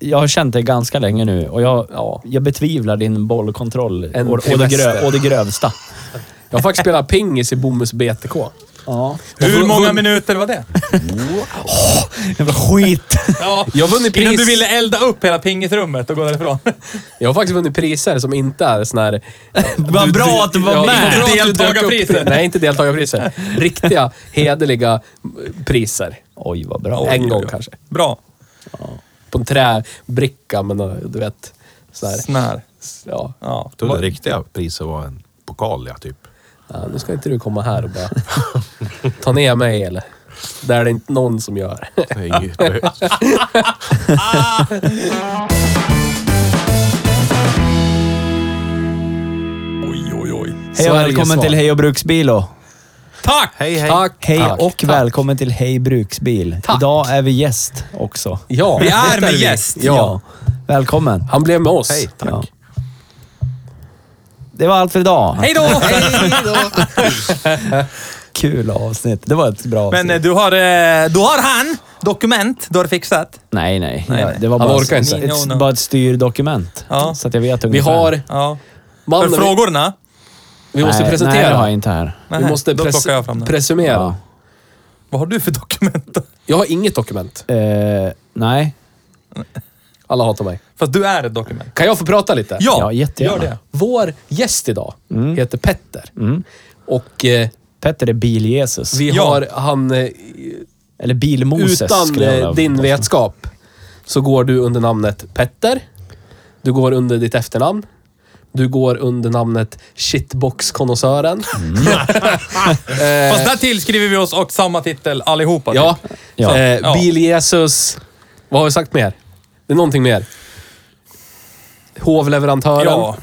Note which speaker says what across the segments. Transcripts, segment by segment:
Speaker 1: Jag har känt det ganska länge nu och jag, jag betvivlar din bollkontroll
Speaker 2: En
Speaker 1: å, å, det grö,
Speaker 2: trimester.
Speaker 1: å det grövsta.
Speaker 2: Jag har faktiskt spelat pingis i Bomhus BTK.
Speaker 1: Ja.
Speaker 3: Hur många minuter var det?
Speaker 1: Jävla skit!
Speaker 3: Ja.
Speaker 2: Jag har vunnit
Speaker 3: Innan
Speaker 2: pris.
Speaker 3: du ville elda upp hela pingisrummet och gå därifrån.
Speaker 2: Jag har faktiskt vunnit priser som inte är sån här... eh,
Speaker 1: Vad bra att du var
Speaker 2: Ja,
Speaker 1: med!
Speaker 2: bra att du dök upp.
Speaker 3: Deltagarpriser.
Speaker 2: Nej, inte deltagarpriser. Riktiga, hederliga eh, priser.
Speaker 1: Oj, vad bra.
Speaker 2: en gång kanske.
Speaker 3: Bra.
Speaker 2: På en träbricka, men eh, du vet. Så här.
Speaker 3: Snär.
Speaker 2: Ja.
Speaker 3: Ja.
Speaker 4: Då det riktiga priset var en pokal, ja, typ.
Speaker 2: ja, nu ska inte du komma här och bara ta ner mig eller? Det är det inte någon som gör.
Speaker 4: Det är inget-
Speaker 3: Oj, oj, oj.
Speaker 1: Hej och
Speaker 2: Sveriges
Speaker 1: välkommen
Speaker 2: svar.
Speaker 1: till Hej och Bruksbilo.
Speaker 3: Tack!
Speaker 4: hej, hej.
Speaker 2: Tack!
Speaker 1: Hej
Speaker 2: tack.
Speaker 1: och välkommen till Hej Bruksbil.
Speaker 2: Tack.
Speaker 1: Idag är vi gäst också.
Speaker 2: Ja,
Speaker 3: Vi är
Speaker 2: det
Speaker 3: med
Speaker 2: vi.
Speaker 3: gäst.
Speaker 2: Ja.
Speaker 1: Välkommen.
Speaker 2: Han blev med oss.
Speaker 4: Hej, tack.
Speaker 1: Ja. Det var allt för idag.
Speaker 3: Hej då!
Speaker 1: Kul avsnitt. Det var ett bra avsnitt.
Speaker 3: Men eh, du har, eh, du har han dokument du har fixat.
Speaker 1: nej, nej.
Speaker 3: Nej,
Speaker 1: Ja,
Speaker 3: nej.
Speaker 1: Det var
Speaker 2: Han
Speaker 1: bara,
Speaker 2: orkar inte.
Speaker 1: ett, ett,
Speaker 3: No, no.
Speaker 1: bara ett styrdokument.
Speaker 3: Ja.
Speaker 1: Så att jag vet
Speaker 2: Vi
Speaker 1: ungefär.
Speaker 2: har
Speaker 3: Ja. För
Speaker 2: mannen vi-
Speaker 3: frågorna?
Speaker 2: vi måste
Speaker 1: nej,
Speaker 2: presentera.
Speaker 1: Nej, det har jag inte här.
Speaker 3: Nej,
Speaker 2: vi måste
Speaker 3: då
Speaker 2: pres
Speaker 3: plockar jag fram den.
Speaker 2: presumera.
Speaker 1: Ja.
Speaker 3: Vad har du för dokument då?
Speaker 2: Jag har inget dokument.
Speaker 1: Eh, nej.
Speaker 2: Alla hatar mig.
Speaker 3: Fast du är ett dokument.
Speaker 2: Kan jag få prata lite?
Speaker 3: Ja,
Speaker 1: Ja, jättegärna.
Speaker 3: gör det.
Speaker 2: Vår gäst idag
Speaker 1: Mm.
Speaker 2: heter Petter. Och eh,
Speaker 1: Petter är bil-Jesus.
Speaker 2: vi
Speaker 3: Ja.
Speaker 2: har han... Eh,
Speaker 1: Eller bil-Moses
Speaker 2: Utan
Speaker 1: skulle jag vilja
Speaker 2: eh, din
Speaker 1: påstå.
Speaker 2: vetskap så går du under namnet Petter. Du går under ditt efternamn. Du går under namnet Shitbox-konnässören.
Speaker 1: Mm.
Speaker 3: Fast där tillskriver vi oss och samma titel allihopa. typ.
Speaker 2: Ja.
Speaker 1: Ja.
Speaker 2: Eh,
Speaker 3: Ja.
Speaker 2: Bil-Jesus. Vad har vi sagt mer? Det är någonting mer. Hovleverantören.
Speaker 3: Ja.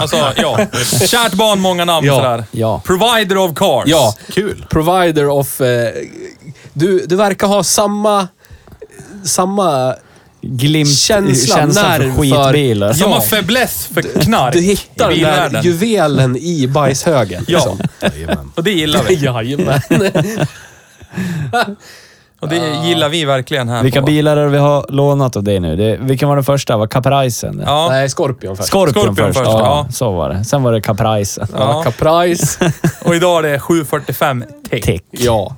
Speaker 3: Alltså, ja. Kärt barn, många namn
Speaker 2: Ja.
Speaker 3: sådär.
Speaker 1: Ja.
Speaker 3: Provider of cars.
Speaker 2: Ja.
Speaker 4: Kul.
Speaker 2: Provider of... Eh, du, du verkar ha samma... Samma...
Speaker 1: Glimt,
Speaker 2: Känslan,
Speaker 1: känslan för
Speaker 2: nerv för-
Speaker 1: skitbilar.
Speaker 2: Ja.
Speaker 3: Samma fäbless för knark
Speaker 2: Du hittar
Speaker 3: i
Speaker 2: den där
Speaker 3: bilvärlden.
Speaker 2: juvelen i bajshögen. liksom.
Speaker 3: Ja,
Speaker 4: Jajamän.
Speaker 3: och det gillar vi.
Speaker 2: Jajamän.
Speaker 3: Och det gillar vi verkligen här.
Speaker 1: Vilka
Speaker 3: på-
Speaker 1: bilar är det vi har lånat av dig nu? Det, vilken var den första? Var Capricen?
Speaker 3: Ja.
Speaker 2: Nej, Scorpion först.
Speaker 1: Scorpion,
Speaker 3: Scorpion
Speaker 1: först.
Speaker 3: först,
Speaker 1: ja.
Speaker 3: ja.
Speaker 1: Så var det. Sen var det Capricen.
Speaker 2: Ja. Caprice.
Speaker 3: Och idag är det 745 tick.
Speaker 1: Tick.
Speaker 2: ja.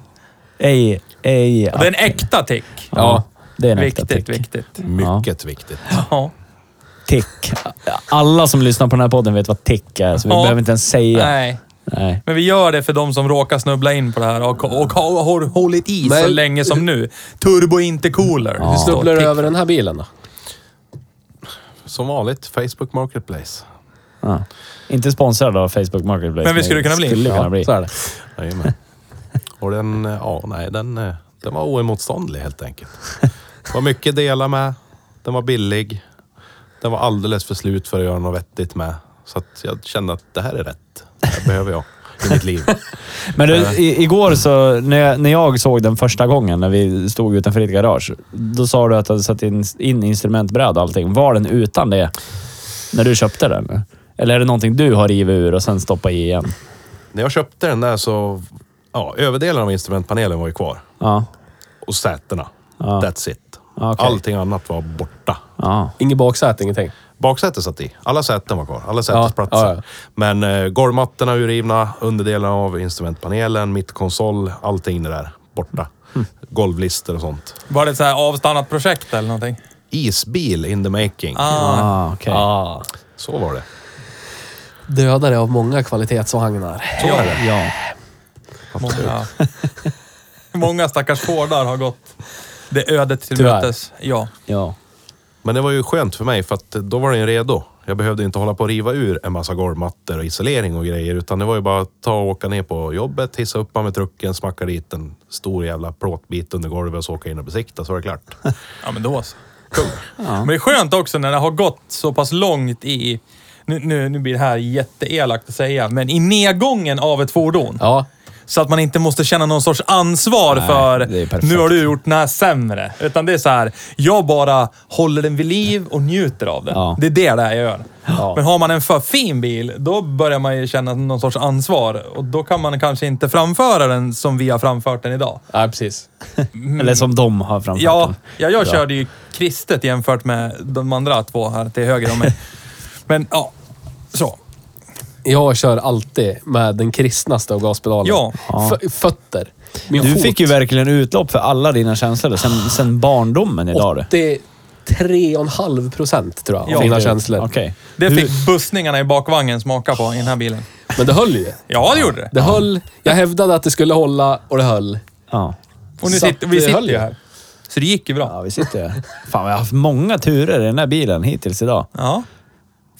Speaker 1: Ej, ej. Ja.
Speaker 3: Det är en äkta tick.
Speaker 1: ja. Det är en äkta
Speaker 3: Viktigt,
Speaker 1: tick.
Speaker 3: viktigt.
Speaker 4: Mycket viktigt.
Speaker 3: Ja.
Speaker 1: Tick. Alla som lyssnar på den här podden vet vad tick är, så vi
Speaker 3: Ja.
Speaker 1: behöver inte ens säga. Nej.
Speaker 3: Nej. Men vi gör det för de som råkar snubbla in på det här och, och, har- har hållit i så
Speaker 2: Men-
Speaker 3: länge som nu. Turbo intercooler. Ja.
Speaker 2: Hur snubblar du över den här bilen då?
Speaker 4: Som vanligt, Facebook Marketplace.
Speaker 1: Ja. Inte sponsrad av Facebook Marketplace.
Speaker 3: Men vi skulle kunna bli.
Speaker 1: Skulle kunna
Speaker 4: Ja,
Speaker 1: bli.
Speaker 2: Så är det.
Speaker 4: Jajamän. Och den, eh, ja, nej, den, eh, den var oemotståndlig helt enkelt. Det var mycket att dela med. Den var billig. Den var alldeles för slut för att göra något vettigt med. Så att jag kände att det här är rätt. Det här behöver jag i mitt liv.
Speaker 1: Men du,
Speaker 2: Eh.
Speaker 1: i, igår så, när jag, när jag såg den första gången, när vi stod utanför ditt garage, då sa du att du hade satt in, in instrumentbräda och allting. Var den utan det när du köpte den? Eller är det någonting du har rivit ur och sen stoppat i igen?
Speaker 4: När jag köpte den där så, ja, överdelen av instrumentpanelen var ju kvar.
Speaker 1: Ja.
Speaker 4: Och sätena.
Speaker 1: Ja.
Speaker 4: That's it.
Speaker 1: Ja, okej.
Speaker 4: Allting annat var borta.
Speaker 1: ja.
Speaker 2: Inget baksäte, ingenting.
Speaker 4: Baksätet satt i. Alla säten var kvar. Alla sätesplatser.
Speaker 2: Ja, ja, ja.
Speaker 4: Men eh, golvmattorna urrivna, underdelen av instrumentpanelen, mittkonsol, allting det där borta. Golvlister och sånt.
Speaker 3: Var det ett så här avstannat projekt eller någonting?
Speaker 4: Isbil in the making.
Speaker 3: Ah.
Speaker 1: Ah, okej.
Speaker 2: Ah.
Speaker 4: Så var det.
Speaker 2: dödare av många kvalitetsvagnar.
Speaker 4: Så är det.
Speaker 1: Ja.
Speaker 3: Många, många stackars Fordar har gått det ödet till
Speaker 1: Tyvärr.
Speaker 3: mötes. Ja.
Speaker 1: ja.
Speaker 4: Men det var ju skönt för mig för att då var den redo. Jag behövde inte hålla på och riva ur en massa golvmattor och isolering och grejer. Utan det var ju bara att ta och åka ner på jobbet, hissa upp den med trucken, smacka dit en stor jävla plåtbit under golvet och så åka in och besikta så var det klart.
Speaker 3: Ja, men då så. Men det är skönt också när det har gått så pass långt i... Nu, nu, nu blir det här jätteelakt att säga, men i nedgången av ett fordon.
Speaker 2: Ja,
Speaker 3: Så att man inte måste känna någon sorts ansvar
Speaker 1: Nej,
Speaker 3: för
Speaker 1: det är perfekt.
Speaker 3: nu har du gjort den här sämre. Utan det är så här, jag bara håller den vid liv och njuter av den.
Speaker 1: Ja.
Speaker 3: Det är det där jag gör.
Speaker 1: Ja.
Speaker 3: Men har man en för fin bil, då börjar man ju känna någon sorts ansvar. Och då kan man kanske inte framföra den som vi har framfört den idag.
Speaker 2: ja precis.
Speaker 1: Eller som de har framfört
Speaker 3: Ja,
Speaker 1: den.
Speaker 3: ja jag
Speaker 1: Ja.
Speaker 3: körde ju kristet jämfört med de andra två här till höger om mig. Men ja, så.
Speaker 2: Jag kör alltid med den kristnaste av gaspedalen.
Speaker 3: Ja.
Speaker 2: F- fötter. Min
Speaker 1: Du
Speaker 2: fot.
Speaker 1: fick ju verkligen utlopp för alla dina känslor sen, sen barndomen idag. du.
Speaker 2: 83,5 procent tror jag,
Speaker 3: Ja.
Speaker 2: av mina känslor.
Speaker 1: Okej.
Speaker 3: Det
Speaker 1: Hur-
Speaker 3: fick bussningarna i bakvagnen smaka på i den här bilen.
Speaker 2: Men det höll ju.
Speaker 3: Ja, det gjorde det.
Speaker 2: Det höll. Jag hävdade att det skulle hålla och det höll.
Speaker 1: Ja.
Speaker 3: Och nu
Speaker 2: Så
Speaker 3: sitter,
Speaker 2: att
Speaker 3: vi
Speaker 2: det
Speaker 3: sitter
Speaker 2: höll
Speaker 3: ju
Speaker 2: ju.
Speaker 3: här. Så det gick ju bra.
Speaker 1: ja, vi sitter här. Fan, vi har haft många turer i den här bilen hittills idag.
Speaker 3: Ja,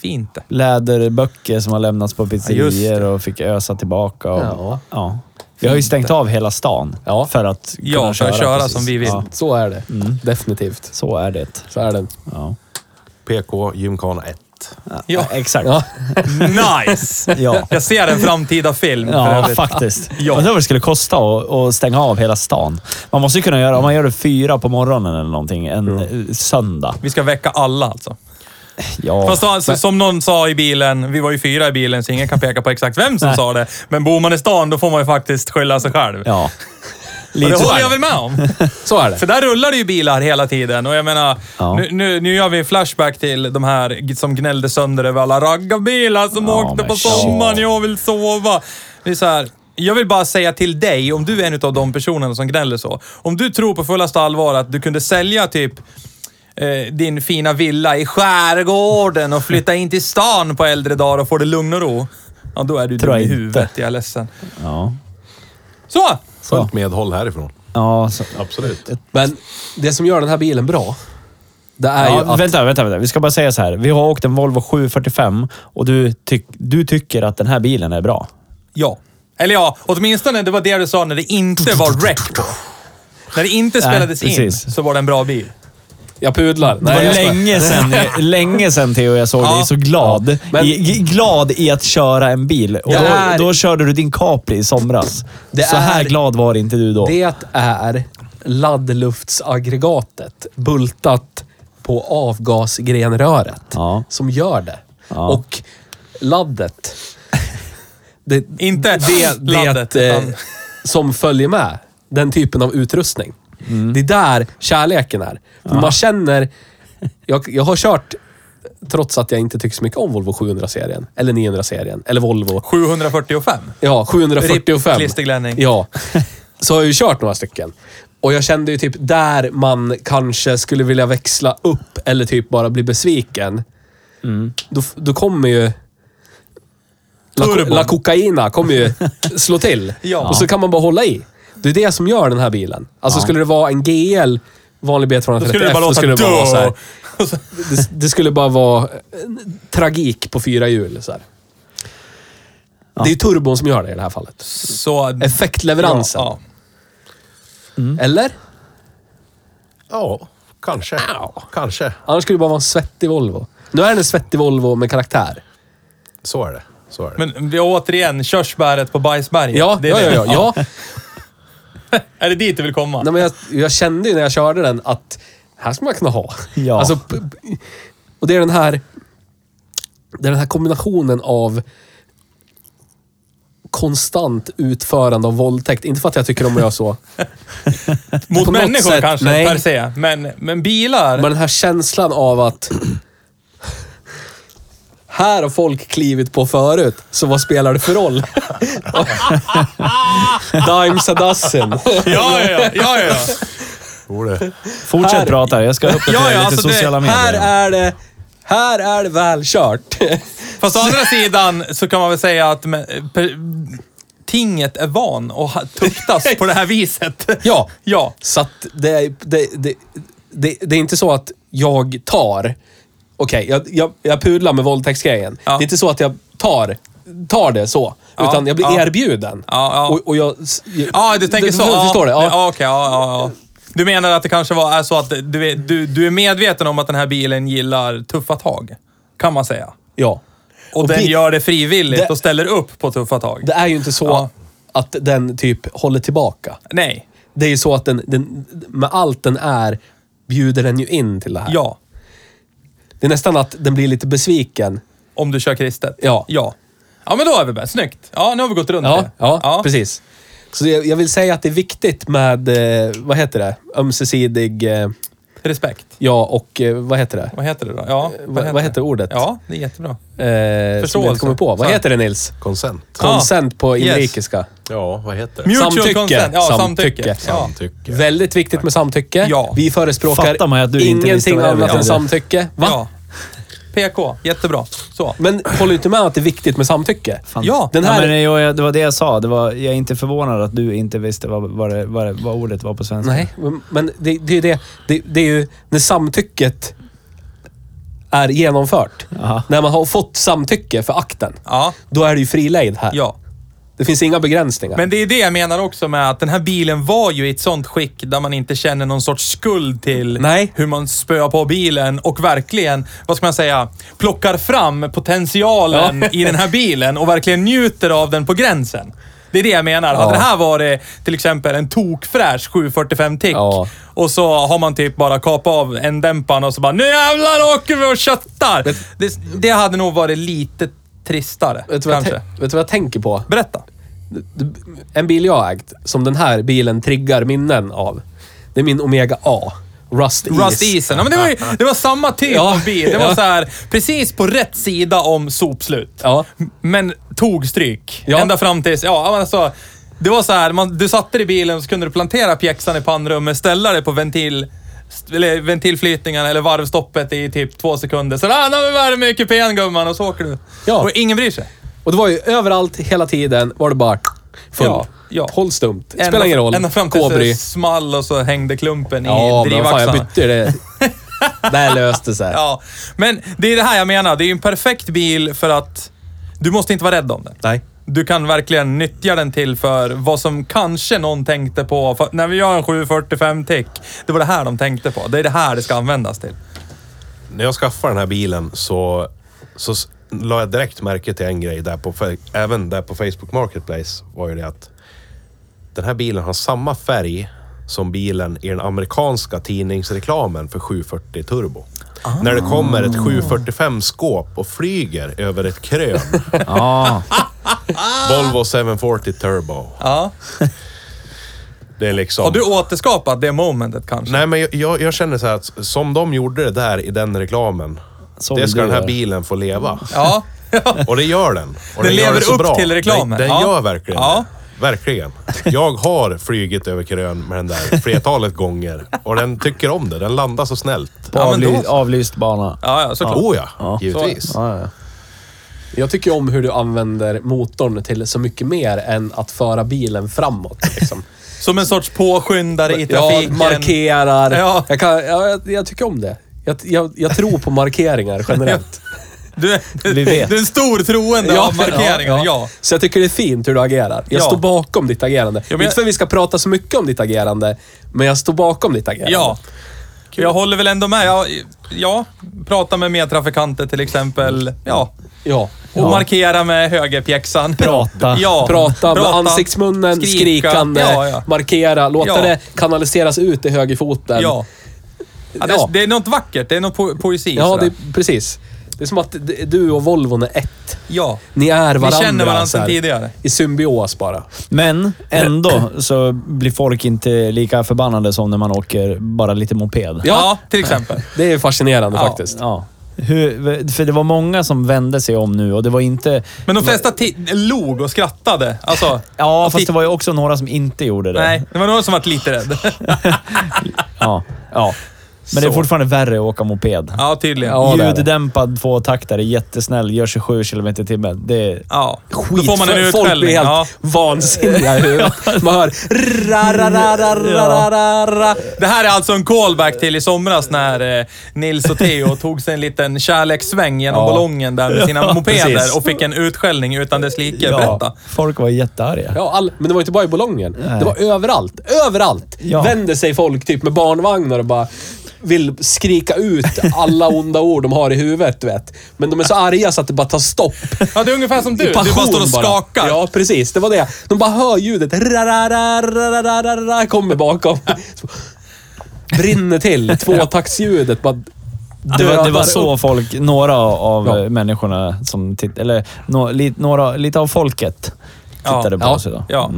Speaker 3: fint det.
Speaker 1: Läderböcker som har lämnats på
Speaker 3: Ja, just
Speaker 1: pizzerior och fick ösa tillbaka. Och,
Speaker 2: Ja.
Speaker 1: ja. Vi har ju stängt av hela stan
Speaker 2: Ja.
Speaker 1: för att kunna
Speaker 3: Ja, för att köra
Speaker 1: precis.
Speaker 3: som vi vill.
Speaker 1: Ja,
Speaker 2: Så är det.
Speaker 1: Mm.
Speaker 2: Definitivt.
Speaker 1: så är det.
Speaker 2: Så är det.
Speaker 1: Ja.
Speaker 4: PK Gymkana 1.
Speaker 3: Ja,
Speaker 1: Exakt.
Speaker 2: Ja.
Speaker 3: nice!
Speaker 1: Ja.
Speaker 3: Jag ser en framtida film för
Speaker 1: Ja,
Speaker 3: övrigt.
Speaker 1: faktiskt.
Speaker 3: Ja.
Speaker 1: Undrar vad det skulle kosta att, att stänga av hela stan. Man måste ju kunna göra, om man gör det fyra på morgonen eller någonting, en eh, söndag.
Speaker 3: Vi ska väcka alla alltså.
Speaker 1: Ja.
Speaker 3: Fast alltså, som någon sa i bilen, vi var ju fyra i bilen så ingen kan peka på exakt vem som sa det. Men bor man i stan då får man ju faktiskt skylla sig själv.
Speaker 1: ja.
Speaker 3: Och
Speaker 1: Lite
Speaker 3: det
Speaker 1: så
Speaker 3: håller
Speaker 1: här.
Speaker 3: jag väl med om.
Speaker 2: Så är det.
Speaker 3: För där rullar det ju bilar hela tiden och jag menar,
Speaker 1: Ja.
Speaker 3: nu, nu, nu gör vi en flashback till de här g- som gnällde sönder över alla raggarbilar som
Speaker 1: Ja,
Speaker 3: åkte
Speaker 1: men
Speaker 3: på
Speaker 1: shit.
Speaker 3: sommaren. Jag vill sova. Det är så här, jag vill bara säga till dig, om du är en av de personerna som gnäller så. Om du tror på fullaste allvar att du kunde sälja typ eh, din fina villa i skärgården och flytta in till stan på äldre dagar och få det lugn och ro. Ja, då är du
Speaker 1: Tror
Speaker 3: dum i
Speaker 1: jag inte.
Speaker 3: huvudet. Jag är ledsen.
Speaker 1: Ja.
Speaker 3: Så!
Speaker 4: Fullt medhåll härifrån.
Speaker 1: Ja, så.
Speaker 4: Absolut.
Speaker 2: Men det som gör den här bilen bra, det är ju
Speaker 1: Ja,
Speaker 2: att...
Speaker 1: vänta, vänta, vänta. Vi ska bara säga så här. Vi har åkt en Volvo 745 och du, tyck, du tycker att den här bilen är bra.
Speaker 3: Ja. Eller ja, åtminstone det var det du sa när det inte var rec på. När det inte spelades in
Speaker 1: precis.
Speaker 3: så var det en bra bil.
Speaker 2: Jag pudlar.
Speaker 1: Det
Speaker 2: Nej, jag
Speaker 1: var
Speaker 2: skojar.
Speaker 1: länge sedan, länge sedan Theo jag såg
Speaker 3: Ja.
Speaker 1: dig så glad.
Speaker 2: Men-
Speaker 1: I, g- glad i att köra en bil. Och
Speaker 2: Det
Speaker 1: då,
Speaker 2: är-
Speaker 1: då körde du din Capri i somras.
Speaker 2: Det
Speaker 1: så här
Speaker 2: är-
Speaker 1: glad var inte du då.
Speaker 2: Det är laddluftsaggregatet bultat på avgasgrenröret
Speaker 1: Ja.
Speaker 2: som gör det.
Speaker 1: Ja.
Speaker 2: Och laddet. Det,
Speaker 3: Inte
Speaker 2: det, det
Speaker 3: laddet,
Speaker 2: eh,
Speaker 3: utan-
Speaker 2: som följer med. Den typen av utrustning.
Speaker 1: Mm.
Speaker 2: Det är där kärleken är. För Man känner... Jag, jag har kört, trots att jag inte tycker så mycket om Volvo 700-serien. Eller 900-serien. Eller Volvo.
Speaker 3: 745.
Speaker 2: Ja, 745.
Speaker 3: Ripp, klisterglänning.
Speaker 2: Ja. Så har jag ju kört några stycken. Och jag kände ju typ där man kanske skulle vilja växla upp eller typ bara bli besviken.
Speaker 3: Mm.
Speaker 2: Då, då kommer ju... La,
Speaker 3: Turbon.
Speaker 2: la kokaina kommer ju slå till.
Speaker 3: Ja.
Speaker 2: Och så kan man bara hålla i. Det är det som gör den här bilen. Alltså skulle det vara en GL, vanlig B230F,
Speaker 3: Då skulle det bara låta
Speaker 2: skulle det bara vara så här,
Speaker 3: dö.
Speaker 2: det, det skulle bara vara eh, tragik på fyra hjul. Så här. Det är ju turbon som gör det i det här fallet.
Speaker 3: Så...
Speaker 2: Effektleveransen.
Speaker 3: Ja, Mm.
Speaker 2: Eller?
Speaker 4: Ja, kanske. Kanske.
Speaker 2: Annars skulle det bara vara en svettig Volvo. Nu är den en svettig Volvo med karaktär.
Speaker 4: Så är det. Så är det.
Speaker 3: Men vi återigen, körsbäret på bajsberget.
Speaker 2: Ja,
Speaker 3: Det är
Speaker 2: ja,
Speaker 3: det.
Speaker 2: ja, ja, ja.
Speaker 3: Är det dit du vill komma?
Speaker 2: Nej, men jag, jag kände ju när jag körde den att här ska man kunna ha.
Speaker 1: Ja.
Speaker 2: Alltså, p- p- och det är den här... Det är den här kombinationen av konstant utförande av våldtäkt. Inte för att jag tycker om att göra så.
Speaker 3: Mot
Speaker 2: på något
Speaker 3: människor
Speaker 2: sätt,
Speaker 3: kanske,
Speaker 2: nej.
Speaker 3: per se. Men, men bilar...
Speaker 2: Men den här känslan av att... Här har folk klivit på förut, så vad spelar det för roll? Dimes a dozen.
Speaker 3: Ja, ja, ja, ja, ja.
Speaker 4: Tror det.
Speaker 1: Fortsätt
Speaker 2: här-
Speaker 1: prata. Jag ska uppdatera
Speaker 3: Ja, ja,
Speaker 1: lite
Speaker 3: alltså det-
Speaker 1: sociala medier.
Speaker 2: Här är det... Här är det väl kört.
Speaker 3: Fast å andra sidan så kan man väl säga att men, per, tinget är van att ha- tuktas på det här viset.
Speaker 2: ja,
Speaker 3: Ja.
Speaker 2: så att det, är- det, det, det, det är inte så att jag tar... Okej, jag, jag, jag pudlar med våldtäktsgrejen.
Speaker 3: Ja.
Speaker 2: Det är inte så att jag tar, tar det så.
Speaker 3: Ja,
Speaker 2: Utan jag blir
Speaker 3: ja.
Speaker 2: erbjuden.
Speaker 3: Ja, ja.
Speaker 2: Och, och jag...
Speaker 3: Ja, du tänker så.
Speaker 2: Du
Speaker 3: ja.
Speaker 2: förstår det? Ja.
Speaker 3: Ja, okej. Ja, ja, ja. Du menar att det kanske var är så att du är, du, du är medveten om att den här bilen gillar tuffa tag, kan man säga.
Speaker 2: ja.
Speaker 3: Och, den
Speaker 2: det-
Speaker 3: gör det frivilligt
Speaker 2: det-
Speaker 3: och ställer upp på tuffa tag.
Speaker 2: Det är ju inte så
Speaker 3: Ja.
Speaker 2: att den typ håller tillbaka.
Speaker 3: Nej.
Speaker 2: Det är ju så att den, den, med allt den är, bjuder den ju in till det här.
Speaker 3: Ja.
Speaker 2: Det är nästan att den blir lite besviken.
Speaker 3: Om du kör kristet.
Speaker 2: Ja.
Speaker 3: Ja. Ja, men då är vi bäst. Snyggt. Ja, nu har vi gått runt
Speaker 2: Ja,
Speaker 3: det.
Speaker 2: ja, precis. Så jag, jag vill säga att det är viktigt med, eh, vad heter det, ömsesidig, eh,
Speaker 3: Respekt.
Speaker 2: ja och eh, vad heter det?
Speaker 3: Vad heter det då? Ja,
Speaker 2: Eh, Vad- vad heter ordet?
Speaker 3: Ja, det är jättebra.
Speaker 2: Eh, som jag
Speaker 3: Förståelse.
Speaker 2: inte kommer på. Vad
Speaker 3: Så-
Speaker 2: heter det Nils?
Speaker 4: Consent.
Speaker 2: Consent på
Speaker 3: Yes.
Speaker 2: inrikeska.
Speaker 4: Ja, vad heter det?
Speaker 3: Mutual
Speaker 2: Samtycke.
Speaker 3: consent. Ja, samtycke.
Speaker 2: Samtycke.
Speaker 3: Ja.
Speaker 4: Samtycke.
Speaker 2: Väldigt viktigt med samtycke.
Speaker 3: Ja.
Speaker 2: Vi förespråkar
Speaker 1: Fattar man ju att du inte visste
Speaker 2: ingenting
Speaker 1: vad det
Speaker 2: annat
Speaker 1: betyder.
Speaker 2: än samtycke. Va?
Speaker 3: ja. PK. Jättebra. Så.
Speaker 2: Men håller du inte med att det är viktigt med samtycke?
Speaker 1: Fan.
Speaker 3: Ja,
Speaker 2: den här-
Speaker 1: men jag, jag- det var det jag sa. Det var, jag är inte förvånad att du inte visste vad, vad, det, vad, det, vad ordet var på svenska.
Speaker 2: Nej, men- men det, det är ju det. det. Det är ju när samtycket är genomfört.
Speaker 1: Aha.
Speaker 2: När man har fått samtycke för akten.
Speaker 3: Ja.
Speaker 2: Då är det ju fri lejd här.
Speaker 3: Ja.
Speaker 2: Det finns inga begränsningar.
Speaker 3: Men det är det jag menar också med att den här bilen var ju i ett sånt skick där man inte känner någon sorts skuld till
Speaker 2: Nej.
Speaker 3: hur man spöar på bilen och verkligen, vad ska man säga, plockar fram potentialen
Speaker 2: Ja.
Speaker 3: i den här bilen och verkligen njuter av den på gränsen. Det är det jag menar. Hade det här varit till exempel en tokfräsch 745 tick
Speaker 2: Ja.
Speaker 3: och så har man typ bara kapat av en dämpan och så bara nu jävlar åker vi och köttar. det, det hade nog varit lite tristare.
Speaker 2: vet, du vad jag
Speaker 3: kanske.
Speaker 2: tän- vet du vad jag tänker på?
Speaker 3: Berätta.
Speaker 2: En bil jag har ägt, som den här bilen triggar minnen av. Det är min Omega A. Rust,
Speaker 3: Rust
Speaker 2: Is.
Speaker 3: Isen. Ja, men det, var ju, det var samma typ
Speaker 2: Ja.
Speaker 3: av bil. Det var
Speaker 2: Ja.
Speaker 3: så här, precis på rätt sida om sopslut.
Speaker 2: Ja.
Speaker 3: Men tog stryk.
Speaker 2: Ja.
Speaker 3: Ända fram tills... Ja, men alltså, det var så här, man, du satte dig i bilen och så kunde du plantera pjäxan i pannrummet, ställa dig på ventil, st- eller ventilflytningen eller varvstoppet i typ två sekunder. Sen ah, nu har vi värme i kupén gumman och så åker du.
Speaker 2: Ja.
Speaker 3: Och ingen bryr sig.
Speaker 2: Och det var ju överallt, hela tiden, var det bara full.
Speaker 3: Ja, ja.
Speaker 2: Håll stumt.
Speaker 3: Ända-
Speaker 2: Spelar ingen roll.
Speaker 3: Ända fram tills
Speaker 2: Kobry.
Speaker 3: det small och så hängde klumpen
Speaker 2: Ja,
Speaker 3: i
Speaker 2: men vad fan,
Speaker 3: drivaxlarna.
Speaker 2: jag bytte ju det. Där löste sig.
Speaker 3: Ja, men det är det här jag menar. Det är ju en perfekt bil för att du måste inte vara rädd om den.
Speaker 2: Nej.
Speaker 3: Du kan verkligen nyttja den till för vad som kanske någon tänkte på. För när vi gör en 745 tick, det var det här de tänkte på. Det är det här det ska användas till.
Speaker 4: När jag skaffade den här bilen så, så s- la jag direkt märke till en grej där på, fe- även där på Facebook Marketplace var ju det att den här bilen har samma färg som bilen i den amerikanska tidningsreklamen för 740 Turbo. När det kommer ett 745-skåp och flyger över ett krön.
Speaker 1: Ja.
Speaker 4: Volvo 740 Turbo.
Speaker 3: Ja.
Speaker 4: Det är liksom...
Speaker 3: Har du återskapat det momentet kanske?
Speaker 4: Nej, men jag, jag, jag känner så här att som de gjorde det där i den reklamen.
Speaker 1: Så
Speaker 4: det
Speaker 1: vill
Speaker 4: ska
Speaker 1: du
Speaker 4: den här
Speaker 1: göra.
Speaker 4: bilen få leva.
Speaker 3: Ja.
Speaker 4: Och det gör den. Och
Speaker 3: Den
Speaker 4: gör
Speaker 3: lever
Speaker 4: det så
Speaker 3: upp till reklamen.
Speaker 4: Den, den
Speaker 3: Ja.
Speaker 4: gör verkligen
Speaker 3: Ja.
Speaker 4: det. Verkligen. Jag har flugit över krön med den där flertalet gånger. Och den tycker om det. Den landar så snällt.
Speaker 1: På
Speaker 3: Ja, men då
Speaker 1: avly,
Speaker 3: så.
Speaker 1: avlyst bana.
Speaker 3: Ja, ja, såklart.
Speaker 4: Oh ja,
Speaker 1: Ja.
Speaker 4: givetvis.
Speaker 1: Ja, ja.
Speaker 2: Jag tycker om hur du använder motorn till så mycket mer än att föra bilen framåt. Liksom.
Speaker 3: Som en sorts påskyndare i
Speaker 2: Jag
Speaker 3: trafiken.
Speaker 2: markerar.
Speaker 3: Ja.
Speaker 2: Jag, kan, ja, jag, jag tycker om det. Jag, jag, jag tror på markeringar generellt.
Speaker 3: Du,
Speaker 1: Vi vet.
Speaker 3: du är en stor troende av markeringar, ja.
Speaker 2: Så jag tycker det är fint hur du agerar. Jag
Speaker 3: Ja.
Speaker 2: står bakom ditt agerande.
Speaker 3: men jag-
Speaker 2: Inte för att vi ska prata så mycket om ditt agerande, men jag står bakom ditt agerande.
Speaker 3: Ja. Jag håller väl ändå med. Jag, ja, prata med medtrafikanter till exempel. Ja.
Speaker 2: ja.
Speaker 3: Och markera med högerpjäxan.
Speaker 1: Prata.
Speaker 3: Ja.
Speaker 2: Prata, med
Speaker 3: Prata.
Speaker 2: ansiktsmunnen,
Speaker 3: Skrika.
Speaker 2: skrikande,
Speaker 3: Ja, ja.
Speaker 2: markera, låta
Speaker 3: Ja.
Speaker 2: det kanaliseras ut i högerfoten.
Speaker 3: ja. ja, det,
Speaker 2: Ja.
Speaker 3: det är något vackert. Det är något po poesi.
Speaker 2: Ja,
Speaker 3: sådär.
Speaker 2: det, precis. Det är som att d- du och Volvon är ett.
Speaker 3: ja.
Speaker 2: Ni är varandra.
Speaker 3: känner varandra
Speaker 2: så här,
Speaker 3: sedan tidigare.
Speaker 2: I symbios bara.
Speaker 1: Men ändå så blir folk inte lika förbannade som när man åker bara lite moped.
Speaker 3: Ja. till exempel.
Speaker 2: Det är fascinerande
Speaker 3: Ja.
Speaker 2: faktiskt.
Speaker 1: Ja. Hur, för det var många som vände sig om nu och det var inte...
Speaker 3: Men de flesta ti- log och skrattade. Alltså,
Speaker 1: Ja,
Speaker 3: och
Speaker 1: fast
Speaker 3: titt-
Speaker 1: det var ju också några som inte gjorde det.
Speaker 3: Nej, det var någon som var lite rädd.
Speaker 1: Ja. ja. Men det är
Speaker 3: Så.
Speaker 1: fortfarande värre att åka moped.
Speaker 3: Ja, tydligen.
Speaker 1: Ja,
Speaker 3: Ja.
Speaker 2: det är det.
Speaker 1: Ljuddämpad tvåtaktare, jättesnäll, gör 27 km i timmen. Det är...
Speaker 3: Då får man en
Speaker 2: Skit, folk blir
Speaker 3: utskällning.
Speaker 2: helt
Speaker 3: Ja.
Speaker 2: vansinniga i huvudet. Man hör... ra, ra, ra, ra, ra, ra, ra.
Speaker 3: Det här är alltså en callback till i somras när eh, Nils och Theo tog sig en liten kärlekssväng genom
Speaker 1: Ja.
Speaker 3: ballongen där med sina
Speaker 1: Ja,
Speaker 3: mopeder
Speaker 1: precis.
Speaker 3: och fick en utskällning utan dess like. Berätta.
Speaker 1: folk var jättearga.
Speaker 2: Ja, all, men det var inte bara i Bolognen. Det var överallt. Överallt
Speaker 1: Ja.
Speaker 2: vänder sig folk typ med barnvagnar och bara vill skrika ut alla onda ord de har i huvudet, du vet. Men de är så arga så att det bara tar stopp.
Speaker 3: Ja, det är ungefär som du. Du bara
Speaker 2: Passion
Speaker 3: står och skakar.
Speaker 2: Ja, precis. Det var det. De bara hör ljudet. Ra, ra, ra, ra, ra, ra, ra, kommer bakom. Så, brinner till. Tvåtaktsljudet bara
Speaker 1: Det var, det
Speaker 2: dödar
Speaker 1: var så
Speaker 2: upp.
Speaker 1: folk, några av
Speaker 2: Ja.
Speaker 1: eh, människorna som tittade, eller no, li, några, lite av folket
Speaker 3: Ja.
Speaker 1: tittade på
Speaker 2: Ja.
Speaker 1: oss idag.
Speaker 3: Ja.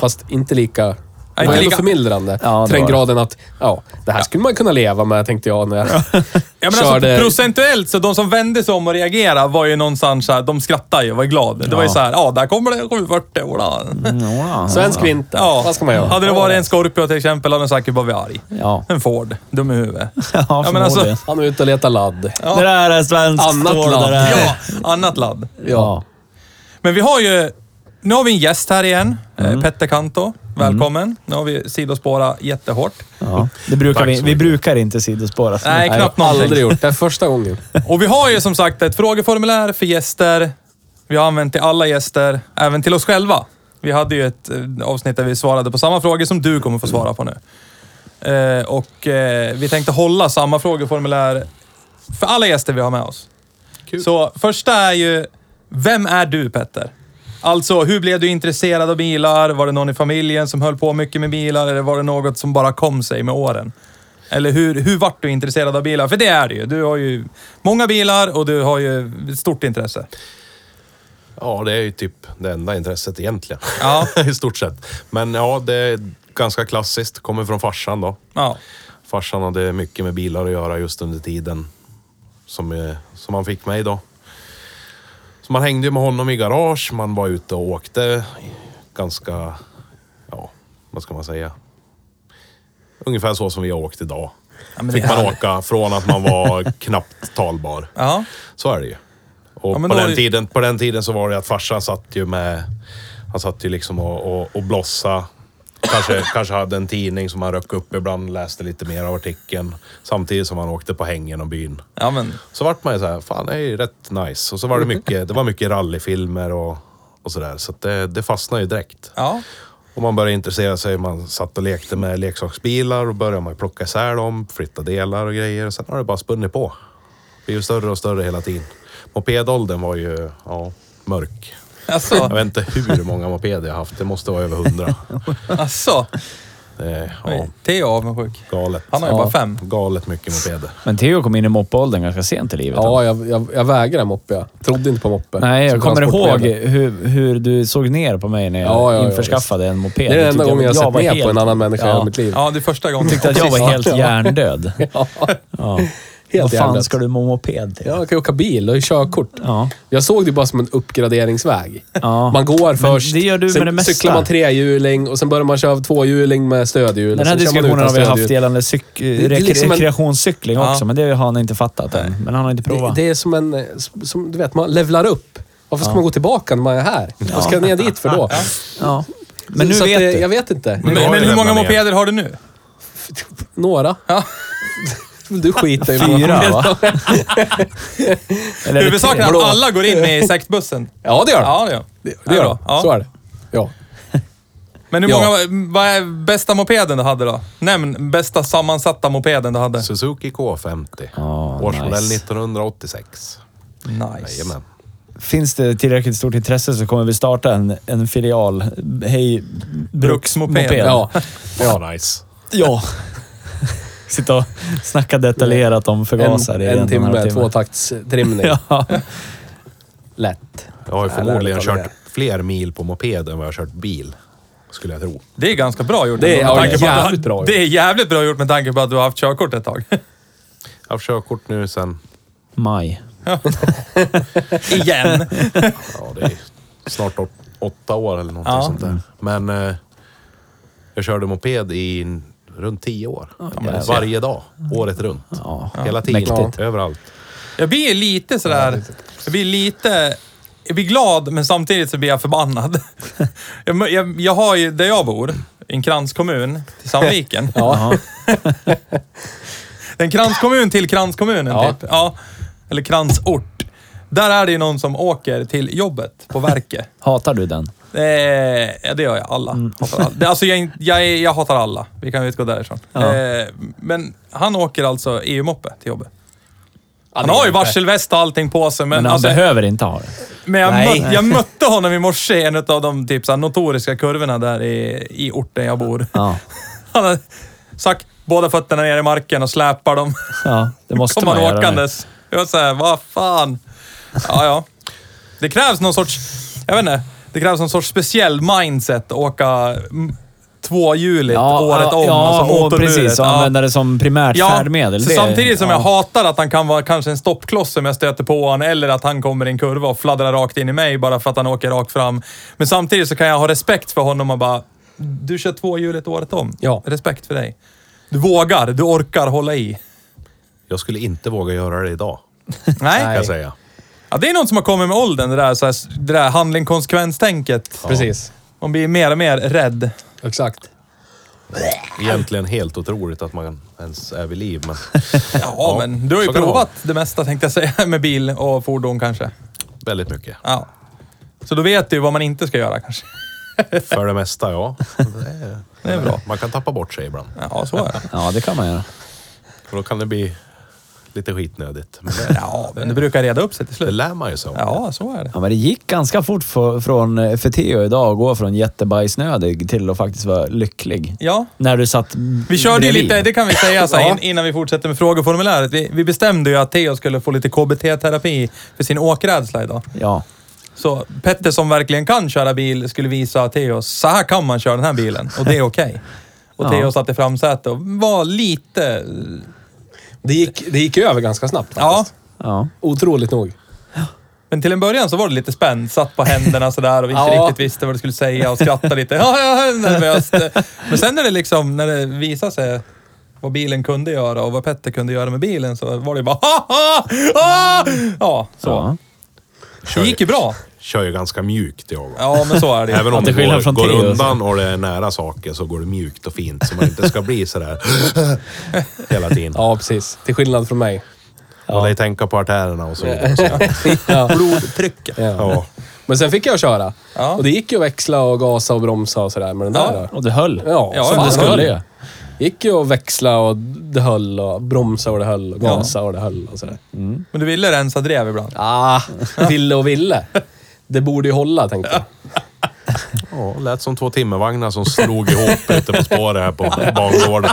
Speaker 2: Fast inte lika...
Speaker 3: Ja,
Speaker 2: Det
Speaker 3: inte
Speaker 2: var ändå
Speaker 3: lika-
Speaker 2: förmildrande.
Speaker 1: Ja, det
Speaker 2: till den
Speaker 1: var det.
Speaker 2: graden att, ja, det här skulle man kunna leva med tänkte jag när jag
Speaker 3: Ja, men alltså,
Speaker 2: körde...
Speaker 3: procentuellt, så de som vände sig om och reagerade var ju någonstans såhär, de skrattade ju, var ju glada. Det var ju
Speaker 1: Ja.
Speaker 3: såhär,
Speaker 1: Mm.
Speaker 3: ja, där kommer det, kommer 40 år.
Speaker 1: Ja.
Speaker 2: Svensk vinter.
Speaker 3: Ja.
Speaker 2: Vad ska man göra?
Speaker 3: Hade det varit en Scorpio till exempel hade de säkert bara varit arg.
Speaker 1: Ja.
Speaker 3: En Ford, dum i huvudet.
Speaker 1: Ja,
Speaker 3: men alltså-
Speaker 1: förmodligen.
Speaker 2: Han är ute och letar ladd.
Speaker 3: Ja.
Speaker 1: Det där är svenskt
Speaker 2: Annat
Speaker 1: stål.
Speaker 2: land.
Speaker 1: Det där. är-
Speaker 3: Ja, annat ladd.
Speaker 1: Ja.
Speaker 3: Men vi har ju... Nu har vi en gäst här igen. Eh, Petter Kanto. Välkommen. Nu har vi sidospårat jättehårt.
Speaker 1: Ja. Det brukar
Speaker 4: Tack
Speaker 1: vi,
Speaker 4: så
Speaker 1: vi brukar inte sidospåra. så
Speaker 3: Nej,
Speaker 1: mycket.
Speaker 3: knappt
Speaker 2: jag har
Speaker 3: någonting.
Speaker 2: aldrig gjort. Det är första gången.
Speaker 3: Och vi har ju som sagt ett frågeformulär för gäster. Vi har använt till alla gäster, även till oss själva. Vi hade ju ett eh, avsnitt där vi svarade på samma frågor som du kommer få svara på nu. Eh, och eh, vi tänkte hålla samma frågeformulär för alla gäster vi har med oss.
Speaker 4: Kul.
Speaker 3: Så första är ju, vem är du Petter? Alltså, hur blev du intresserad av bilar? Var det någon i familjen som höll på mycket med bilar? Eller var det något som bara kom sig med åren? Eller hur, hur vart du intresserad av bilar? För det är du ju. Du har ju många bilar och du har ju ett stort intresse.
Speaker 4: Ja, det är ju typ det enda intresset egentligen.
Speaker 3: Ja.
Speaker 4: I stort sett. Men ja, det är ganska klassiskt. Kommer från farsan då.
Speaker 3: Ja.
Speaker 4: Farsan hade mycket med bilar att göra just under tiden som, eh, som han fick mig då. Så man hängde ju med honom i garage, man var ute och åkte ganska, ja, vad ska man säga? Ungefär så som vi har åkt idag.
Speaker 3: Ja, men det
Speaker 4: Fick
Speaker 3: är
Speaker 4: man
Speaker 3: härligt.
Speaker 4: åka från att man var knappt talbar.
Speaker 3: Ja.
Speaker 4: Så är det ju. Och
Speaker 3: Ja, men
Speaker 4: på,
Speaker 3: då
Speaker 4: den
Speaker 3: är-
Speaker 4: tiden, på den tiden så var det att farsan satt ju med... Han satt ju liksom och, och, och blossa. Kanske, kanske hade en tidning som han röck upp ibland, läste lite mer av artikeln. Samtidigt som han åkte på häng genom byn.
Speaker 3: ja, men
Speaker 4: Så vart man ju såhär, fan det är ju rätt nice. Och så var det mycket, det var mycket rallyfilmer och, och sådär. Så att det, det fastnade ju direkt.
Speaker 3: ja.
Speaker 4: Och man började intressera sig, man satt och lekte med leksaksbilar och började man plocka isär dem, flytta delar och grejer. Och sen har det bara spunnit på. Det blir ju större och större hela tiden. Mopedåldern var ju, ja, mörk. Jag
Speaker 3: Alltså,
Speaker 4: vet inte hur många mopeder jag har haft, det måste vara över hundra.
Speaker 3: alltså.
Speaker 4: Det är, ja,
Speaker 3: Oj, Theo är avundsjuk.
Speaker 4: galet.
Speaker 3: Han har ju
Speaker 1: Ja.
Speaker 3: bara fem.
Speaker 4: Galet mycket mopeder.
Speaker 1: Men Theo kom in i moppeåldern ganska sent i livet.
Speaker 2: Ja, jag, jag, jag vägrar moppe. Jag trodde inte på moppe.
Speaker 1: Nej, jag
Speaker 2: Som
Speaker 1: kommer ihåg
Speaker 2: transportmedel.
Speaker 1: hur, hur du såg ner på mig när jag
Speaker 2: Ja, ja, ja,
Speaker 1: införskaffade en moped.
Speaker 2: Det är den
Speaker 1: Du
Speaker 2: enda
Speaker 1: tyckte
Speaker 2: gången jag har
Speaker 1: var
Speaker 2: sett ner på
Speaker 1: helt-
Speaker 2: en annan människa i hela mitt liv.
Speaker 3: Ja, det är första gången.
Speaker 1: tyckte att jag var helt hjärndöd.
Speaker 2: Ja.
Speaker 1: Ja.
Speaker 2: Helt
Speaker 1: Vad fan
Speaker 2: jävligt.
Speaker 1: ska du med moped till?
Speaker 2: Jag kan ju åka bil och ju körkort.
Speaker 1: Ja.
Speaker 2: Jag såg det bara som en uppgraderingsväg.
Speaker 1: Ja.
Speaker 2: Man går först,
Speaker 1: det gör du med
Speaker 2: sen
Speaker 1: det mesta.
Speaker 2: cyklar man trehjuling och sen börjar man köra tvåhjuling med stödhjul.
Speaker 1: Den här
Speaker 2: Sen kör man
Speaker 1: diskussionen har
Speaker 2: utan
Speaker 1: vi haft
Speaker 2: stödhjul.
Speaker 1: gällande cyk-
Speaker 2: det är
Speaker 1: rek-
Speaker 2: liksom en-
Speaker 1: rekreationscykling också, men det har han inte fattat än. Men han har inte
Speaker 2: Det,
Speaker 1: provat.
Speaker 2: det är som en... eh, Som, du vet, man levlar upp. Varför ska man gå tillbaka när man är här? Vad ska jag ner dit för då?
Speaker 1: Ja. Men nu
Speaker 2: så att
Speaker 1: vet
Speaker 2: det-
Speaker 1: du.
Speaker 2: Jag vet inte.
Speaker 3: Men,
Speaker 4: Men då har
Speaker 3: men
Speaker 4: vi
Speaker 3: hur många
Speaker 4: lämnat ner.
Speaker 3: mopeder har du nu?
Speaker 2: Några.
Speaker 3: Ja.
Speaker 2: Du skiter i vad-
Speaker 1: Fyra, va? Eller är det
Speaker 3: Huvudsaken
Speaker 1: tre?
Speaker 3: är
Speaker 2: Vadå?
Speaker 3: att alla går in i sektbussen.
Speaker 2: Ja, det gör
Speaker 3: Ja,
Speaker 2: de.
Speaker 3: det gör
Speaker 2: Det, det gör
Speaker 3: Ja, då.
Speaker 2: de.
Speaker 3: Ja.
Speaker 2: Så är det. Ja.
Speaker 3: Men hur
Speaker 2: Ja.
Speaker 3: många, vad är bästa mopeden du hade då? Nämn bästa sammansatta mopeden du hade.
Speaker 4: Suzuki K50.
Speaker 1: Ah,
Speaker 4: Årsmodell
Speaker 1: nice.
Speaker 4: 1986.
Speaker 3: Nice.
Speaker 4: Jajamän.
Speaker 1: Finns det tillräckligt stort intresse så kommer vi starta en, en filial. Hej,
Speaker 3: Bruksmoped.
Speaker 1: bruksmoped.
Speaker 2: Ja.
Speaker 4: Ja, nice.
Speaker 1: ja. Sitta och snacka detaljerat om förgasare
Speaker 2: En,
Speaker 1: i och
Speaker 2: en
Speaker 1: halv
Speaker 2: timme, tvåtaktstrimning.
Speaker 1: Ja.
Speaker 2: Lätt.
Speaker 4: Jag har ju
Speaker 2: Ja,
Speaker 4: förmodligen
Speaker 2: lärligt talat.
Speaker 4: kört fler mil på moped än vad jag har kört bil. Skulle jag tro.
Speaker 3: Det är ganska bra gjort.
Speaker 2: Det är-
Speaker 3: ändå, med
Speaker 2: ja,
Speaker 3: tanke på att du har-
Speaker 2: jävligt bra gjort.
Speaker 3: Det är jävligt bra gjort med tanke på att du har haft körkort ett tag.
Speaker 4: Jag har körkort nu sen
Speaker 1: Maj.
Speaker 3: Igen.
Speaker 4: ja, det är snart åt,
Speaker 3: Mm.
Speaker 4: åtta år eller någonting
Speaker 3: Ja.
Speaker 4: sånt där. Men eh, jag körde moped i runt tio år.
Speaker 1: jävlar.
Speaker 4: Varje dag, året runt.
Speaker 1: Ja.
Speaker 4: Hela tiden,
Speaker 1: Mäktigt.
Speaker 4: överallt.
Speaker 3: Jag blir lite sådär... Jag blir lite... Jag blir glad, men samtidigt så blir jag förbannad. Jag, jag, jag har ju, där jag bor, i en kranskommun till Sandviken.
Speaker 1: Ja.
Speaker 3: En kranskommun till kranskommunen
Speaker 2: Ja.
Speaker 3: typ. Ja. Eller kransort. Där är det ju någon som åker till jobbet på verket.
Speaker 1: Hatar du den?
Speaker 3: Eh, ja, det gör jag. Alla.
Speaker 1: Mm.
Speaker 3: Hatar alla. Det- Alltså, jag, är inte- jag, är- jag hatar alla. Vi kan utgå därifrån.
Speaker 1: Ja.
Speaker 3: Eh, men han åker alltså EU-moppe till jobbet. Han
Speaker 2: det
Speaker 3: har ju
Speaker 2: gör han.
Speaker 3: varselväst och allting på sig, men,
Speaker 1: Men han
Speaker 3: alltså,
Speaker 1: behöver inte ha det.
Speaker 3: men jag,
Speaker 2: Nej.
Speaker 3: mö, jag mötte honom i morse i en av de typ, så här, notoriska kurvorna där i, i orten jag bor.
Speaker 1: Ja.
Speaker 3: Han har sagt båda fötterna ner i marken och släpar dem.
Speaker 1: ja det måste
Speaker 3: Kommer
Speaker 1: man
Speaker 3: han
Speaker 1: göra nu.
Speaker 3: åkandes. Jag var såhär, vad fan. Ja, ja. Det krävs någon sorts, jag vet inte, det krävs någon sorts speciell mindset att åka mm, tvåhjuligt året om.
Speaker 1: ja,
Speaker 3: alltså
Speaker 1: och precis. Och använda det som primärt färdmedel.
Speaker 3: så
Speaker 1: Det-
Speaker 3: samtidigt som
Speaker 1: ja.
Speaker 3: jag hatar att han kan vara kanske en stoppkloss som jag stöter på honom, eller att han kommer i en kurva och fladdrar rakt in i mig bara för att han åker rakt fram. Men samtidigt så kan jag ha respekt för honom och bara, du kör tvåhjuligt året om.
Speaker 2: Ja.
Speaker 3: Respekt för dig. Du vågar, du orkar hålla i.
Speaker 4: Jag skulle inte våga göra det idag, kan
Speaker 3: Nej.
Speaker 4: jag säga.
Speaker 3: Ja, det är något som har kommit med åldern, det där, så här, det där handling konsekvenstänket.
Speaker 2: Precis.
Speaker 3: Man blir mer och mer rädd.
Speaker 2: Exakt.
Speaker 4: Egentligen helt otroligt att man ens är vid liv, men
Speaker 3: Ja, men du har ju
Speaker 4: så kan det
Speaker 3: provat det mesta tänkte jag säga med bil och fordon kanske.
Speaker 4: väldigt mycket.
Speaker 3: Ja. Så då vet du ju vad man inte ska göra kanske.
Speaker 4: För det mesta, ja. Det är,
Speaker 3: Det är bra.
Speaker 4: Man kan tappa bort sig ibland.
Speaker 3: Ja, så är det.
Speaker 1: Ja, det kan man göra.
Speaker 4: Och då kan det bli lite skitnödigt. Men det,
Speaker 3: Ja, men det brukar reda upp sig till
Speaker 4: det
Speaker 3: slut.
Speaker 4: lär man ju sig av.
Speaker 3: Ja, så är det.
Speaker 1: Ja, men det gick ganska fort för, från, eh, för Theo idag att gå från jättebajsnödig till att faktiskt vara lycklig.
Speaker 3: Ja.
Speaker 1: När du satt
Speaker 3: Vi körde ju
Speaker 1: bredvid.
Speaker 3: lite, det kan vi säga så här,
Speaker 2: Ja.
Speaker 3: in, innan vi fortsätter med frågeformuläret. Vi, vi bestämde ju att Theo skulle få lite KBT-terapi för sin åkrädsla idag.
Speaker 1: Ja.
Speaker 3: Så Petter som verkligen kan köra bil skulle visa Theo, så här kan man köra den här bilen och det är okej. Och
Speaker 1: Ja.
Speaker 3: Theo satt i framsätet och var lite...
Speaker 2: Det gick, det gick över ganska snabbt
Speaker 3: Ja.
Speaker 2: faktiskt.
Speaker 1: ja.
Speaker 2: Otroligt nog.
Speaker 3: Men till en början så var det lite spänt, satt på händerna sådär och inte
Speaker 2: Ja.
Speaker 3: riktigt visste vad du skulle säga och skrattade lite. Ja, ja, nervöst. Men sen när det liksom, när det visade sig vad bilen kunde göra och vad Petter kunde göra med bilen så var det bara ha, ha, ha! Ja, så.
Speaker 1: Ja.
Speaker 3: Det gick ju bra.
Speaker 4: Kör ju ganska mjukt, jag.
Speaker 3: Ja, men så är det ju.
Speaker 4: Även om
Speaker 1: till
Speaker 4: det
Speaker 1: skillnad
Speaker 4: går,
Speaker 1: från
Speaker 4: går
Speaker 1: Theo, så-
Speaker 4: undan och det är nära saker så går det mjukt och fint så man inte ska bli sådär hela tiden.
Speaker 2: Ja, precis. Till skillnad från mig.
Speaker 4: Och dig tänka på artärerna och så vidare.
Speaker 2: ja.
Speaker 3: Blodtrycket.
Speaker 2: Ja.
Speaker 4: Ja.
Speaker 2: Men sen fick jag köra.
Speaker 3: Ja.
Speaker 2: Och det gick ju att växla och gasa och bromsa och sådär med den
Speaker 3: Ja.
Speaker 2: där. Då.
Speaker 1: Och du höll.
Speaker 2: Ja,
Speaker 3: Ja,
Speaker 2: som
Speaker 3: ja.
Speaker 2: det
Speaker 3: Fan,
Speaker 2: skulle.
Speaker 1: det.
Speaker 2: gick ju att växla och det höll och bromsa och det höll och gasa och det höll och sådär.
Speaker 3: Men du ville rensa drev ibland?
Speaker 2: Ah, ville och ville. Det borde ju hålla, tänkte jag.
Speaker 4: Ja, det lät som två timmervagnar som slog ihop ute på spåret här på bangården.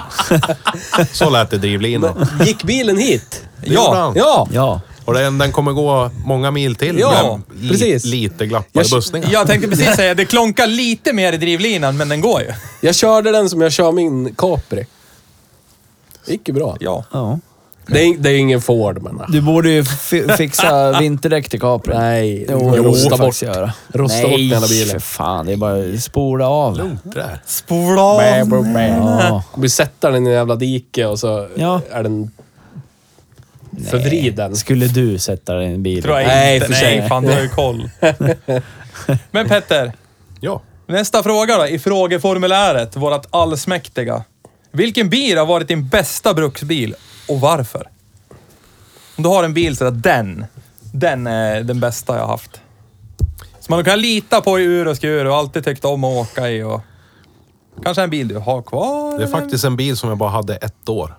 Speaker 4: Så lät det drivlinan.
Speaker 2: Gick bilen hit?
Speaker 4: Det gjorde han.
Speaker 2: Ja!
Speaker 1: Ja.
Speaker 4: Och den, den kommer gå många mil till
Speaker 2: Ja,
Speaker 4: med li-
Speaker 2: precis.
Speaker 4: lite glappade
Speaker 2: Jag-
Speaker 4: bussningar.
Speaker 3: Jag tänkte precis säga, det klonkar lite mer i drivlinan, men den går ju.
Speaker 2: Jag körde den som jag kör min Capri. Gick ju bra.
Speaker 3: Ja.
Speaker 1: ja.
Speaker 2: Det är, det är ingen Ford, men...
Speaker 1: Du borde ju fi- fixa vinterdäck till Capri.
Speaker 2: Nej,
Speaker 1: Jo,
Speaker 2: jo,
Speaker 1: det borde du
Speaker 2: rosta
Speaker 1: faktiskt
Speaker 2: bort.
Speaker 1: göra.
Speaker 2: Rosta bort den
Speaker 1: för
Speaker 2: jävla bilen.
Speaker 1: fan. Det är bara att spola av.
Speaker 4: Det där.
Speaker 3: Spola av.
Speaker 1: Ja.
Speaker 2: Vi sätter den i en jävla dike och så
Speaker 1: Ja.
Speaker 2: är den förvriden.
Speaker 1: Skulle du sätta dig i en bil?
Speaker 3: Tror jag
Speaker 2: Nej,
Speaker 3: inte.
Speaker 2: för sig.
Speaker 3: Nej, fan du har ju koll. Men Petter,
Speaker 4: Ja.
Speaker 3: nästa fråga då i frågeformuläret, vårat allsmäktiga. Vilken bil har varit din bästa bruksbil och varför? Om du har en bil så är det den, den är den bästa jag har haft. Som man kan lita på i ur och skur och alltid tyckt om att åka i och... Kanske en bil du har kvar?
Speaker 4: Det
Speaker 3: eller?
Speaker 4: är faktiskt en bil som jag bara hade ett år.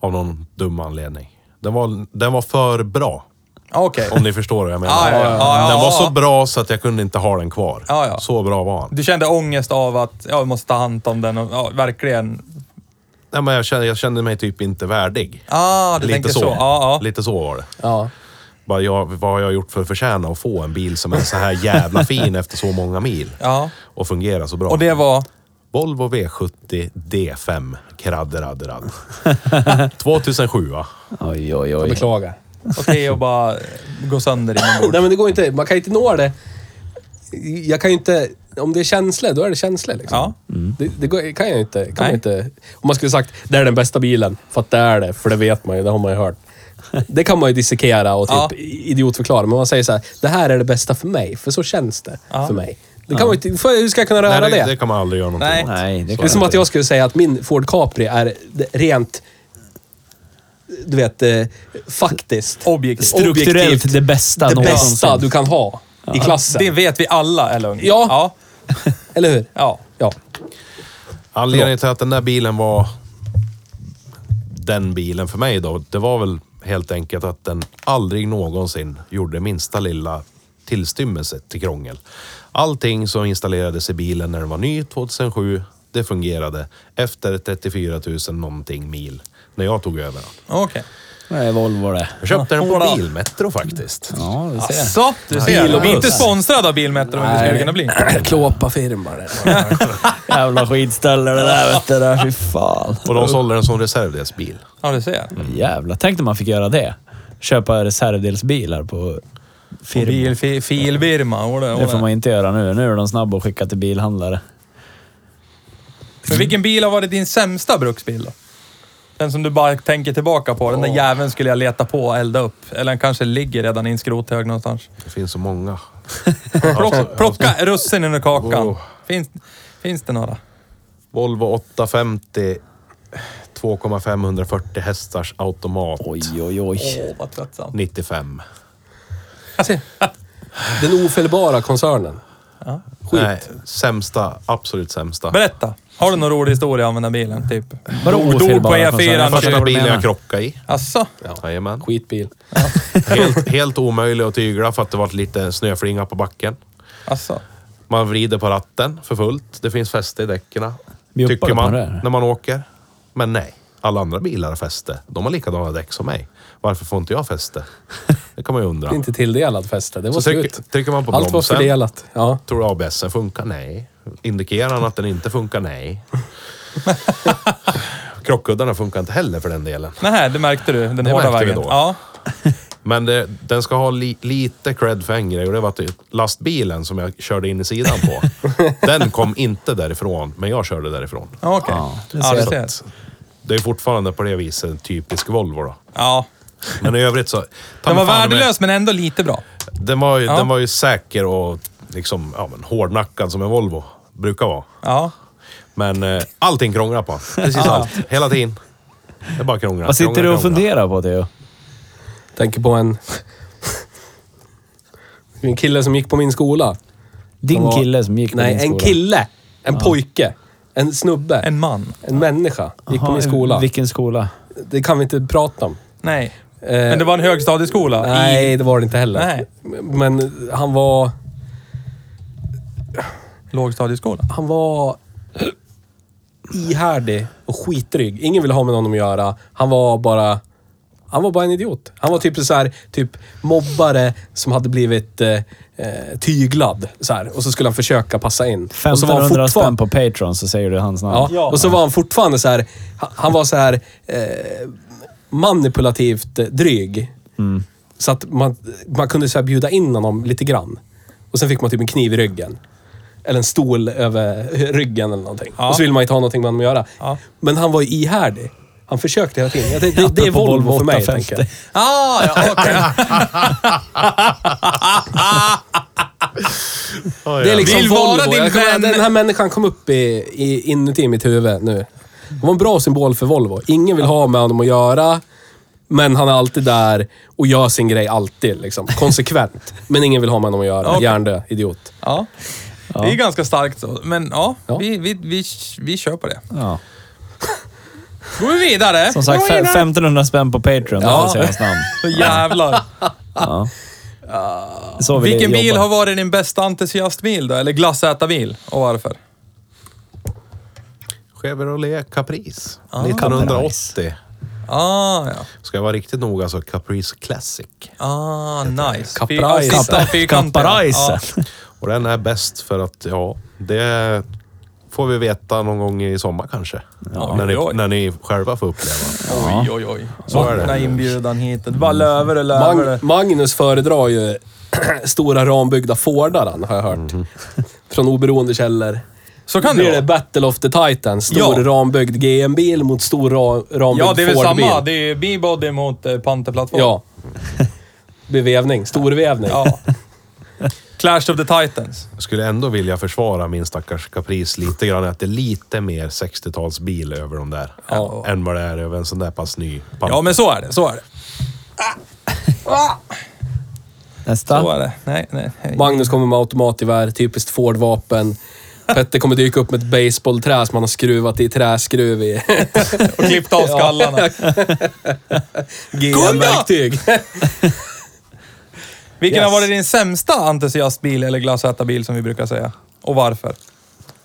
Speaker 4: Av någon dum anledning. Den var, den var för bra.
Speaker 3: Okej.
Speaker 4: Om ni förstår vad jag menar.
Speaker 3: Ja, ja, ja, ja,
Speaker 4: den var
Speaker 3: ja.
Speaker 4: så bra så att jag kunde inte ha den kvar.
Speaker 3: Ja, ja.
Speaker 4: Så bra var han.
Speaker 3: Du kände ångest av att ja, jag måste ta hand om den och ja, verkligen...
Speaker 4: Nej, men jag, kände, jag kände mig typ inte värdig.
Speaker 3: Ah, du
Speaker 4: Lite
Speaker 3: tänkte
Speaker 4: så.
Speaker 3: så. Ja, ja.
Speaker 4: Lite så var det.
Speaker 2: Ja.
Speaker 4: Bara jag, vad har jag gjort för att förtjäna att få en bil som är så här jävla fin efter så många mil?
Speaker 3: ja.
Speaker 4: Och fungerar så bra.
Speaker 3: Och det var...
Speaker 4: Volvo V70 D5 kradderadderad. 2007 va?
Speaker 1: Oj, oj,
Speaker 2: Jag
Speaker 1: oj.
Speaker 2: beklagar.
Speaker 3: Och Theo bara gå sönder inombords.
Speaker 2: Nej, men det går inte. Man kan inte nå det. Jag kan ju inte om det är känslor, då är det känslor liksom.
Speaker 3: Ja.
Speaker 2: Det, det går- kan jag ju inte, kan man
Speaker 3: Nej.
Speaker 2: inte... Om man skulle sagt det är den bästa bilen, för att det är det, för det vet man ju, det har man ju hört. Det kan man ju dissekera och typ
Speaker 3: Ja.
Speaker 2: idiotförklara, men man säger så här, det här är det bästa för mig, för så känns det
Speaker 3: Ja.
Speaker 2: för mig. Det kan man ju, inte- för hur ska jag kunna röra
Speaker 4: Nej, det,
Speaker 2: det?
Speaker 4: det kan man aldrig göra någonting
Speaker 3: Nej.
Speaker 4: åt.
Speaker 1: Nej, det
Speaker 2: Det är som att jag skulle säga att min Ford Capri är d- rent... Du vet, eh, faktiskt.
Speaker 3: Objektivt.
Speaker 1: Strukturellt det bästa
Speaker 2: Det
Speaker 1: någonsin.
Speaker 2: bästa du kan ha i klassen.
Speaker 3: Det vet vi alla är lugnt.
Speaker 2: Ja.
Speaker 3: ja.
Speaker 2: Eller hur?
Speaker 3: Ja.
Speaker 2: Ja.
Speaker 4: Anledningen till att den där bilen var den bilen för mig då, det var väl helt enkelt att den aldrig någonsin gjorde minsta lilla tillstymmelse till krångel. Allting som installerades i bilen när den var ny 2007, det fungerade efter 34 000 någonting mil när jag tog över den.
Speaker 3: Okej.
Speaker 1: Det är Volvo det.
Speaker 4: Jag köpte den på
Speaker 3: Hola.
Speaker 4: Bilmetro faktiskt.
Speaker 1: Ja, du ser.
Speaker 3: Asså, du ser.
Speaker 2: Bil och
Speaker 3: Vi är inte
Speaker 2: buss.
Speaker 3: sponsrade av Bilmetro, men det skulle kunna bli.
Speaker 2: Klåpa firma det.
Speaker 1: Jävla skitställe det där vet du. Där. Fy fan.
Speaker 4: Och de sålde den som reservdelsbil.
Speaker 3: Ja, du ser.
Speaker 1: Jävlar. Tänk när man fick göra det. Köpa reservdelsbilar på firma.
Speaker 3: Bil, fi, filbirma. Och det, och
Speaker 1: Det får
Speaker 3: det.
Speaker 1: man inte göra nu. Nu är de snabba att skicka till bilhandlare.
Speaker 3: Men vilken bil har varit din sämsta bruksbil då? Den som du bara tänker tillbaka på. Den där jäveln skulle jag leta på och elda upp. Eller den kanske ligger redan i en skrothög någonstans.
Speaker 4: Det finns så många.
Speaker 3: Plock, plocka russinen ur kakan.
Speaker 4: Oh.
Speaker 3: Finns, finns det några?
Speaker 4: Volvo 850 2,540 hästars automat.
Speaker 1: Oj, oj, oj.
Speaker 3: Åh, vad tröttsam.
Speaker 4: 95.
Speaker 2: Den ofelbara koncernen. Skit.
Speaker 4: Nej, sämsta. Absolut sämsta.
Speaker 3: Berätta. Har du någon rolig historia om den där bilen? Typ.
Speaker 1: Vadå
Speaker 3: Dog på
Speaker 1: ofelbara koncerner?
Speaker 3: E4.
Speaker 1: Jag förstår
Speaker 4: alltså, Första
Speaker 1: vad
Speaker 3: typ.
Speaker 1: du
Speaker 4: bilen
Speaker 1: menar.
Speaker 4: jag krockade i.
Speaker 3: Asså?
Speaker 4: Jajamän.
Speaker 2: Skitbil.
Speaker 4: Helt, helt omöjlig att tygla för att det var lite snöflinga på backen.
Speaker 3: Asså?
Speaker 4: Man vrider på ratten för fullt. Det finns fäste i däcken.
Speaker 1: Bjuppar
Speaker 4: Tycker
Speaker 1: de på
Speaker 4: man
Speaker 1: det här?
Speaker 4: när man åker. Men nej. Alla andra bilar har fäste. De har likadana däck som mig. Varför får inte jag fäste? Det kan man ju undra.
Speaker 2: Inte tilldelad fäste. Det var
Speaker 4: Så
Speaker 2: slut.
Speaker 4: trycker, trycker man på
Speaker 2: Allt var
Speaker 4: bromsen.
Speaker 2: fördelat. Ja.
Speaker 4: Tror du ABSen funkar? Nej. Indikerar han att den inte funkar? Nej. Krockkuddarna funkar inte heller för den delen.
Speaker 3: Nähä, det märkte du. Den
Speaker 4: Det
Speaker 3: hårda
Speaker 4: märkte vi
Speaker 3: vägen.
Speaker 4: då.
Speaker 3: Ja.
Speaker 4: Men det, den ska ha li, lite cred för en grej och det var att det- lastbilen som jag körde in i sidan på, den kom inte därifrån, men jag körde därifrån.
Speaker 3: Okej.
Speaker 1: Ja, det
Speaker 3: Ja,
Speaker 1: ser
Speaker 3: du ser.
Speaker 4: Det är fortfarande på det viset en typisk Volvo då.
Speaker 3: Ja.
Speaker 4: Men i övrigt så... ta
Speaker 3: Den var
Speaker 4: mig fan med-
Speaker 3: värdelös, men ändå lite bra.
Speaker 4: Den var, ju,
Speaker 3: Ja.
Speaker 4: den var ju säker och liksom, ja, men, hårdnackad som en Volvo brukar vara.
Speaker 3: Ja.
Speaker 4: Men eh, allting krånglar på Precis allt. Hela tiden. Det är bara krånglar.
Speaker 1: Vad sitter
Speaker 4: krånglar,
Speaker 1: du och
Speaker 4: krånglar.
Speaker 1: funderar på, Theo?
Speaker 2: Tänker på en... En kille som gick på min skola.
Speaker 1: Din
Speaker 2: Han var-
Speaker 1: kille som gick på
Speaker 2: Nej,
Speaker 1: din skola.
Speaker 2: en kille. En pojke. En snubbe. En,
Speaker 3: En man.
Speaker 2: människa. Gick på
Speaker 1: Jaha,
Speaker 2: min skola.
Speaker 1: Vilken skola?
Speaker 2: Det kan vi inte prata om.
Speaker 3: Nej.
Speaker 2: Eh,
Speaker 3: Men det var en högstadieskola?
Speaker 2: Nej,
Speaker 3: I...
Speaker 2: det var det inte heller.
Speaker 3: Nej.
Speaker 2: Men han var...
Speaker 3: Lågstadieskola?
Speaker 2: Han var ihärdig och skitdryg. Ingen ville ha med honom att göra. Han var bara... Han var bara en idiot. Han var typ så här, typ mobbare som hade blivit eh, eh, tyglad. Så här. Och så skulle han försöka passa in. och så var han
Speaker 1: 1500
Speaker 2: fortfarande-
Speaker 1: spänn på Patreon så säger du hans namn.
Speaker 2: Ja.
Speaker 3: Ja.
Speaker 2: Och så var han fortfarande så här, han- han var så här eh, manipulativt dryg.
Speaker 3: Mm.
Speaker 2: Så att man, man kunde så här bjuda in honom lite grann. Och sen fick man typ en kniv i ryggen. Eller en stol över ryggen eller någonting.
Speaker 3: Ja.
Speaker 2: Och så ville man inte ha någonting med honom att göra.
Speaker 3: Ja.
Speaker 2: Men han var ju ihärdig. Han försökte hela tiden. Jag tänkte, det, det är
Speaker 1: Apropå
Speaker 2: Volvo,
Speaker 1: Volvo
Speaker 2: för mig,
Speaker 1: 850.
Speaker 2: tänker jag.
Speaker 3: Ah, ja, okej.
Speaker 4: Oj,
Speaker 2: Det är
Speaker 4: ja.
Speaker 2: liksom
Speaker 3: Vill
Speaker 2: Volvo.
Speaker 3: vara din
Speaker 2: jag kommer,
Speaker 3: vän.
Speaker 2: Den här människan kom upp i, i, inuti mitt huvud nu. Det var en bra symbol för Volvo. Ingen vill ha med honom att göra, men han är alltid där och gör sin grej alltid. Liksom. Konsekvent. Men ingen vill ha med honom att göra.
Speaker 3: Okej.
Speaker 2: Hjärndö, idiot.
Speaker 3: ja. Det är ganska starkt så. Men ja,
Speaker 2: Ja.
Speaker 3: Vi, vi, vi, vi kör på det.
Speaker 1: Ja.
Speaker 3: går vi vidare.
Speaker 1: Som sagt, fe- 1500 spänn på Patreon.
Speaker 2: Ja.
Speaker 1: Ja. säger hans namn.
Speaker 3: Så jävlar.
Speaker 1: Ja. Så vi
Speaker 3: Vilken bil
Speaker 1: jobbar.
Speaker 3: har varit din bästa entusiastbil då? Eller glassätarbil? Och varför?
Speaker 4: Chevrolet Caprice. 1980.
Speaker 3: Ah, ja.
Speaker 4: Ska jag vara riktigt noga så Caprice Classic.
Speaker 3: Ah, nice.
Speaker 2: Caprice.
Speaker 3: Fy- sista fyrkantiga.
Speaker 1: Kapparajsen.
Speaker 4: Och den är bäst för att, ja, det får vi veta någon gång i sommar kanske. när,
Speaker 3: oj, oj.
Speaker 4: ni, när ni själva får uppleva.
Speaker 3: Ja. Oj, oj, oj.
Speaker 4: Så är det.
Speaker 3: Öppna inbjudan hit. Det bara löver och löver.
Speaker 2: Mag Magnus föredrar ju stora rambyggda Fordar, han, har jag hört. från oberoende källor.
Speaker 3: Mhm. Så kan det
Speaker 2: blir det
Speaker 3: vara.
Speaker 2: Battle of the Titans. Stor
Speaker 3: Ja.
Speaker 2: rambyggd GM-bil mot stor ra, rambyggd
Speaker 3: Ja, det är väl
Speaker 2: Ford-bil.
Speaker 3: samma. Det är B-body mot eh, panterplattform.
Speaker 2: Ja. Bevevning. Storvevning.
Speaker 3: ja. Clash of the Titans.
Speaker 4: Jag skulle ändå vilja försvara min stackars Caprice lite grann. Att det är lite mer 60-talsbil över de där.
Speaker 3: Ja.
Speaker 4: Än vad det är över en sån där pass ny. Pan-
Speaker 3: Ja, men så är det. Så är det.
Speaker 1: Nästa.
Speaker 3: Så är det. Nej, nej. nej.
Speaker 2: Magnus kommer med automatgevär, typiskt Ford-vapen. Petter kommer dyka upp med ett baseballträ som han har skruvat i träskruv i.
Speaker 3: Och klippt av skallarna.
Speaker 2: GM-verktyg.
Speaker 3: Vilken
Speaker 2: Yes.
Speaker 3: har varit din sämsta entusiastbil eller glassätarbil som vi brukar säga? Och varför?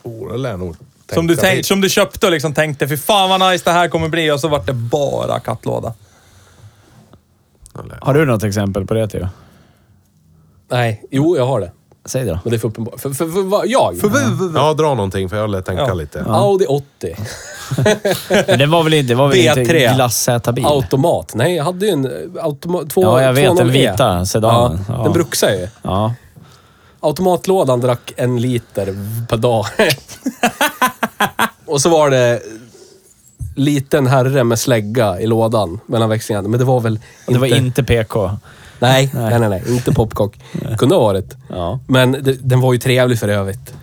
Speaker 4: Oh, det lär nog
Speaker 3: Som du,
Speaker 4: tänka
Speaker 3: tänk, som du köpte och liksom tänkte, fy fan vad nice det här kommer bli. Och så vart det bara kattlåda.
Speaker 4: Eller-
Speaker 1: Har du något exempel på det, Theo?
Speaker 2: Nej, jo jag har det.
Speaker 1: Säg det då.
Speaker 2: Men det är för uppenbart. För, för, för, vad- jag?
Speaker 4: Ja, dra någonting för jag lär tänka
Speaker 3: Ja.
Speaker 4: lite.
Speaker 2: Audi 80.
Speaker 1: Men det var väl inte, det var väl inte
Speaker 2: B3.
Speaker 1: glassätarbil?
Speaker 2: Automat. Nej, jag hade ju en automat... Två,
Speaker 1: Ja, jag vet.
Speaker 2: 200E.
Speaker 1: Den vita sedanen.
Speaker 2: Ja,
Speaker 1: Ja.
Speaker 2: Den bruxar jag ju.
Speaker 1: Ja.
Speaker 2: Automatlådan drack en liter per dag. och så var det liten herre med slägga i lådan mellan växlingarna. Men det var väl inte...
Speaker 1: Det var inte PK.
Speaker 2: Nej, nej, nej, nej. Inte popcock. Kunde ha varit.
Speaker 1: Ja.
Speaker 2: Men det, den var ju trevlig för övrigt.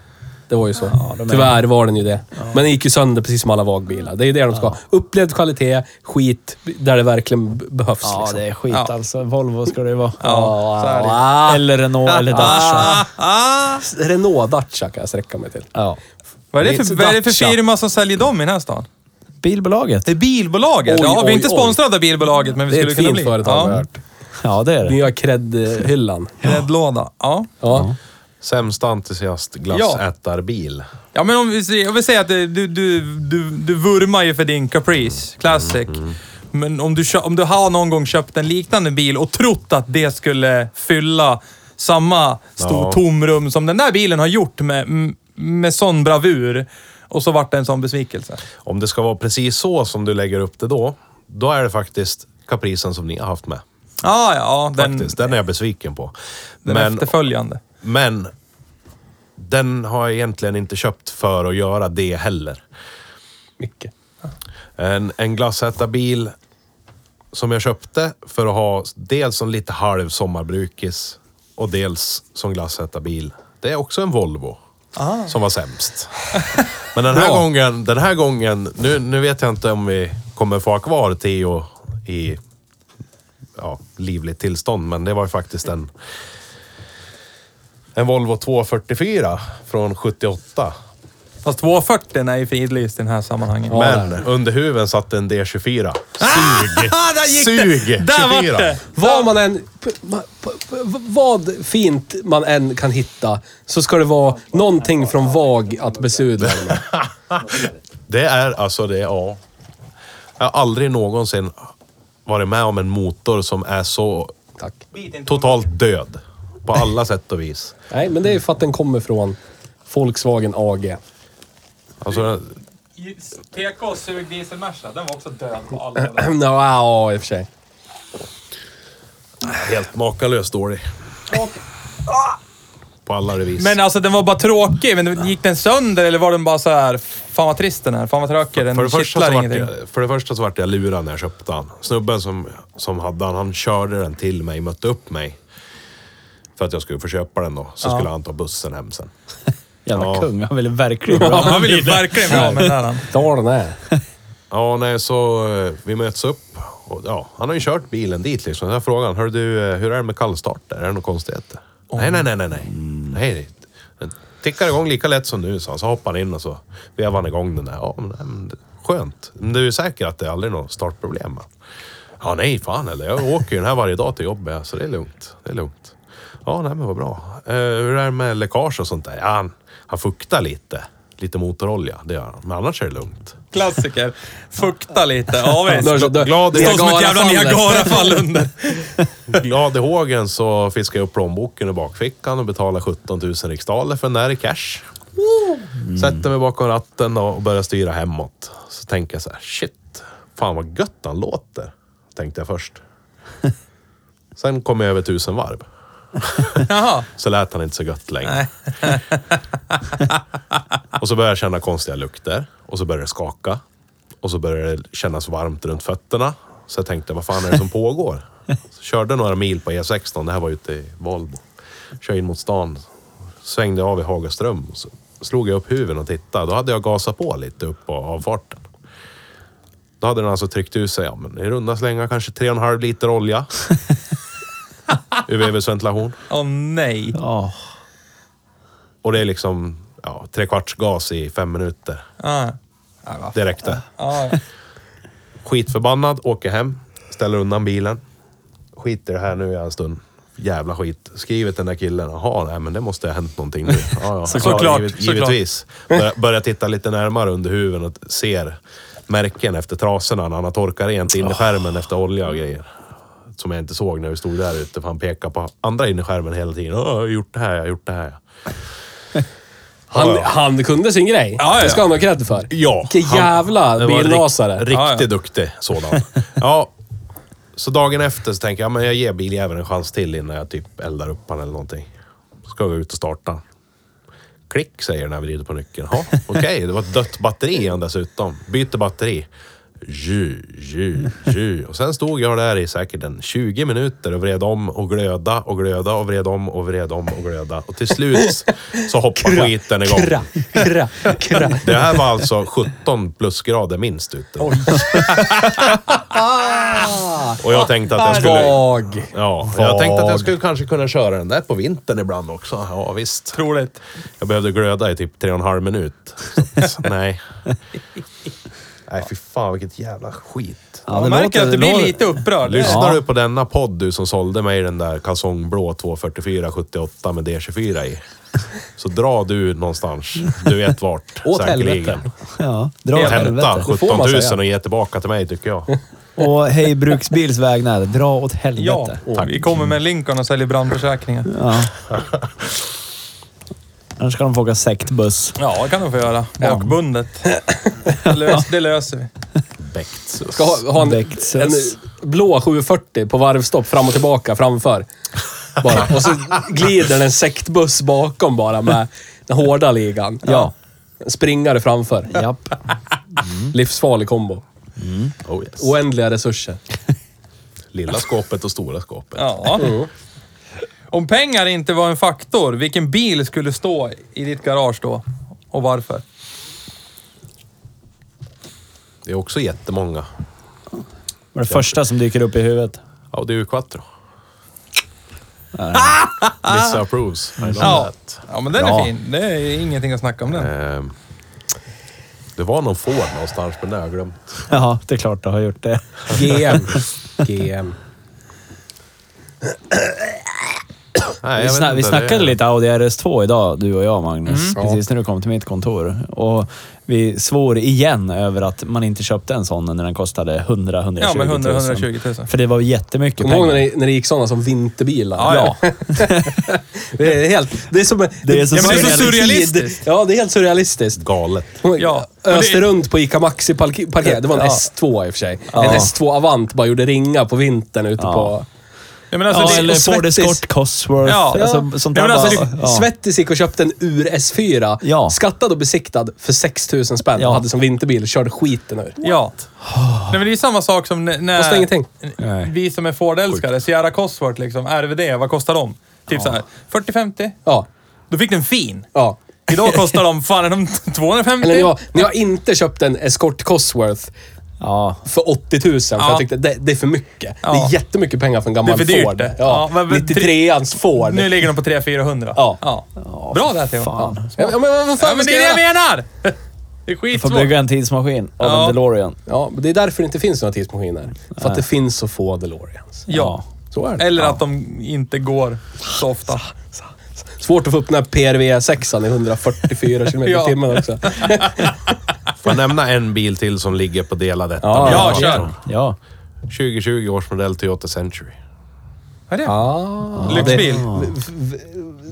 Speaker 2: Det var ju så.
Speaker 1: de är-
Speaker 2: Tyvärr var den ju det. Men den gick ju sönder precis som alla vagbilar. Det är ju det de ska ha. Upplevd kvalitet, skit, där det verkligen b- behövs.
Speaker 1: Ja,
Speaker 2: liksom.
Speaker 1: det är skit
Speaker 3: Ja.
Speaker 1: alltså. Volvo ska det ju vara.
Speaker 3: Ja, så är det.
Speaker 2: Ah,
Speaker 1: Eller Renault eller Dacia.
Speaker 3: Ah, ah.
Speaker 2: Renault Dacia kan jag sträcka mig till.
Speaker 1: Ja.
Speaker 3: Vad är det för, vad är det för
Speaker 2: Dacia.
Speaker 3: firma som säljer dem i den här stan?
Speaker 1: Bilbolaget.
Speaker 3: Det är bilbolaget.
Speaker 2: Oj,
Speaker 3: ja, vi
Speaker 2: oj,
Speaker 3: är inte
Speaker 2: oj.
Speaker 3: sponsrade av bilbolaget, men vi
Speaker 2: Det är
Speaker 3: skulle
Speaker 2: ett
Speaker 3: kunna
Speaker 2: fint
Speaker 3: bli.
Speaker 2: företag har jag hört.
Speaker 1: Ja, det är det.
Speaker 2: Nya cred-hyllan.
Speaker 3: Gräddlåda. Ja.
Speaker 2: Ja.
Speaker 4: Sämsta entusiast glassätarbil.
Speaker 3: ja, men om vi, ser- jag vill säga att det- du, du, du, du vurmar ju för din Caprice Classic. Men om du, kö- om du har någon gång köpt en liknande bil och trott att det skulle fylla samma stor
Speaker 4: Ja.
Speaker 3: tomrum som den där bilen har gjort med, m- med sån bravur. Och så vart det en sån besvikelse.
Speaker 4: Om det ska vara precis så som du lägger upp det då, då är det faktiskt kaprisen som ni har haft med.
Speaker 3: Ah, ja, ja. Den,
Speaker 4: Faktiskt, den är jag besviken på.
Speaker 3: den
Speaker 4: men,
Speaker 3: efterföljande.
Speaker 4: men den har jag egentligen inte köpt för att göra det heller.
Speaker 2: Mycket.
Speaker 4: En, en glassätarbil som jag köpte för att ha dels som lite halv sommarbrukis och dels som glassätarbil. Det är också en Volvo. Som var sämst. Men den här
Speaker 2: Bra.
Speaker 4: gången, den här gången nu, nu vet jag inte om vi kommer få ha kvar Theo i ja, livligt tillstånd, men det var ju faktiskt en, en Volvo 244 från 78.
Speaker 3: Fast 240 är ju fridlyst i den här sammanhanget.
Speaker 4: Men under huven satt en D24. Sug!
Speaker 3: Ah, där gick det!
Speaker 4: Sug!
Speaker 3: Där vart
Speaker 4: 24.
Speaker 3: det!
Speaker 2: Vad man än... p- ma- p- p- Vad fint man än kan hitta så ska det vara någonting från VAG att besudla. det med.
Speaker 4: Det är alltså det, ja. Jag har aldrig någonsin varit med om en motor som är så
Speaker 2: Tack.
Speaker 4: totalt död. På alla sätt och vis.
Speaker 2: Nej, men det är för att den kommer från Volkswagen AG.
Speaker 4: Alltså,
Speaker 3: PK sug diesel Merca, den var också död på
Speaker 4: Eh,
Speaker 3: alla
Speaker 2: Ja, i och för sig.
Speaker 4: helt makalöst dålig. På alla vis.
Speaker 3: Ah. Men alltså den var bara tråkig. Men gick den sönder eller var den bara så här, fan vad trist den är, fan vad tråkig,
Speaker 4: för, det
Speaker 3: den
Speaker 4: första så
Speaker 3: kittlar
Speaker 4: vart
Speaker 3: ingenting.
Speaker 4: jag, för det första så vart jag lurad när jag köpte den. Snubben som, som hade den, han körde den till mig, mötte upp mig. För att jag skulle få köpa den då. Så skulle han ta bussen hem sen.
Speaker 1: Jävla
Speaker 4: Ja.
Speaker 1: kung. Han ville verkligen bra.
Speaker 3: Ja, han ville verkligen bli av med den här.
Speaker 2: Ta den här.
Speaker 4: Ja, nej, så eh, vi möts upp. Och, ja, han har ju kört bilen dit liksom. Jag frågar han, hör du, eh, hur är det med kallstart där? Är det några konstigheter? Nej, nej, nej, nej, nej. nej det- den tickar igång lika lätt som nu, så han. Så hoppar han in och så vevar han igång den där. Ja, men, nej, men, det- skönt. Men du är säker att det aldrig är något startproblem? va? Ja, nej, fan eller. Jag åker ju den här varje dag till jobbet, så det är lugnt. Det är lugnt. Ja, nej men vad bra. Eh, hur är det med läckage och sånt där? Ja, han, han fuktar lite. Lite motorolja, det gör han. Men annars är det lugnt.
Speaker 3: Klassiker. Fukta lite, ja visst.
Speaker 2: Då- då-
Speaker 4: glad-
Speaker 3: Det står som ett jävla
Speaker 2: Niagarafallet.
Speaker 3: Niagarafall under.
Speaker 4: Glad i hågen så fiskade jag upp plånboken ur bakfickan och betalade 17 000 riksdaler för den där i cash. Sätter mig bakom ratten och börjar styra hemåt. Så tänker jag så här, shit, fan vad gött han låter. Tänkte jag först. Sen kom jag över tusen varv.
Speaker 3: Jaha.
Speaker 4: Så lät han inte så gött längre. och så började jag känna konstiga lukter. Och så började det skaka. Och så började det kännas varmt runt fötterna. Så jag tänkte, vad fan är det som pågår? Så körde några mil på E16. Det här var ute i Valbo. Kör in mot stan. Svängde av i Hagaström. Så slog jag upp huven och tittade. Då hade jag gasat på lite upp på avfarten. Då hade den alltså tryckt ut sig, ja men i runda slängar kanske 3,5 liter olja. Ur vevets ventilation.
Speaker 3: Åh nej.
Speaker 1: Ja.
Speaker 4: Och det är liksom ja, tre kvarts gas i fem minuter.
Speaker 3: Ah.
Speaker 4: Det räckte.
Speaker 3: Ah.
Speaker 4: Skitförbannad, åker hem, ställer undan bilen. Skiter i det här nu i en stund. Jävla skit. Skriver till den där killen. Jaha, nej men det måste ha hänt någonting nu. Ja, ja.
Speaker 3: Såklart,
Speaker 4: Ja, givet,
Speaker 3: såklart.
Speaker 4: givetvis. Börjar, börjar titta lite närmare under huven och ser märken efter trasorna när han har torkat rent innerskärmen efter olja och grejer. Som jag inte såg när vi stod där ute, för han pekar på andra innerskärmen hela tiden. "Åh, Jag har gjort det här, jag har gjort det här.
Speaker 2: Han,
Speaker 4: Ja, ja.
Speaker 2: han kunde sin grej.
Speaker 3: Ja, ja.
Speaker 2: Det ska han ha cred för.
Speaker 4: Ja.
Speaker 2: Vilken
Speaker 4: han-
Speaker 2: jävla
Speaker 4: det var
Speaker 2: bilrasare.
Speaker 4: Rikt, riktigt
Speaker 3: Ja, ja.
Speaker 4: duktig sådan. Ja. Så dagen efter så tänker jag, men jag ger biljäveln en chans till innan jag typ eldar upp han eller någonting. Ska jag ut och starta. Klick säger den när jag vrider på nyckeln. Ja, okej, det var ett dött batteri i han dessutom. Byter batteri. Ju, ju, ju. Och sen stod jag där i säkert en 20 minuter och vred om och glöda och glöda och vred om och vred om och glöda. Och till slut så hoppar skiten igång.
Speaker 2: Kra, kra, kra.
Speaker 4: Det här var alltså 17 plusgrader minst ute. Och jag tänkte att jag skulle...
Speaker 2: Svag.
Speaker 4: Ja, jag tänkte att jag skulle kanske kunna köra den där på vintern ibland också. Ja, visst.
Speaker 3: Troligt.
Speaker 4: Jag behövde glöda i typ tre och en halv minut. Så att, nej. Nej, fy fan vilket jävla skit.
Speaker 1: Ja,
Speaker 3: Man märker att du blir lite upprörd.
Speaker 4: Lyssnar
Speaker 1: Ja.
Speaker 4: du på denna podd du som sålde mig den där kalsongblå 244-78 med D24 i. Så dra du någonstans. Du vet vart.
Speaker 2: Åt helvete.
Speaker 1: Ja, dra åt
Speaker 4: Hämta
Speaker 1: helvete.
Speaker 2: Det får
Speaker 4: 17
Speaker 2: man
Speaker 4: 000
Speaker 2: säga.
Speaker 4: och ge tillbaka till mig tycker jag.
Speaker 1: Och hej Bruksbils vägnar, dra åt helvete.
Speaker 3: Ja, vi kommer med Lincoln och säljer brandförsäkringar.
Speaker 1: Ja. Annars kan de få åka sektbuss.
Speaker 3: Ja, det kan de få göra. Bakbundet. Det, lös, det löser vi.
Speaker 4: Bäckt.
Speaker 2: Ska ha, ha en,
Speaker 1: Växels.
Speaker 2: en blå 740 på varvstopp fram och tillbaka framför. Bara. Och så glider en sektbuss bakom bara med den hårda ligan.
Speaker 1: Ja.
Speaker 2: En Springare framför. Mm.
Speaker 1: Japp.
Speaker 2: Livsfarlig kombo.
Speaker 4: Oh, yes.
Speaker 2: Oändliga resurser.
Speaker 4: Lilla skåpet och stora skåpet.
Speaker 3: Ja. Om pengar inte var en faktor, vilken bil skulle stå i ditt garage då? Och varför?
Speaker 4: Det är också jättemånga.
Speaker 1: Det var det första som dyker upp i huvudet.
Speaker 4: Ja, det är ju quattro. Vissa approves. I love
Speaker 3: Ja,
Speaker 4: that.
Speaker 3: ja men den är
Speaker 1: Bra.
Speaker 3: fin. Det är ingenting att snacka om den.
Speaker 4: Ehm, det var någon Ford någonstans, men det har jag glömt.
Speaker 1: Ja, det är klart du har gjort det.
Speaker 2: GM. GM.
Speaker 4: Nej,
Speaker 1: Vi,
Speaker 4: jag vet
Speaker 1: sna- vi
Speaker 4: inte,
Speaker 1: snackade
Speaker 4: det-
Speaker 1: lite Audi RS2 idag, du och jag Magnus,
Speaker 3: Mm.
Speaker 1: precis när du kom till mitt kontor. Och vi svor igen över att man inte köpte en sån när den kostade 100 120
Speaker 3: Ja, men 100
Speaker 1: 000.
Speaker 3: 120 000.
Speaker 1: För det var jättemycket
Speaker 2: Kommer du ihåg när
Speaker 1: pengar. Ah,
Speaker 2: det, när det gick sådana som vinterbilar?
Speaker 3: Ja, ja.
Speaker 2: Det är helt... Det är som...
Speaker 1: Det är så
Speaker 3: Ja, men det är så
Speaker 1: surrealistiskt.
Speaker 3: surrealistiskt.
Speaker 2: Ja, det är helt surrealistiskt.
Speaker 4: Galet.
Speaker 3: Ja,
Speaker 2: Ja.
Speaker 3: men det-
Speaker 2: Öste runt på Ica Maxi park- parkering. Det var en
Speaker 1: Ja.
Speaker 2: S2 i och för sig.
Speaker 1: Ja.
Speaker 2: En S2 Avant bara gjorde ringa på vintern ute
Speaker 1: Ja.
Speaker 2: på...
Speaker 3: Ja, men alltså,
Speaker 1: ja,
Speaker 3: det-
Speaker 1: eller
Speaker 3: och
Speaker 1: Ford
Speaker 3: svettis.
Speaker 1: Escort Cosworth.
Speaker 3: Ja.
Speaker 1: Alltså, sånt
Speaker 3: Ja,
Speaker 1: där
Speaker 3: men alltså,
Speaker 1: bara,
Speaker 3: det-
Speaker 1: ja.
Speaker 2: Svettis gick och köpte en ur S4.
Speaker 1: Ja.
Speaker 2: Skattad och besiktad för 6 000 spänn.
Speaker 1: Ja.
Speaker 2: Och hade som vinterbil. Körde skiten ur.
Speaker 3: Ja. Nej, men det är ju samma sak som n-
Speaker 2: Kostar
Speaker 3: när
Speaker 2: ingenting.
Speaker 1: Nej.
Speaker 3: vi som är Ford-älskare, Sierra Cosworth liksom, RVD, vad kostar de? Typ så här 40-50?
Speaker 2: Ja.
Speaker 3: Då fick du en fin.
Speaker 2: Ja.
Speaker 3: Idag kostar de, fan är de 250?
Speaker 2: Eller när jag, när jag inte köpte en Escort Cosworth
Speaker 1: Ja.
Speaker 2: för 80 000. För
Speaker 3: Ja.
Speaker 2: jag tyckte det, det är för mycket.
Speaker 3: Ja.
Speaker 2: Det är jättemycket pengar för en gammal
Speaker 3: Det är för dyrt
Speaker 2: Ford.
Speaker 3: det. Ja,
Speaker 2: Ja.
Speaker 3: men- men-
Speaker 2: 93ans Ford.
Speaker 3: Nu ligger de på 300-400.
Speaker 2: Ja.
Speaker 3: Bra där Theo.
Speaker 1: fan.
Speaker 3: Ja.
Speaker 2: Ja, men vad
Speaker 3: Ja,
Speaker 2: fan
Speaker 3: men
Speaker 2: ska
Speaker 3: det är
Speaker 2: jag göra?
Speaker 3: det jag menar! Det är
Speaker 1: Får
Speaker 3: skitsvårt.
Speaker 1: bygga en tidsmaskin av
Speaker 3: Ja.
Speaker 1: en DeLorean.
Speaker 2: Ja, men det är därför det inte finns några tidsmaskiner. För att det finns så få DeLoreans.
Speaker 3: Ja.
Speaker 2: Så är det.
Speaker 3: Eller att de inte går så ofta.
Speaker 2: Svårt att få upp den här PRV 6 i 144 km i
Speaker 3: Ja.
Speaker 2: timmen också.
Speaker 4: Får jag nämna en bil till som ligger på delad detta?
Speaker 2: Ja,
Speaker 3: Ja, kör.
Speaker 1: Ja.
Speaker 4: 2020 års modell Toyota Century.
Speaker 3: Vad är det?
Speaker 2: Ah.
Speaker 3: Lyxbil.
Speaker 2: V- v-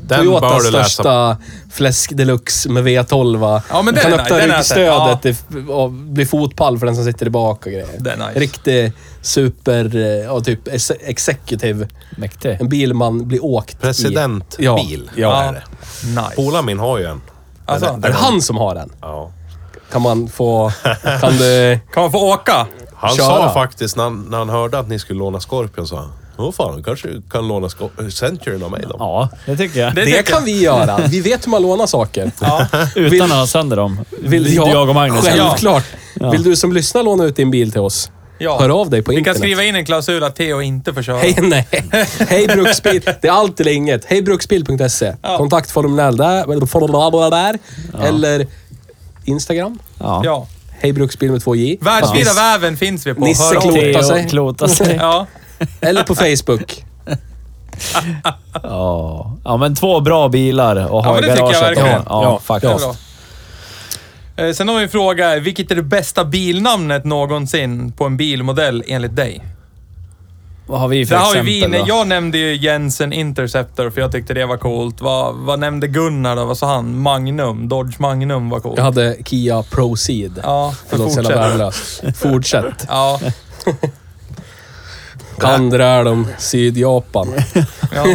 Speaker 4: Den bör
Speaker 2: Toyotas
Speaker 4: du läsa.
Speaker 2: största fläsk deluxe med V12.
Speaker 3: Ja, men
Speaker 2: du
Speaker 3: den
Speaker 2: kan
Speaker 3: är
Speaker 2: öppna
Speaker 3: nice. Den är
Speaker 2: ryggstödet i- och bli fotpall för den som sitter i bak och grejer.
Speaker 3: Den är nice.
Speaker 2: Riktig super, eh, ja, typ ex- executive.
Speaker 1: Mäktig.
Speaker 2: En bil man blir åkt i. Ja.
Speaker 4: Presidentbil
Speaker 2: Ja.
Speaker 4: är det.
Speaker 3: Nice.
Speaker 4: Polaren min har ju en.
Speaker 3: Alltså,
Speaker 4: Den-
Speaker 2: Är
Speaker 4: den-
Speaker 2: det han som har den?
Speaker 4: Ja.
Speaker 2: Kan man få... Kan du...
Speaker 3: Kan man få åka?
Speaker 4: Han
Speaker 2: Köra.
Speaker 4: sa faktiskt när han, när han hörde att ni skulle låna Scorpion, sa han. Åh fan, du kanske kan låna Scorp- Centurion av mig då.
Speaker 1: Ja, det tycker jag.
Speaker 3: Det-
Speaker 2: Det
Speaker 3: tycker
Speaker 2: kan
Speaker 3: jag.
Speaker 2: vi göra. Vi vet hur man lånar saker.
Speaker 1: Utan
Speaker 2: Vill-
Speaker 1: att ha sönder dem.
Speaker 2: Vill jag,
Speaker 1: jag och Magnus.
Speaker 2: Självklart. Vill du som lyssnar låna ut din bil till oss?
Speaker 3: Ja.
Speaker 2: Hör av dig på
Speaker 3: Vi
Speaker 2: internet.
Speaker 3: kan skriva in en klausul att Theo inte får köra.
Speaker 2: Hej, nej. Hej Bruksbil. Det är allt eller inget. Hej Bruksbil.se. Kontaktformulär där. Formulär där. Eller Instagram.
Speaker 1: Ja.
Speaker 3: Ja.
Speaker 2: Hej Bruksbil med två J.
Speaker 3: Världsvida väven finns vi på.
Speaker 2: Nisse
Speaker 3: Hör av
Speaker 2: Klok.
Speaker 3: dig.
Speaker 1: Klota
Speaker 2: Klota
Speaker 1: sig.
Speaker 2: sig.
Speaker 1: Klota sig. ja.
Speaker 3: Ja.
Speaker 2: Eller på Facebook.
Speaker 1: ja, men två bra bilar att ha
Speaker 3: men det
Speaker 1: i
Speaker 3: tycker jag
Speaker 1: garaget.
Speaker 3: verkligen.
Speaker 1: Ja, ja,
Speaker 2: Ja,
Speaker 3: Det är
Speaker 1: faktiskt.
Speaker 3: bra. Eh, Sen har vi en fråga. Vilket är det bästa bilnamnet någonsin på en bilmodell enligt dig?
Speaker 1: Vad har vi för
Speaker 3: Där har ju
Speaker 1: exempel
Speaker 3: vi, nej,
Speaker 1: då?
Speaker 3: jag nämnde ju Jensen Interceptor för jag tyckte det var coolt. Vad, vad nämnde Gunnar då? Vad sa han? Magnum. Dodge Magnum var coolt.
Speaker 2: Jag hade Kia Proceed.
Speaker 3: Ja, för
Speaker 2: Det låter så jävla
Speaker 3: fortsätt.
Speaker 2: värdelöst. Fortsätt.
Speaker 3: Ja,
Speaker 2: Andra är de Sydjapan.
Speaker 3: ja.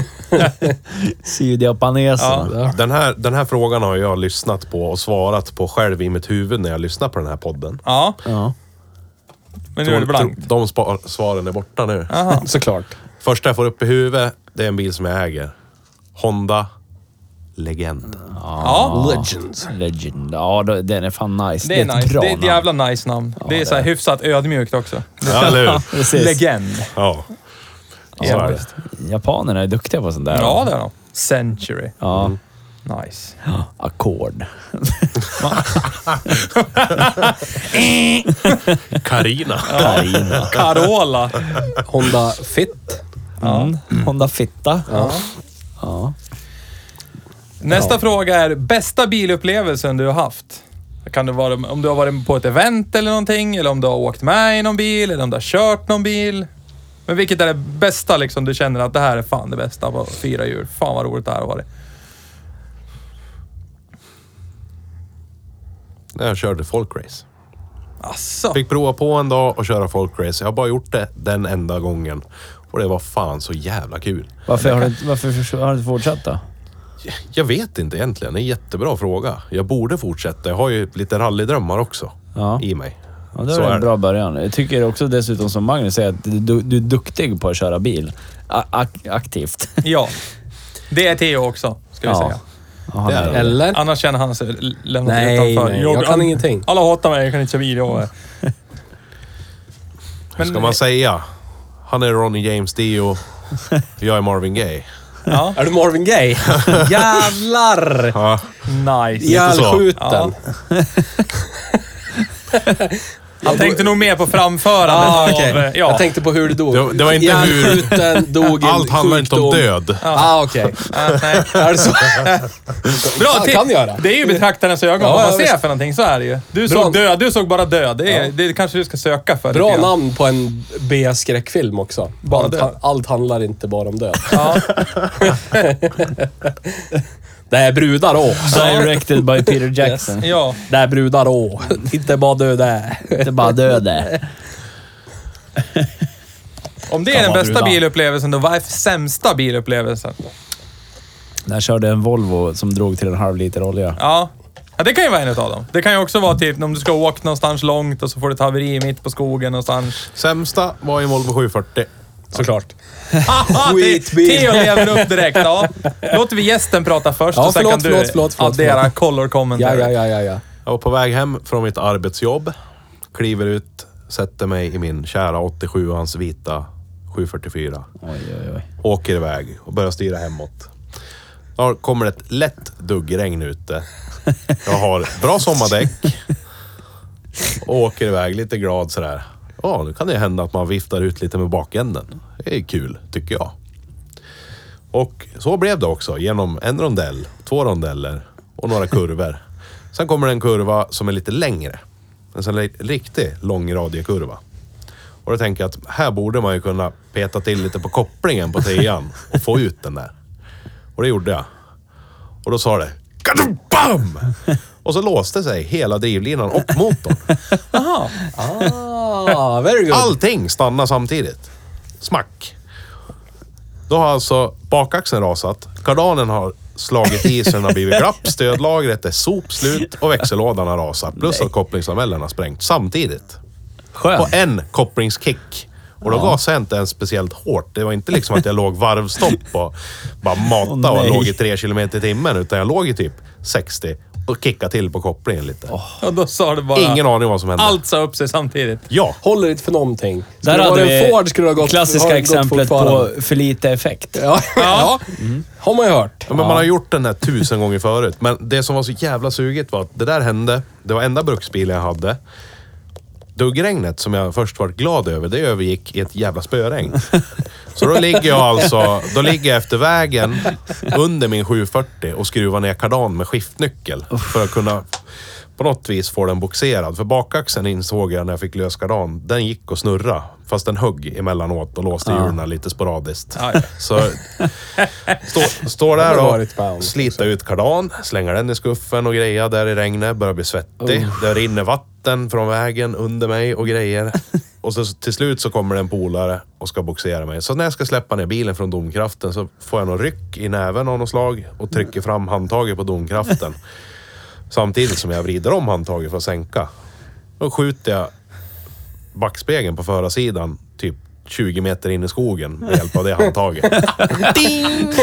Speaker 1: Sydjapaneserna.
Speaker 2: Ja.
Speaker 4: Den här, den här frågan har jag lyssnat på och svarat på själv i mitt huvud när jag lyssnar på den här podden.
Speaker 3: ja,
Speaker 1: Ja.
Speaker 3: men nu är det blankt.
Speaker 4: De spa- svaren är borta nu.
Speaker 3: Aha.
Speaker 2: Såklart.
Speaker 4: Första jag får upp i huvudet, det är en bil som jag äger. Honda Legend.
Speaker 3: Ja,
Speaker 2: Legends.
Speaker 1: Legend. Ja, då- den är fan nice.
Speaker 3: det är
Speaker 1: ett
Speaker 3: nice.
Speaker 1: bra
Speaker 3: Det är ett
Speaker 1: namn.
Speaker 3: jävla nice namn. det är så här hyfsat ödmjukt också.
Speaker 4: Ja, eller hur?
Speaker 1: Precis.
Speaker 3: Legend.
Speaker 4: Ja. Så är det.
Speaker 1: Japanerna är duktiga på sånt där.
Speaker 3: Ja, det är de. Century.
Speaker 1: Ja.
Speaker 3: Nice.
Speaker 1: Ackord.
Speaker 4: Carina.
Speaker 1: Carina.
Speaker 3: Carola.
Speaker 2: Honda Fit.
Speaker 1: Mm. Honda Fitta. Ja.
Speaker 3: Nästa fråga är bästa bilupplevelsen du har haft. Kan det vara om du har varit på ett event eller någonting, eller om du har åkt med i någon bil, eller om du har kört någon bil. Men vilket är det bästa liksom, du känner att det här är fan det bästa på fyra hjul. Fan vad roligt det här har varit.
Speaker 4: När jag körde folkrace.
Speaker 3: Asså.
Speaker 4: Fick prova på en dag och köra folkrace. Jag har bara gjort det den enda gången. Och det var fan så jävla kul.
Speaker 1: Varför, har du, inte- varför har du inte fortsatt då?
Speaker 4: Jag vet inte egentligen. Det är en jättebra fråga. Jag borde fortsätta. Jag har ju lite rallydrömmar också
Speaker 1: Ja.
Speaker 4: i mig.
Speaker 1: Ja, det
Speaker 4: Så
Speaker 1: var
Speaker 4: är
Speaker 1: en bra början. Jag tycker också dessutom som Magnus säger att du, du är duktig på att köra bil. A ak aktivt.
Speaker 3: Ja. Det är Theo också, ska vi
Speaker 1: Ja.
Speaker 3: säga.
Speaker 1: Ja, han
Speaker 4: Det är
Speaker 1: är-
Speaker 4: det.
Speaker 2: Eller?
Speaker 3: Annars känner han sig l- lämnad
Speaker 2: Nej,
Speaker 3: utanför.
Speaker 2: nej, jag kan ingenting. Mm.
Speaker 3: Alla hatar mig, jag kan inte köra bil. Jag... Men,
Speaker 4: Ska man säga. Han är Ronnie James Dio. Jag är Marvin Gaye.
Speaker 3: Ja,
Speaker 2: Är du Marvin Gaye? Jävlar!
Speaker 4: Ja,
Speaker 3: nice.
Speaker 2: Ihjälskjuten.
Speaker 3: Han tänkte nog mer på framförandet.
Speaker 2: Ah,
Speaker 3: av,
Speaker 2: okej.
Speaker 3: eh, ja.
Speaker 2: Jag tänkte på hur du dog.
Speaker 4: Det var- det var inte hur-
Speaker 2: Ihjälskjuten, dog i en
Speaker 4: allt handlar inte om
Speaker 2: sjukdom.
Speaker 4: död.
Speaker 2: Ah, okej.
Speaker 3: Ah, nej.
Speaker 2: Är det så?
Speaker 3: Bra
Speaker 2: Fan,
Speaker 3: tips!
Speaker 2: kan göra.
Speaker 3: Det är ju betraktarens ögon.
Speaker 2: Ja,
Speaker 3: Vad man
Speaker 2: ja,
Speaker 3: ser
Speaker 2: visst.
Speaker 3: för någonting så är det ju. Du
Speaker 2: Bra.
Speaker 3: såg död, du såg bara död. Det, är, det kanske du ska söka för.
Speaker 2: Bra
Speaker 3: lite grann.
Speaker 2: namn på en B-skräckfilm också.
Speaker 3: Bara
Speaker 2: allt,
Speaker 3: död.
Speaker 2: allt handlar inte bara om död.
Speaker 3: Ja.
Speaker 2: Det är brudar å.
Speaker 1: Directed by Peter Jackson.
Speaker 3: ja.
Speaker 2: Det är brudar å. Inte bara död är.
Speaker 1: Inte bara döde.
Speaker 3: Om det
Speaker 1: Kan
Speaker 3: är den
Speaker 1: vara
Speaker 3: bästa
Speaker 1: brudan.
Speaker 3: bilupplevelsen, då vad är sämsta bilupplevelsen?
Speaker 1: När jag körde en Volvo som drog till en halv liter olja.
Speaker 3: Ja. ja, det kan ju vara en utav dem. Det kan ju också vara typ om du ska åka någonstans långt och så får du ett haveri mitt på skogen någonstans.
Speaker 4: Sämsta var ju Volvo 740.
Speaker 2: Såklart.
Speaker 3: Haha! Te-
Speaker 2: Skitbil.
Speaker 3: Theo lever upp direkt. Ja. Låter vi gästen prata först
Speaker 2: Ja,
Speaker 3: och sen
Speaker 2: förlåt,
Speaker 3: kan du
Speaker 2: förlåt, förlåt, förlåt,
Speaker 3: addera
Speaker 2: förlåt.
Speaker 3: color commentary.
Speaker 2: Ja, ja, ja, ja. ja.
Speaker 4: Jag var på väg hem från mitt arbetsjobb. Kliver ut, sätter mig i min kära 87ans vita 744.
Speaker 1: Oj, oj, oj.
Speaker 4: Åker iväg och börjar styra hemåt. Då kommer det ett lätt duggregn ute. Jag har bra sommardäck. Och åker iväg lite glad sådär. Ja, nu kan det ju hända att man viftar ut lite med bakänden. Det är kul, tycker jag. Och så blev det också. Genom en rondell, två rondeller och några kurvor. Sen kommer det en kurva som är lite längre. En sån li- riktig långradiekurva. Och då tänker jag att här borde man ju kunna peta till lite på kopplingen på tian och få ut den där. Och det gjorde jag. Och då sa det... Bam! Och så låste sig hela drivlinan och motorn.
Speaker 3: Jaha.
Speaker 2: Ah, very good.
Speaker 4: Allting stannade samtidigt. Smack. Då har alltså bakaxeln rasat, kardanen har slagit i så den har blivit glapp, stödlagret är sopslut och växellådan har rasat. Plus att kopplingsanvällaren har sprängt samtidigt. På
Speaker 1: Skönt.
Speaker 4: en kopplingskick. Och då gasade jag inte ens speciellt hårt. Det var inte liksom att jag låg varvstopp och bara matade
Speaker 1: Åh,
Speaker 4: och
Speaker 1: nej.
Speaker 4: låg i tre kilometer i timmen. Utan jag låg i typ 60 och kickade till på kopplingen lite.
Speaker 3: Och då sa du bara...
Speaker 4: Ingen aning vad som hände.
Speaker 3: Allt sa upp sig samtidigt.
Speaker 4: Ja,
Speaker 2: Håller inte för någonting.
Speaker 1: Där
Speaker 2: Skulle det
Speaker 1: hade
Speaker 2: varit en
Speaker 1: vi
Speaker 2: Ford skulle det ha gått har
Speaker 1: klassiska
Speaker 2: det gått
Speaker 1: exemplet på
Speaker 2: fortfarande.
Speaker 1: för lite effekt.
Speaker 2: Ja, ja. har man ju hört.
Speaker 4: Ja, men man har gjort den här tusen gånger förut. Men det som var så jävla suget var att det där hände. Det var enda bruksbil jag hade. Duggregnet som jag först var glad över, det övergick i ett jävla spöregn. Så då ligger jag alltså, då ligger jag efter vägen under min 740 och skruvar ner kardan med skiftnyckel. För att kunna på något vis få den boxerad. För bakaxeln insåg jag när jag fick lös kardan, den gick att snurra. Fast den högg emellanåt och låste hjulen lite sporadiskt.
Speaker 3: Ja, ja.
Speaker 4: Så står stå där
Speaker 2: Det har
Speaker 4: och
Speaker 2: varit med om.
Speaker 4: slita ut kardan, slänga den i skuffen och greja där i regnet, börjar bli svettig. Det rinner vatten från vägen under mig och grejer. Och så till slut så kommer det en polare och ska boxera mig. Så när jag ska släppa ner bilen från domkraften så får jag någon ryck i näven av något slag och trycker fram handtaget på domkraften. Samtidigt som jag vrider om handtaget för att sänka. Då skjuter jag backspegeln på förarsidan typ 20 meter in i skogen med hjälp av det handtaget. Ding!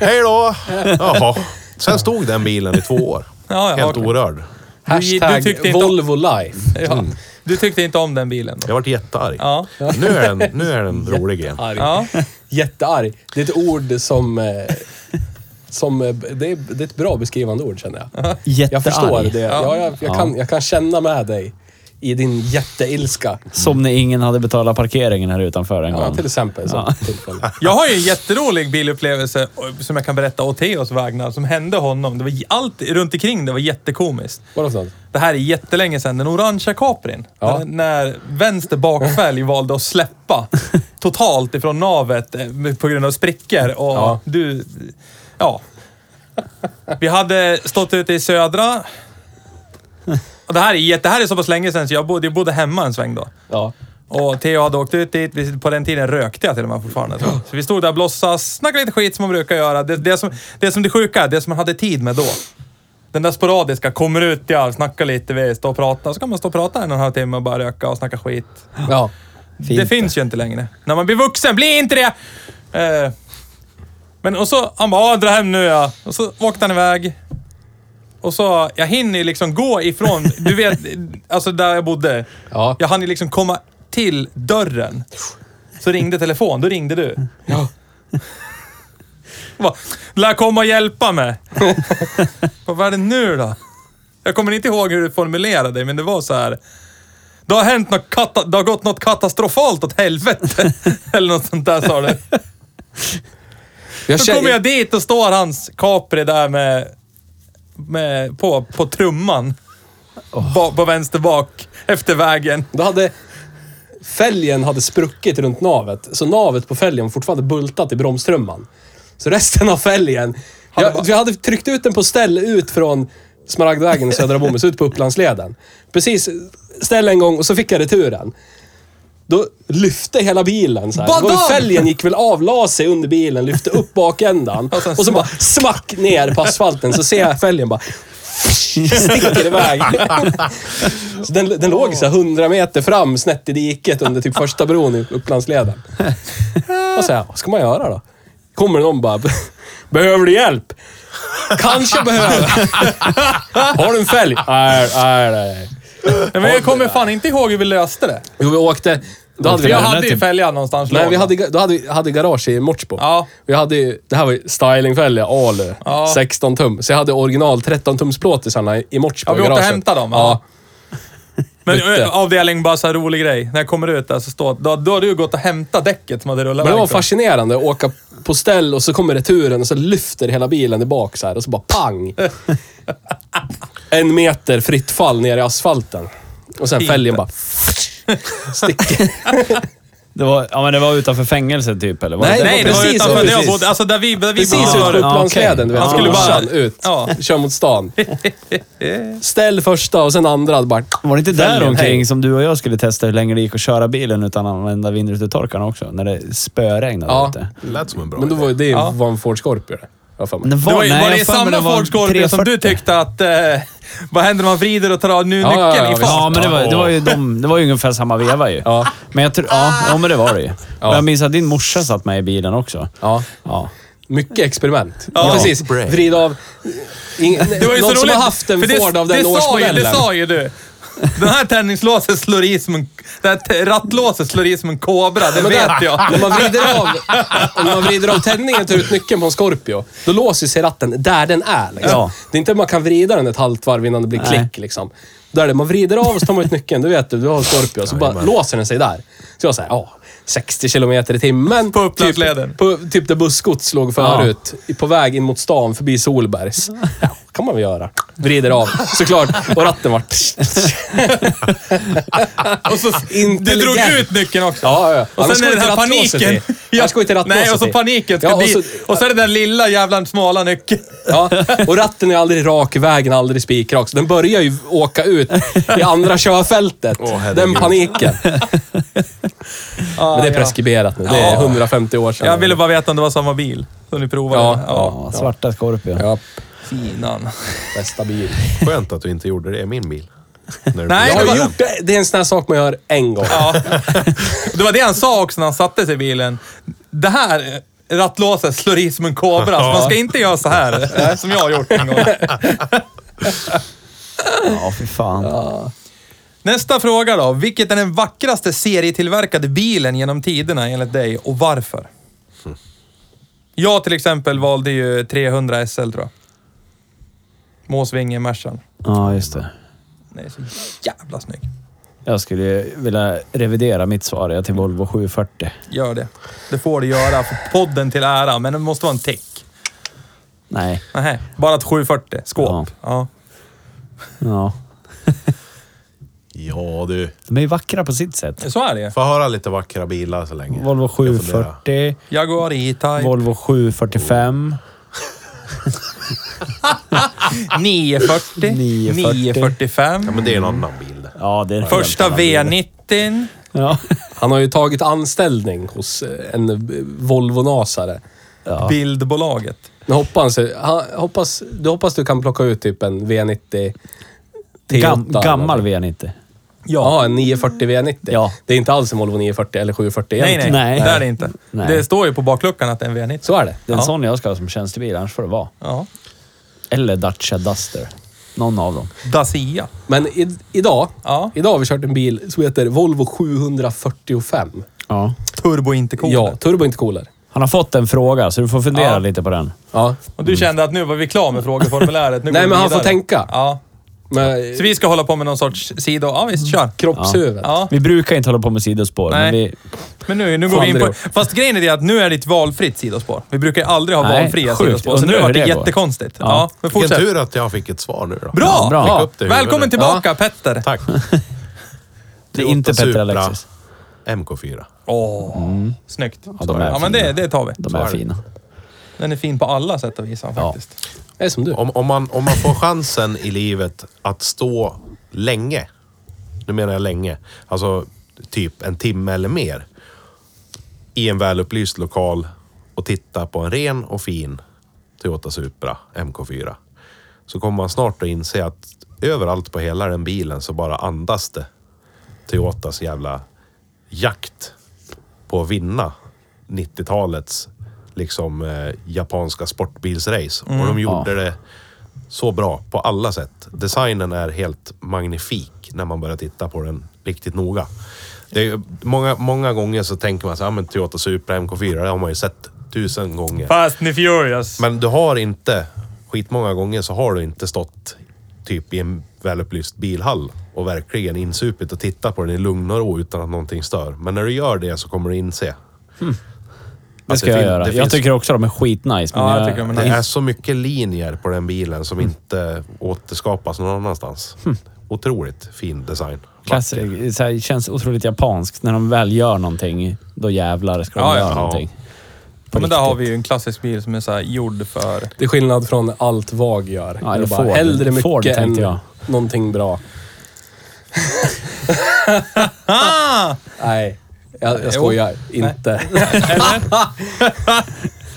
Speaker 4: Hej då! Jaha. Sen stod den bilen i två år.
Speaker 3: Ja, ja,
Speaker 4: Helt
Speaker 3: okej.
Speaker 4: orörd.
Speaker 3: Du- du
Speaker 2: Hashtag
Speaker 3: tyckte inte-
Speaker 2: Volvo life.
Speaker 3: Ja. Du tyckte inte om den bilen då?
Speaker 4: Jag vart jättearg.
Speaker 3: Ja.
Speaker 4: Nu är den, nu är den rolig igen.
Speaker 2: Arg.
Speaker 3: Ja.
Speaker 2: Jättearg. Det är ett ord som... eh, som eh, det, är, det är ett bra beskrivande ord känner jag. Jag
Speaker 1: Jättearg.
Speaker 2: förstår det. Ja, jag, jag,
Speaker 1: Ja.
Speaker 2: kan, jag kan känna med dig i din jätteilska.
Speaker 1: Som när ingen hade betalat parkeringen här utanför en
Speaker 2: Ja,
Speaker 1: gång.
Speaker 2: till exempel. Så.
Speaker 1: Ja.
Speaker 2: Tillfälle.
Speaker 3: Jag har ju en jätterolig bilupplevelse eh, som jag kan berätta å Theos vägnar, som hände honom. Det var j- allt runt omkring det var jättekomiskt.
Speaker 2: Vadå för något?
Speaker 3: Det här är jättelänge sedan. Den orangea Caprin.
Speaker 2: Ja.
Speaker 3: När, när vänster bakfälg valde att släppa totalt ifrån navet eh, på grund av sprickor. Och
Speaker 2: Ja.
Speaker 3: du... Ja. Vi hade stått ute i södra. Och det, här är, jätte- det här är så pass länge sedan så jag bodde, jag bodde hemma en sväng då.
Speaker 2: Ja.
Speaker 3: Och Theo hade åkt ut dit. Vi- På den tiden rökte jag till och med fortfarande. Så vi stod där och blossas, snackade lite skit som man brukar göra. Det, det, som, det som det sjuka, är, det som man hade tid med då. Den där sporadiska, kommer ut, ja, snackar lite, vi står och pratar. Så kan man stå och prata en och en halv timme och bara röka och snacka skit.
Speaker 2: ja.
Speaker 1: Fint.
Speaker 3: Det finns ju inte längre. När man blir vuxen, blir inte det! Eh, men och så, han bara, "Ja, dra hem nu ja. Och så åkte han iväg. Och så, jag hinner ju liksom gå ifrån, du vet, alltså där jag bodde.
Speaker 2: Ja.
Speaker 3: Jag hann ju liksom komma till dörren. Så ringde telefon, då ringde du.
Speaker 2: Ja.
Speaker 3: Jag bara, Lär komma och hjälpa mig. Vad var det nu då? Jag kommer inte ihåg hur du formulerade dig, men det var så här. Det har, hänt något kata- det har gått något katastrofalt åt helvete. Eller något sånt där sa du.
Speaker 2: Jag
Speaker 3: Så kommer
Speaker 2: känner,
Speaker 3: jag dit och står hans Capri där med, med på, på trumman. Ba, på vänster bak, efter vägen.
Speaker 2: då hade... Fälgen hade spruckit runt navet, så navet på fälgen fortfarande bultat i bromstrumman. Så resten av fälgen... Jag, vi hade tryckt ut den på ställ ut från Smaragdvägen och Södra Bomhus, ut på Upplandsleden. Precis, ställ en gång och så fick jag returen. Då lyfte hela bilen så här. Det var ju
Speaker 3: Badam!
Speaker 2: Fälgen gick väl av, la sig under bilen, lyfte upp bakändan och,
Speaker 3: sen
Speaker 2: så bara smack ner på asfalten. Så ser jag fälgen bara sticker iväg. Så den, den låg så här 100 meter fram snett i diket under typ första bron i Upplandsleden. Och så här, vad ska man göra då? Kommer någon bara, behöver du hjälp? Kanske behöver. Har du en fälg? Nej, nej, nej.
Speaker 3: Men jag kommer fan inte ihåg hur vi löste det.
Speaker 2: Jo, vi åkte. Då hade
Speaker 3: För
Speaker 2: vi
Speaker 3: jag
Speaker 1: den
Speaker 3: hade
Speaker 1: där
Speaker 3: ju
Speaker 1: typ-
Speaker 3: fäljan någonstans.
Speaker 2: Nej,
Speaker 3: låg.
Speaker 2: vi hade, då hade, vi- hade garage i Mortsbo.
Speaker 3: Ja.
Speaker 2: Vi hade ju, det här var ju stylingfälgar, Ale,
Speaker 3: Ja.
Speaker 2: 16 tum. Så jag hade original 13-tumsplåtisarna i- i Mortsbo
Speaker 3: Ja, vi
Speaker 2: i
Speaker 3: åkte och
Speaker 2: garaget.
Speaker 3: hämtade dem, ja.
Speaker 2: Ja.
Speaker 3: Men
Speaker 2: Bytte.
Speaker 3: ö, avdelning, bara så här rolig grej. När jag kommer ut där så står... Då, då har du gått och hämtat däcket som hade rullat
Speaker 2: Men det var
Speaker 3: iväg från-
Speaker 2: fascinerande att åka på ställ och så kommer returen och så lyfter hela bilen tillbaka så här och så bara pang! en meter fritt fall ner i asfalten. Och sen fälgen bara sticker.
Speaker 1: Det var, ja, men det var utanför fängelset typ, eller? Var
Speaker 2: Nej,
Speaker 1: det
Speaker 3: Nej, det var
Speaker 2: precis
Speaker 3: utanför
Speaker 2: så,
Speaker 3: där jag
Speaker 2: precis.
Speaker 3: bodde. Alltså där vi, där vi
Speaker 2: Precis
Speaker 1: Ja,
Speaker 2: ut på
Speaker 3: bodde.
Speaker 1: ut-
Speaker 2: Upplandsleden. Du vet,
Speaker 3: Han
Speaker 2: han
Speaker 3: skulle bara-
Speaker 2: ut.
Speaker 3: Ja.
Speaker 2: Kör mot stan. Ställ första och sen andra. Bara...
Speaker 1: Var det inte där
Speaker 2: Fälgen,
Speaker 1: omkring
Speaker 2: hej.
Speaker 1: som du och jag skulle testa hur länge det gick att köra bilen utan att använda vindrutetorkarna också? När det spöregnade
Speaker 2: Ja.
Speaker 1: ute.
Speaker 4: Det lät som en bra
Speaker 2: Men då
Speaker 4: idé.
Speaker 2: var ju det
Speaker 3: Ja.
Speaker 2: var en Ford Scorpio. det, har jag för mig.
Speaker 1: Det
Speaker 3: Det var, ju-
Speaker 1: nej,
Speaker 3: var
Speaker 1: jag
Speaker 3: det
Speaker 1: har för mig
Speaker 3: samma
Speaker 1: det var
Speaker 3: Ford Scorpio som du
Speaker 1: 340.
Speaker 3: tyckte att... Eh, vad händer om man vrider och tar av nu
Speaker 2: Ja, ja,
Speaker 3: nyckeln
Speaker 2: ja,
Speaker 3: i
Speaker 2: visst.
Speaker 3: fart?
Speaker 1: Ja, men det var, det var, ju, de, det var ju ungefär samma veva ju.
Speaker 2: Ja.
Speaker 1: Men jag tror... Ja, ja, men det var det ju.
Speaker 2: Ja.
Speaker 1: Jag minns att din morsa satt med i bilen också.
Speaker 2: Ja.
Speaker 1: Ja.
Speaker 2: Mycket experiment.
Speaker 3: Ja.
Speaker 2: Ja, precis.
Speaker 4: Break.
Speaker 2: Vrid av... In,
Speaker 3: Det var ju
Speaker 2: någon
Speaker 3: så
Speaker 2: som
Speaker 3: roligt.
Speaker 2: har haft en
Speaker 3: för det-
Speaker 2: Ford av den
Speaker 3: det sa ju,
Speaker 2: årsmodellen.
Speaker 3: Det sa ju du. Den här tändningslåset slår i som en... Det här t- rattlåset slår i som en kobra, det
Speaker 2: Men
Speaker 3: vet
Speaker 2: där,
Speaker 3: jag.
Speaker 2: När man vrider av, när man vrider av tändningen och tar ut nyckeln på en Scorpio, då låser sig ratten där den är. Liksom.
Speaker 1: Ja.
Speaker 2: Det är inte att man kan vrida den ett halvt varv innan det blir
Speaker 1: Nej.
Speaker 2: klick. Liksom. Där är det, man vrider av och så tar man ut nyckeln. Du vet, du du har en Scorpio. Så bara
Speaker 4: Jajamän.
Speaker 2: låser den sig där. Så jag säger, ja, 60 kilometer i timmen.
Speaker 3: På Upplandsleden.
Speaker 2: Typ, på, typ där bussgods låg förut. i- På väg in mot stan förbi Solbergs. Ja, kan man väl göra. Vrider av, såklart. Och ratten var...
Speaker 3: Och så, du drog
Speaker 2: Intelligent.
Speaker 3: ut nyckeln också.
Speaker 2: Ja, ja, ja.
Speaker 3: Och
Speaker 2: Annars
Speaker 3: sen
Speaker 2: går
Speaker 3: är
Speaker 2: ju
Speaker 3: den
Speaker 2: inte
Speaker 3: här
Speaker 2: rattlåset
Speaker 3: paniken.
Speaker 2: i. Annars går ju inte rattlåset
Speaker 3: Nej, och så
Speaker 2: i.
Speaker 3: paniken ska
Speaker 2: Ja, och
Speaker 3: dit.
Speaker 2: så-
Speaker 3: och så är det den lilla jävla smala nyckeln.
Speaker 2: Ja, och ratten är aldrig rak, vägen är aldrig spikrak. Så den börjar ju åka ut i andra körfältet.
Speaker 4: Åh, herregud.
Speaker 2: den paniken. Men det är
Speaker 3: ja.
Speaker 2: preskriberat nu. Det är
Speaker 3: Ja.
Speaker 2: 150 år sedan.
Speaker 3: Jag ville bara veta om det var samma bil som ni provade.
Speaker 2: Ja,
Speaker 1: Ja, svarta Scorpio.
Speaker 2: Ja,
Speaker 3: Finan.
Speaker 2: bästa bil.
Speaker 4: Skönt att du inte gjorde det i min bil. När du-
Speaker 3: Nej,
Speaker 2: Jag
Speaker 3: det
Speaker 2: har
Speaker 3: var-
Speaker 2: gjort det. Det är en sån här sak man gör en gång.
Speaker 3: Ja. Det var det han sa också när han satte sig i bilen. Det här rattlåset slår i som en kobra, så man ska inte göra så här. Som jag har gjort en gång.
Speaker 1: Ja, fy fan.
Speaker 3: Nästa fråga då. Vilket är den vackraste serietillverkade bilen genom tiderna enligt dig och varför? Jag till exempel valde ju 300 SL tror jag. Måsvinge Mercan.
Speaker 1: Ja, just det.
Speaker 3: Den är så jävla snygg.
Speaker 1: Jag skulle ju vilja revidera mitt svar jag till Volvo 740.
Speaker 3: Gör det. Det får du göra för podden till ära, men det måste vara en tick.
Speaker 1: Nej.
Speaker 3: Nähä, bara ett 740. Skåp. Ja.
Speaker 1: Ja.
Speaker 4: Ja du.
Speaker 1: De är ju vackra på sitt sätt.
Speaker 3: Så är det
Speaker 4: Får höra lite vackra bilar så länge.
Speaker 1: Volvo
Speaker 4: Jag funderar.
Speaker 1: 740,
Speaker 3: Jaguar E-Type.
Speaker 1: Volvo 745.
Speaker 3: 940.
Speaker 1: 940.
Speaker 3: 945.
Speaker 4: Ja, men det är en annan bil det.
Speaker 1: Ja, det är en helt
Speaker 3: Första
Speaker 1: annan bil.
Speaker 3: V90.
Speaker 1: Ja.
Speaker 2: Han har ju tagit anställning hos eh, en eh, Volvo-nasare.
Speaker 1: ja.
Speaker 3: Bildbolaget.
Speaker 2: Nu hoppas, han, hoppas, du hoppas du kan plocka ut typ en V90
Speaker 1: Gam,
Speaker 2: Toyota.
Speaker 1: gammal V90.
Speaker 2: Ja, en 940 V90.
Speaker 1: Ja.
Speaker 2: Det är inte alls en Volvo 940 eller 740
Speaker 3: Nej, nej,
Speaker 2: egentligen.
Speaker 1: Nej.
Speaker 3: Det är det inte.
Speaker 1: Nej.
Speaker 3: Det står ju på bakluckan att det är en V90.
Speaker 2: Så är det.
Speaker 1: Det är en
Speaker 3: Ja.
Speaker 1: sån jag ska ha som tjänstebil, annars får det vara.
Speaker 3: Ja.
Speaker 1: Eller Dacia Duster. Någon av dem.
Speaker 3: Dacia.
Speaker 2: Men i, idag,
Speaker 3: Ja.
Speaker 2: idag har vi kört en bil som heter Volvo 745.
Speaker 1: Ja.
Speaker 3: Turbo inte cool.
Speaker 2: Ja, turbo inte cooler.
Speaker 1: Han har fått en fråga, så du får fundera
Speaker 3: Ja.
Speaker 1: lite på den.
Speaker 2: Ja.
Speaker 3: Och du kände att nu var vi klara med frågeformuläret. Nu går
Speaker 2: Nej,
Speaker 3: vi
Speaker 2: men han
Speaker 3: vidare.
Speaker 2: får tänka.
Speaker 3: Ja.
Speaker 2: Med
Speaker 3: Så vi ska hålla på med någon sorts sido... Ja, visst, kör.
Speaker 2: kroppshuvud.
Speaker 3: Ja.
Speaker 1: Vi brukar inte hålla på med sidospår, men
Speaker 3: Nej.
Speaker 1: vi...
Speaker 3: Men nu, nu går vi in på...
Speaker 2: Fandrio.
Speaker 3: Fast grejen är det att nu är det ett valfritt sidospår. Vi brukar aldrig ha
Speaker 1: Nej,
Speaker 3: valfria
Speaker 1: sjukt.
Speaker 3: sidospår, så
Speaker 1: Undrar
Speaker 3: nu
Speaker 1: hur
Speaker 3: vart det
Speaker 1: det går.
Speaker 3: jättekonstigt. Ja.
Speaker 1: Ja.
Speaker 3: men
Speaker 4: Vilken
Speaker 3: fortsätt.
Speaker 4: tur att jag fick ett svar nu då.
Speaker 3: Bra!
Speaker 1: bra.
Speaker 4: Fick
Speaker 1: Ja.
Speaker 4: upp det i
Speaker 3: Välkommen
Speaker 4: huvudet.
Speaker 3: tillbaka, Petter.
Speaker 4: Tack.
Speaker 1: Det är inte
Speaker 4: Toyota
Speaker 1: Petter
Speaker 4: Supra
Speaker 1: Alexis.
Speaker 4: MK4.
Speaker 3: Åh, snyggt. Ja,
Speaker 1: de är
Speaker 3: men
Speaker 1: fina.
Speaker 3: det, Alltså, det tar vi.
Speaker 1: De är
Speaker 4: det.
Speaker 1: fina.
Speaker 3: Den är fin på alla sätt och vis han,
Speaker 1: Ja.
Speaker 3: faktiskt.
Speaker 2: Det är som du.
Speaker 4: Om, om, man, om man får chansen i livet att stå länge. Nu menar jag länge. Alltså typ en timme eller mer. I en välupplyst lokal och titta på en ren och fin Toyota Supra MK4. Så kommer man snart att inse att överallt på hela den bilen så bara andas det Toyotas jävla jakt på att vinna 90-talets liksom eh, japanska sportbilsrace. Och de gjorde det så bra på alla sätt. Designen är helt magnifik när man börjar titta på den riktigt noga. Det är, många, många gånger så tänker man så här, "Ja, men Toyota Supra MK4, det har man ju sett tusen gånger.
Speaker 3: Fast ni furious.
Speaker 4: Men du har inte, skitmånga gånger så har du inte stått typ i en välupplyst bilhall och verkligen insupit och tittat på den i lugn och ro utan att någonting stör. Men när du gör det så kommer du inse.
Speaker 1: Det
Speaker 4: Att
Speaker 1: ska jag
Speaker 4: fin-
Speaker 1: göra.
Speaker 4: det
Speaker 1: Jag
Speaker 4: finns-
Speaker 1: tycker också de är skitnice. men Mm.
Speaker 3: Ja, jag tycker de är
Speaker 4: Det
Speaker 3: nice.
Speaker 4: är så mycket linjer på den bilen som inte återskapas någon annanstans. Otroligt fin design.
Speaker 1: Classic. Så här, känns otroligt japanskt. När de väl gör någonting, då jävlar ska de
Speaker 3: Ja, ja,
Speaker 1: göra
Speaker 3: ja.
Speaker 1: någonting.
Speaker 3: Ja, men där har
Speaker 1: riktigt.
Speaker 3: vi ju en klassisk bil som är så här gjord för...
Speaker 2: Det är skillnad från allt VAG gör.
Speaker 1: Ja, eller
Speaker 2: Det är bara
Speaker 1: Ford.
Speaker 2: Hellre mycket
Speaker 1: Ford,
Speaker 2: än
Speaker 1: tänkte jag.
Speaker 2: någonting bra.
Speaker 3: Ah!
Speaker 2: Nej, jag, jag
Speaker 3: Jo.
Speaker 2: skojar. Inte.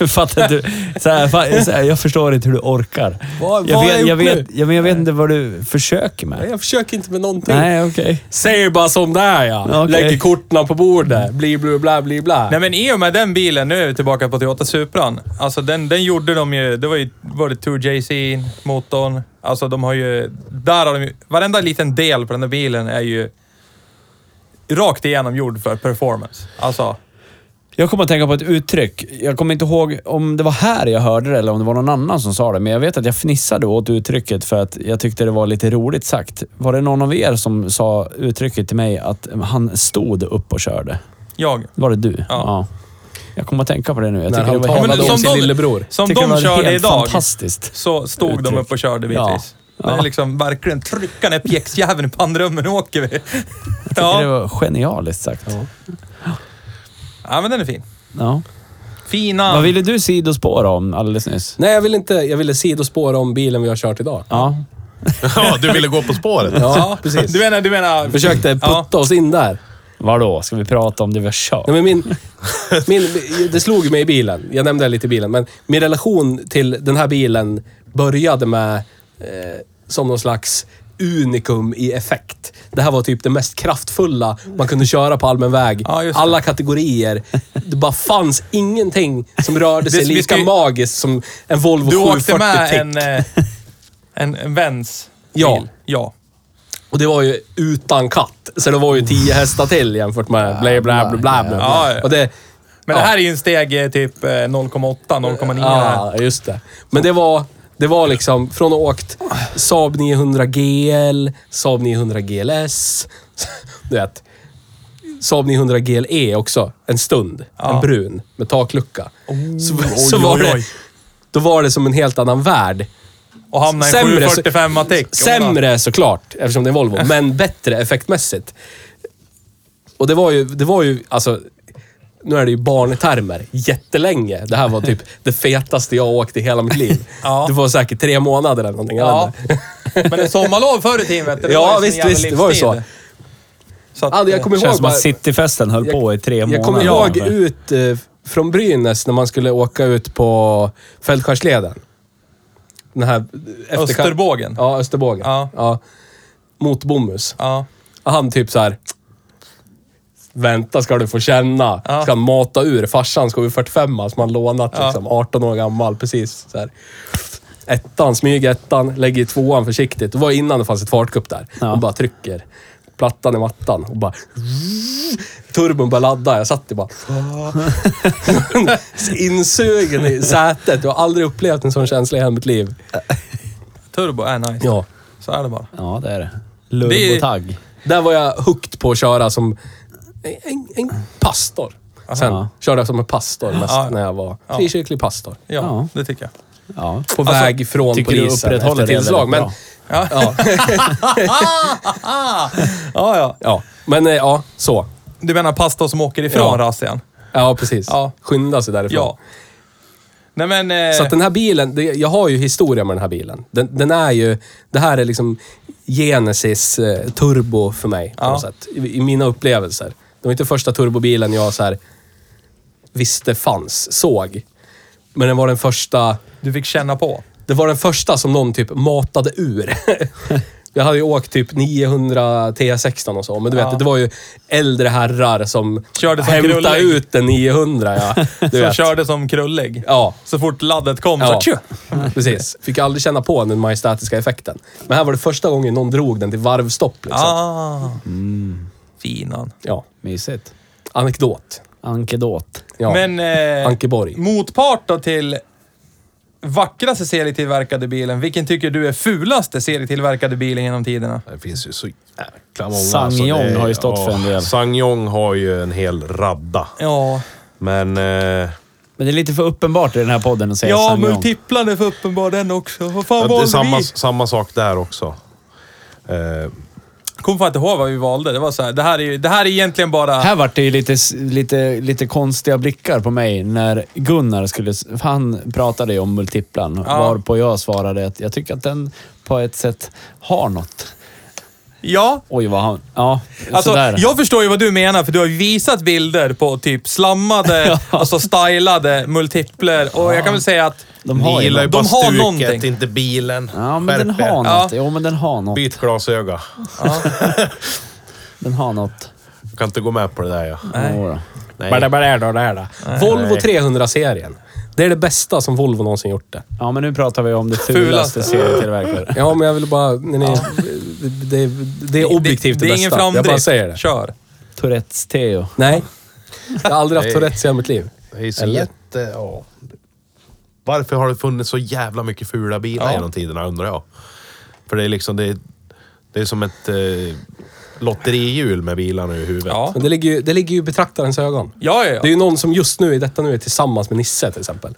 Speaker 1: Fattar du? Så här, fa- så här, jag förstår inte hur du orkar.
Speaker 2: Vad-
Speaker 1: jag,
Speaker 2: vad har jag
Speaker 1: vet,
Speaker 2: gjort
Speaker 1: jag,
Speaker 2: nu?
Speaker 1: vet, jag, men jag vet inte vad du försöker med.
Speaker 2: Jag försöker inte med någonting.
Speaker 1: Nej, okej.
Speaker 2: Säger bara som det är ja.
Speaker 1: Okej.
Speaker 2: Lägger korten på bordet. Bli bli bla bli bla.
Speaker 3: Nej men i och med den bilen, nu är vi tillbaka på Toyota Supran. Alltså den, den gjorde de ju, det var ju var det 2JC-motorn. Alltså de har ju, där har de ju, varenda liten del på den där bilen är ju rakt igenom gjord för performance. Alltså,
Speaker 1: Jag kommer att tänka på ett uttryck. Jag kommer inte ihåg om det var här jag hörde det eller om det var någon annan som sa det, men jag vet att jag fnissade åt uttrycket för att jag tyckte det var lite roligt sagt. Var det någon av er som sa uttrycket till mig att han stod upp och körde?
Speaker 3: jag.
Speaker 1: Var det du? Jag kommer att tänka på det nu. Jag tycker det
Speaker 2: han
Speaker 1: var
Speaker 2: talar
Speaker 1: helt,
Speaker 2: om
Speaker 1: jag
Speaker 2: sin
Speaker 3: de,
Speaker 2: lillebror.
Speaker 3: Som
Speaker 1: tycker det
Speaker 3: de
Speaker 1: var
Speaker 3: körde
Speaker 1: helt
Speaker 3: idag
Speaker 1: fantastiskt.
Speaker 3: så stod de
Speaker 1: uttryck.
Speaker 3: upp och körde
Speaker 1: Ja.
Speaker 3: bitvis. Det är liksom verkligen trycka ner pjäxjäveln i pannrummen, nu åker vi.
Speaker 1: Jag tycker
Speaker 3: Ja.
Speaker 1: det var genialiskt sagt. Ja.
Speaker 3: ja, men den är fin. Fina.
Speaker 1: Vad ville du sidospåra om alldeles nyss?
Speaker 2: Nej, jag vill inte. Jag ville sidospåra om bilen vi har kört idag.
Speaker 1: Ja.
Speaker 4: ja, du ville gå på spåret.
Speaker 2: Ja, precis.
Speaker 3: Du menar, du menar...
Speaker 2: Försökte putta oss in där.
Speaker 1: Vadå? Ska vi prata om det vi har kört?
Speaker 2: Nej, men min, min, det slog mig i bilen. Jag nämnde det lite i bilen, men min relation till den här bilen började med eh, som någon slags unikum i effekt. Det här var typ det mest kraftfulla man kunde köra på allmän väg.
Speaker 3: Ja, just det.
Speaker 2: Alla kategorier. Det bara fanns ingenting som rörde sig
Speaker 3: Det- vi
Speaker 2: lika
Speaker 3: ska ju-
Speaker 2: magiskt som en Volvo
Speaker 3: Du
Speaker 2: 740
Speaker 3: åkte med
Speaker 2: Tic.
Speaker 3: en, eh, en, en väns
Speaker 2: Ja.
Speaker 3: bil. Ja.
Speaker 2: Och det var ju utan katt. Så det var ju 10 hästar till jämfört med bla bla bla bla. bla, bla.
Speaker 3: Ja, ja.
Speaker 2: Och det,
Speaker 3: Men
Speaker 2: Ja.
Speaker 3: det här är ju en steg eh, typ eh, 0,8, 0,9.
Speaker 2: Ja, just det. Men det var, det var liksom från att ha åkt Saab 900 GL, Saab 900 GLS, du vet. Saab 900 GLE E också, en stund. En brun med taklucka. så, så
Speaker 3: oj,
Speaker 2: var
Speaker 3: oj,
Speaker 2: det,
Speaker 3: oj.
Speaker 2: då var det som en helt annan värld.
Speaker 3: Och hamnade i en
Speaker 2: Sämre, så-
Speaker 3: 745 tick.
Speaker 2: Sämre såklart, eftersom det är Volvo, men bättre effektmässigt. Och det var ju, det var ju alltså, nu är det ju barntermer, jättelänge. Det här var typ det fetaste jag åkt i hela mitt liv.
Speaker 3: Ja.
Speaker 2: Det var säkert tre månader eller någonting. jag
Speaker 3: Ja.
Speaker 2: vet inte.
Speaker 3: Men en sommarlov förr i tiden vet du, det var ju
Speaker 2: ja
Speaker 3: sån
Speaker 2: visst,
Speaker 3: jävla
Speaker 2: visst. Det var ju så.
Speaker 3: livsstil. så att,
Speaker 2: Ja, jag
Speaker 3: eh,
Speaker 2: kommer
Speaker 1: Det känns
Speaker 2: ihåg
Speaker 1: som att
Speaker 2: bara-
Speaker 1: cityfesten höll på i tre månader.
Speaker 2: Jag kommer
Speaker 1: Ja,
Speaker 2: ihåg
Speaker 1: ungefär.
Speaker 2: ut eh, från Brynäs när man skulle åka ut på Fältskärsleden. Den här... efter-
Speaker 3: Österbågen.
Speaker 2: Ja, Österbågen.
Speaker 3: Ja.
Speaker 2: Mot Bomhus.
Speaker 3: Ja.
Speaker 2: Och han typ så här. Vänta ska du få känna.
Speaker 3: Ja.
Speaker 2: Ska han mata ur. Farsan ska ur 45 som han lånat
Speaker 3: Ja.
Speaker 2: liksom. 18 år gammal, precis. Så här. Ettan, smyg ettan, lägger i tvåan försiktigt. Det var innan det fanns ett fartgupp där.
Speaker 1: Ja.
Speaker 2: Och bara trycker. Plattan i mattan och bara... Turbon bara ladda. Jag satt ju bara... Insugen i sätet. Jag har aldrig upplevt en sån känsla i hela mitt liv.
Speaker 3: Turbo är nice.
Speaker 2: Ja.
Speaker 3: Så är det bara.
Speaker 1: Ja, det är det.
Speaker 3: Det är-
Speaker 1: Lurbotagg.
Speaker 2: Där var jag hooked på att köra som en, en pastor. Sen
Speaker 1: Ja.
Speaker 2: körde jag som en pastor mest
Speaker 3: Ja.
Speaker 2: när jag var frikyrklig pastor.
Speaker 3: Ja, Alltså,
Speaker 1: Ja.
Speaker 3: det tycker jag.
Speaker 1: Ja.
Speaker 2: På väg från
Speaker 1: tycker du
Speaker 2: polisen
Speaker 1: upprätthåller
Speaker 2: efter
Speaker 1: det
Speaker 2: tillslag.
Speaker 1: väldigt
Speaker 2: Men,
Speaker 3: Ja.
Speaker 2: ja,
Speaker 3: Ja, ja.
Speaker 2: ja. men eh, ja, så.
Speaker 3: Du menar pastor som åker ifrån
Speaker 2: Ja.
Speaker 3: razzian?
Speaker 2: Ja, precis.
Speaker 3: Ja.
Speaker 2: Skynda sig därifrån.
Speaker 3: Ja. Nej men... Eh,
Speaker 2: Så att den här bilen, det, jag har ju historia med den här bilen. Den, den är ju, det här är liksom Genesis eh, turbo för mig på
Speaker 3: Ja.
Speaker 2: något sätt. I, I mina upplevelser. Det var inte första turbobilen jag så här visste fanns, såg. Men den var den första
Speaker 3: du fick känna på.
Speaker 2: Det var den första som någon typ matade ur. Jag hade ju åkt typ 900 T16 och så, men du vet,
Speaker 3: Ja.
Speaker 2: det var ju äldre herrar som
Speaker 3: Körde som
Speaker 2: hämtade
Speaker 3: krullig.
Speaker 2: ut den 900. Ja, du
Speaker 3: Som
Speaker 2: vet.
Speaker 3: körde som krullig.
Speaker 2: Ja.
Speaker 3: Så fort laddet kom så...
Speaker 2: Ja,
Speaker 3: Tju!
Speaker 2: precis. Fick aldrig känna på den majestätiska effekten. Men här var det första gången någon drog den till varvstopp. Liksom.
Speaker 3: Ah.
Speaker 2: Mm.
Speaker 3: Finan.
Speaker 2: Ja.
Speaker 1: Mysigt.
Speaker 2: Anekdot.
Speaker 1: Ankedot.
Speaker 2: Ja.
Speaker 3: Men eh,
Speaker 2: Ankeborg.
Speaker 3: motpart då till vackraste serietillverkade bilen. Vilken tycker du är fulaste serietillverkade bilen genom tiderna?
Speaker 4: Det finns ju så jäkla många.
Speaker 1: Sang
Speaker 4: det
Speaker 1: Yong
Speaker 4: är-
Speaker 1: har ju stått för en del.
Speaker 4: Sang Yong har ju en hel radda.
Speaker 3: Ja,
Speaker 4: Men... Eh,
Speaker 1: Men det är lite för uppenbart i den här podden att säga
Speaker 3: ja
Speaker 1: Ssangyong.
Speaker 3: multiplan är för uppenbar den också. Vad fan
Speaker 4: Ja, det är
Speaker 3: valde
Speaker 4: samma,
Speaker 3: vi?
Speaker 4: samma sak där också. Eh,
Speaker 3: Kommer fan inte ihåg vad vi valde. Det var så här, det här är, ju- det här är egentligen bara...
Speaker 1: Här vart det ju lite, lite, lite konstiga blickar på mig när Gunnar skulle... för Han pratade ju om multiplan,
Speaker 3: Ja.
Speaker 1: varpå jag svarade att jag tycker att den på ett sätt har något.
Speaker 3: Ja,
Speaker 1: Oj, vad han... Ja,
Speaker 3: Alltså,
Speaker 1: sådär.
Speaker 3: jag förstår ju vad du menar, för du har ju visat bilder på typ slammade, alltså stylade multipler. Och jag kan väl säga att...
Speaker 1: De
Speaker 4: ni
Speaker 1: har ju
Speaker 4: gillar ju
Speaker 3: något.
Speaker 1: något.
Speaker 4: Eh, bara
Speaker 3: De har
Speaker 4: stuket,
Speaker 3: någonting.
Speaker 4: inte bilen.
Speaker 1: Ja, men den
Speaker 4: Skärp
Speaker 1: har
Speaker 4: er.
Speaker 1: något.
Speaker 3: Ja.
Speaker 1: Jo, men den har något.
Speaker 4: Byt glasöga.
Speaker 3: Ja,
Speaker 1: Den har något.
Speaker 4: Jag kan inte gå med på det där. Ja.
Speaker 3: nej.
Speaker 1: Jodå.
Speaker 4: Nej.
Speaker 2: Bada, bada, bada, bada. Volvo 300-serien. Det är det bästa som Volvo någonsin gjort det.
Speaker 1: Ja, men nu pratar vi om det
Speaker 3: Fulaste.
Speaker 1: fulaste serietillverkare.
Speaker 2: Ja, men jag vill bara... Nej, nej, det, det, det är objektivt det,
Speaker 3: det, det är ingen
Speaker 2: bästa.
Speaker 3: framdrift.
Speaker 2: jag bara säger det.
Speaker 3: Kör.
Speaker 1: Tourettes Teo.
Speaker 2: Nej. Jag har aldrig haft
Speaker 4: Nej.
Speaker 2: Tourettes i hela mitt liv.
Speaker 4: Det är så
Speaker 2: Eller?
Speaker 4: jätte... Ja. Varför har det funnits så jävla mycket fula bilar genom tiderna undrar jag. För det är liksom... Det är, det är som ett eh, lotterihjul med bilarna i huvudet.
Speaker 3: Ja.
Speaker 2: Men det ligger ju, det ligger ju i betraktarens ögon.
Speaker 3: Ja, ja,
Speaker 2: Det är
Speaker 3: ja.
Speaker 2: ju någon som just nu i detta nu är tillsammans med Nisse till exempel.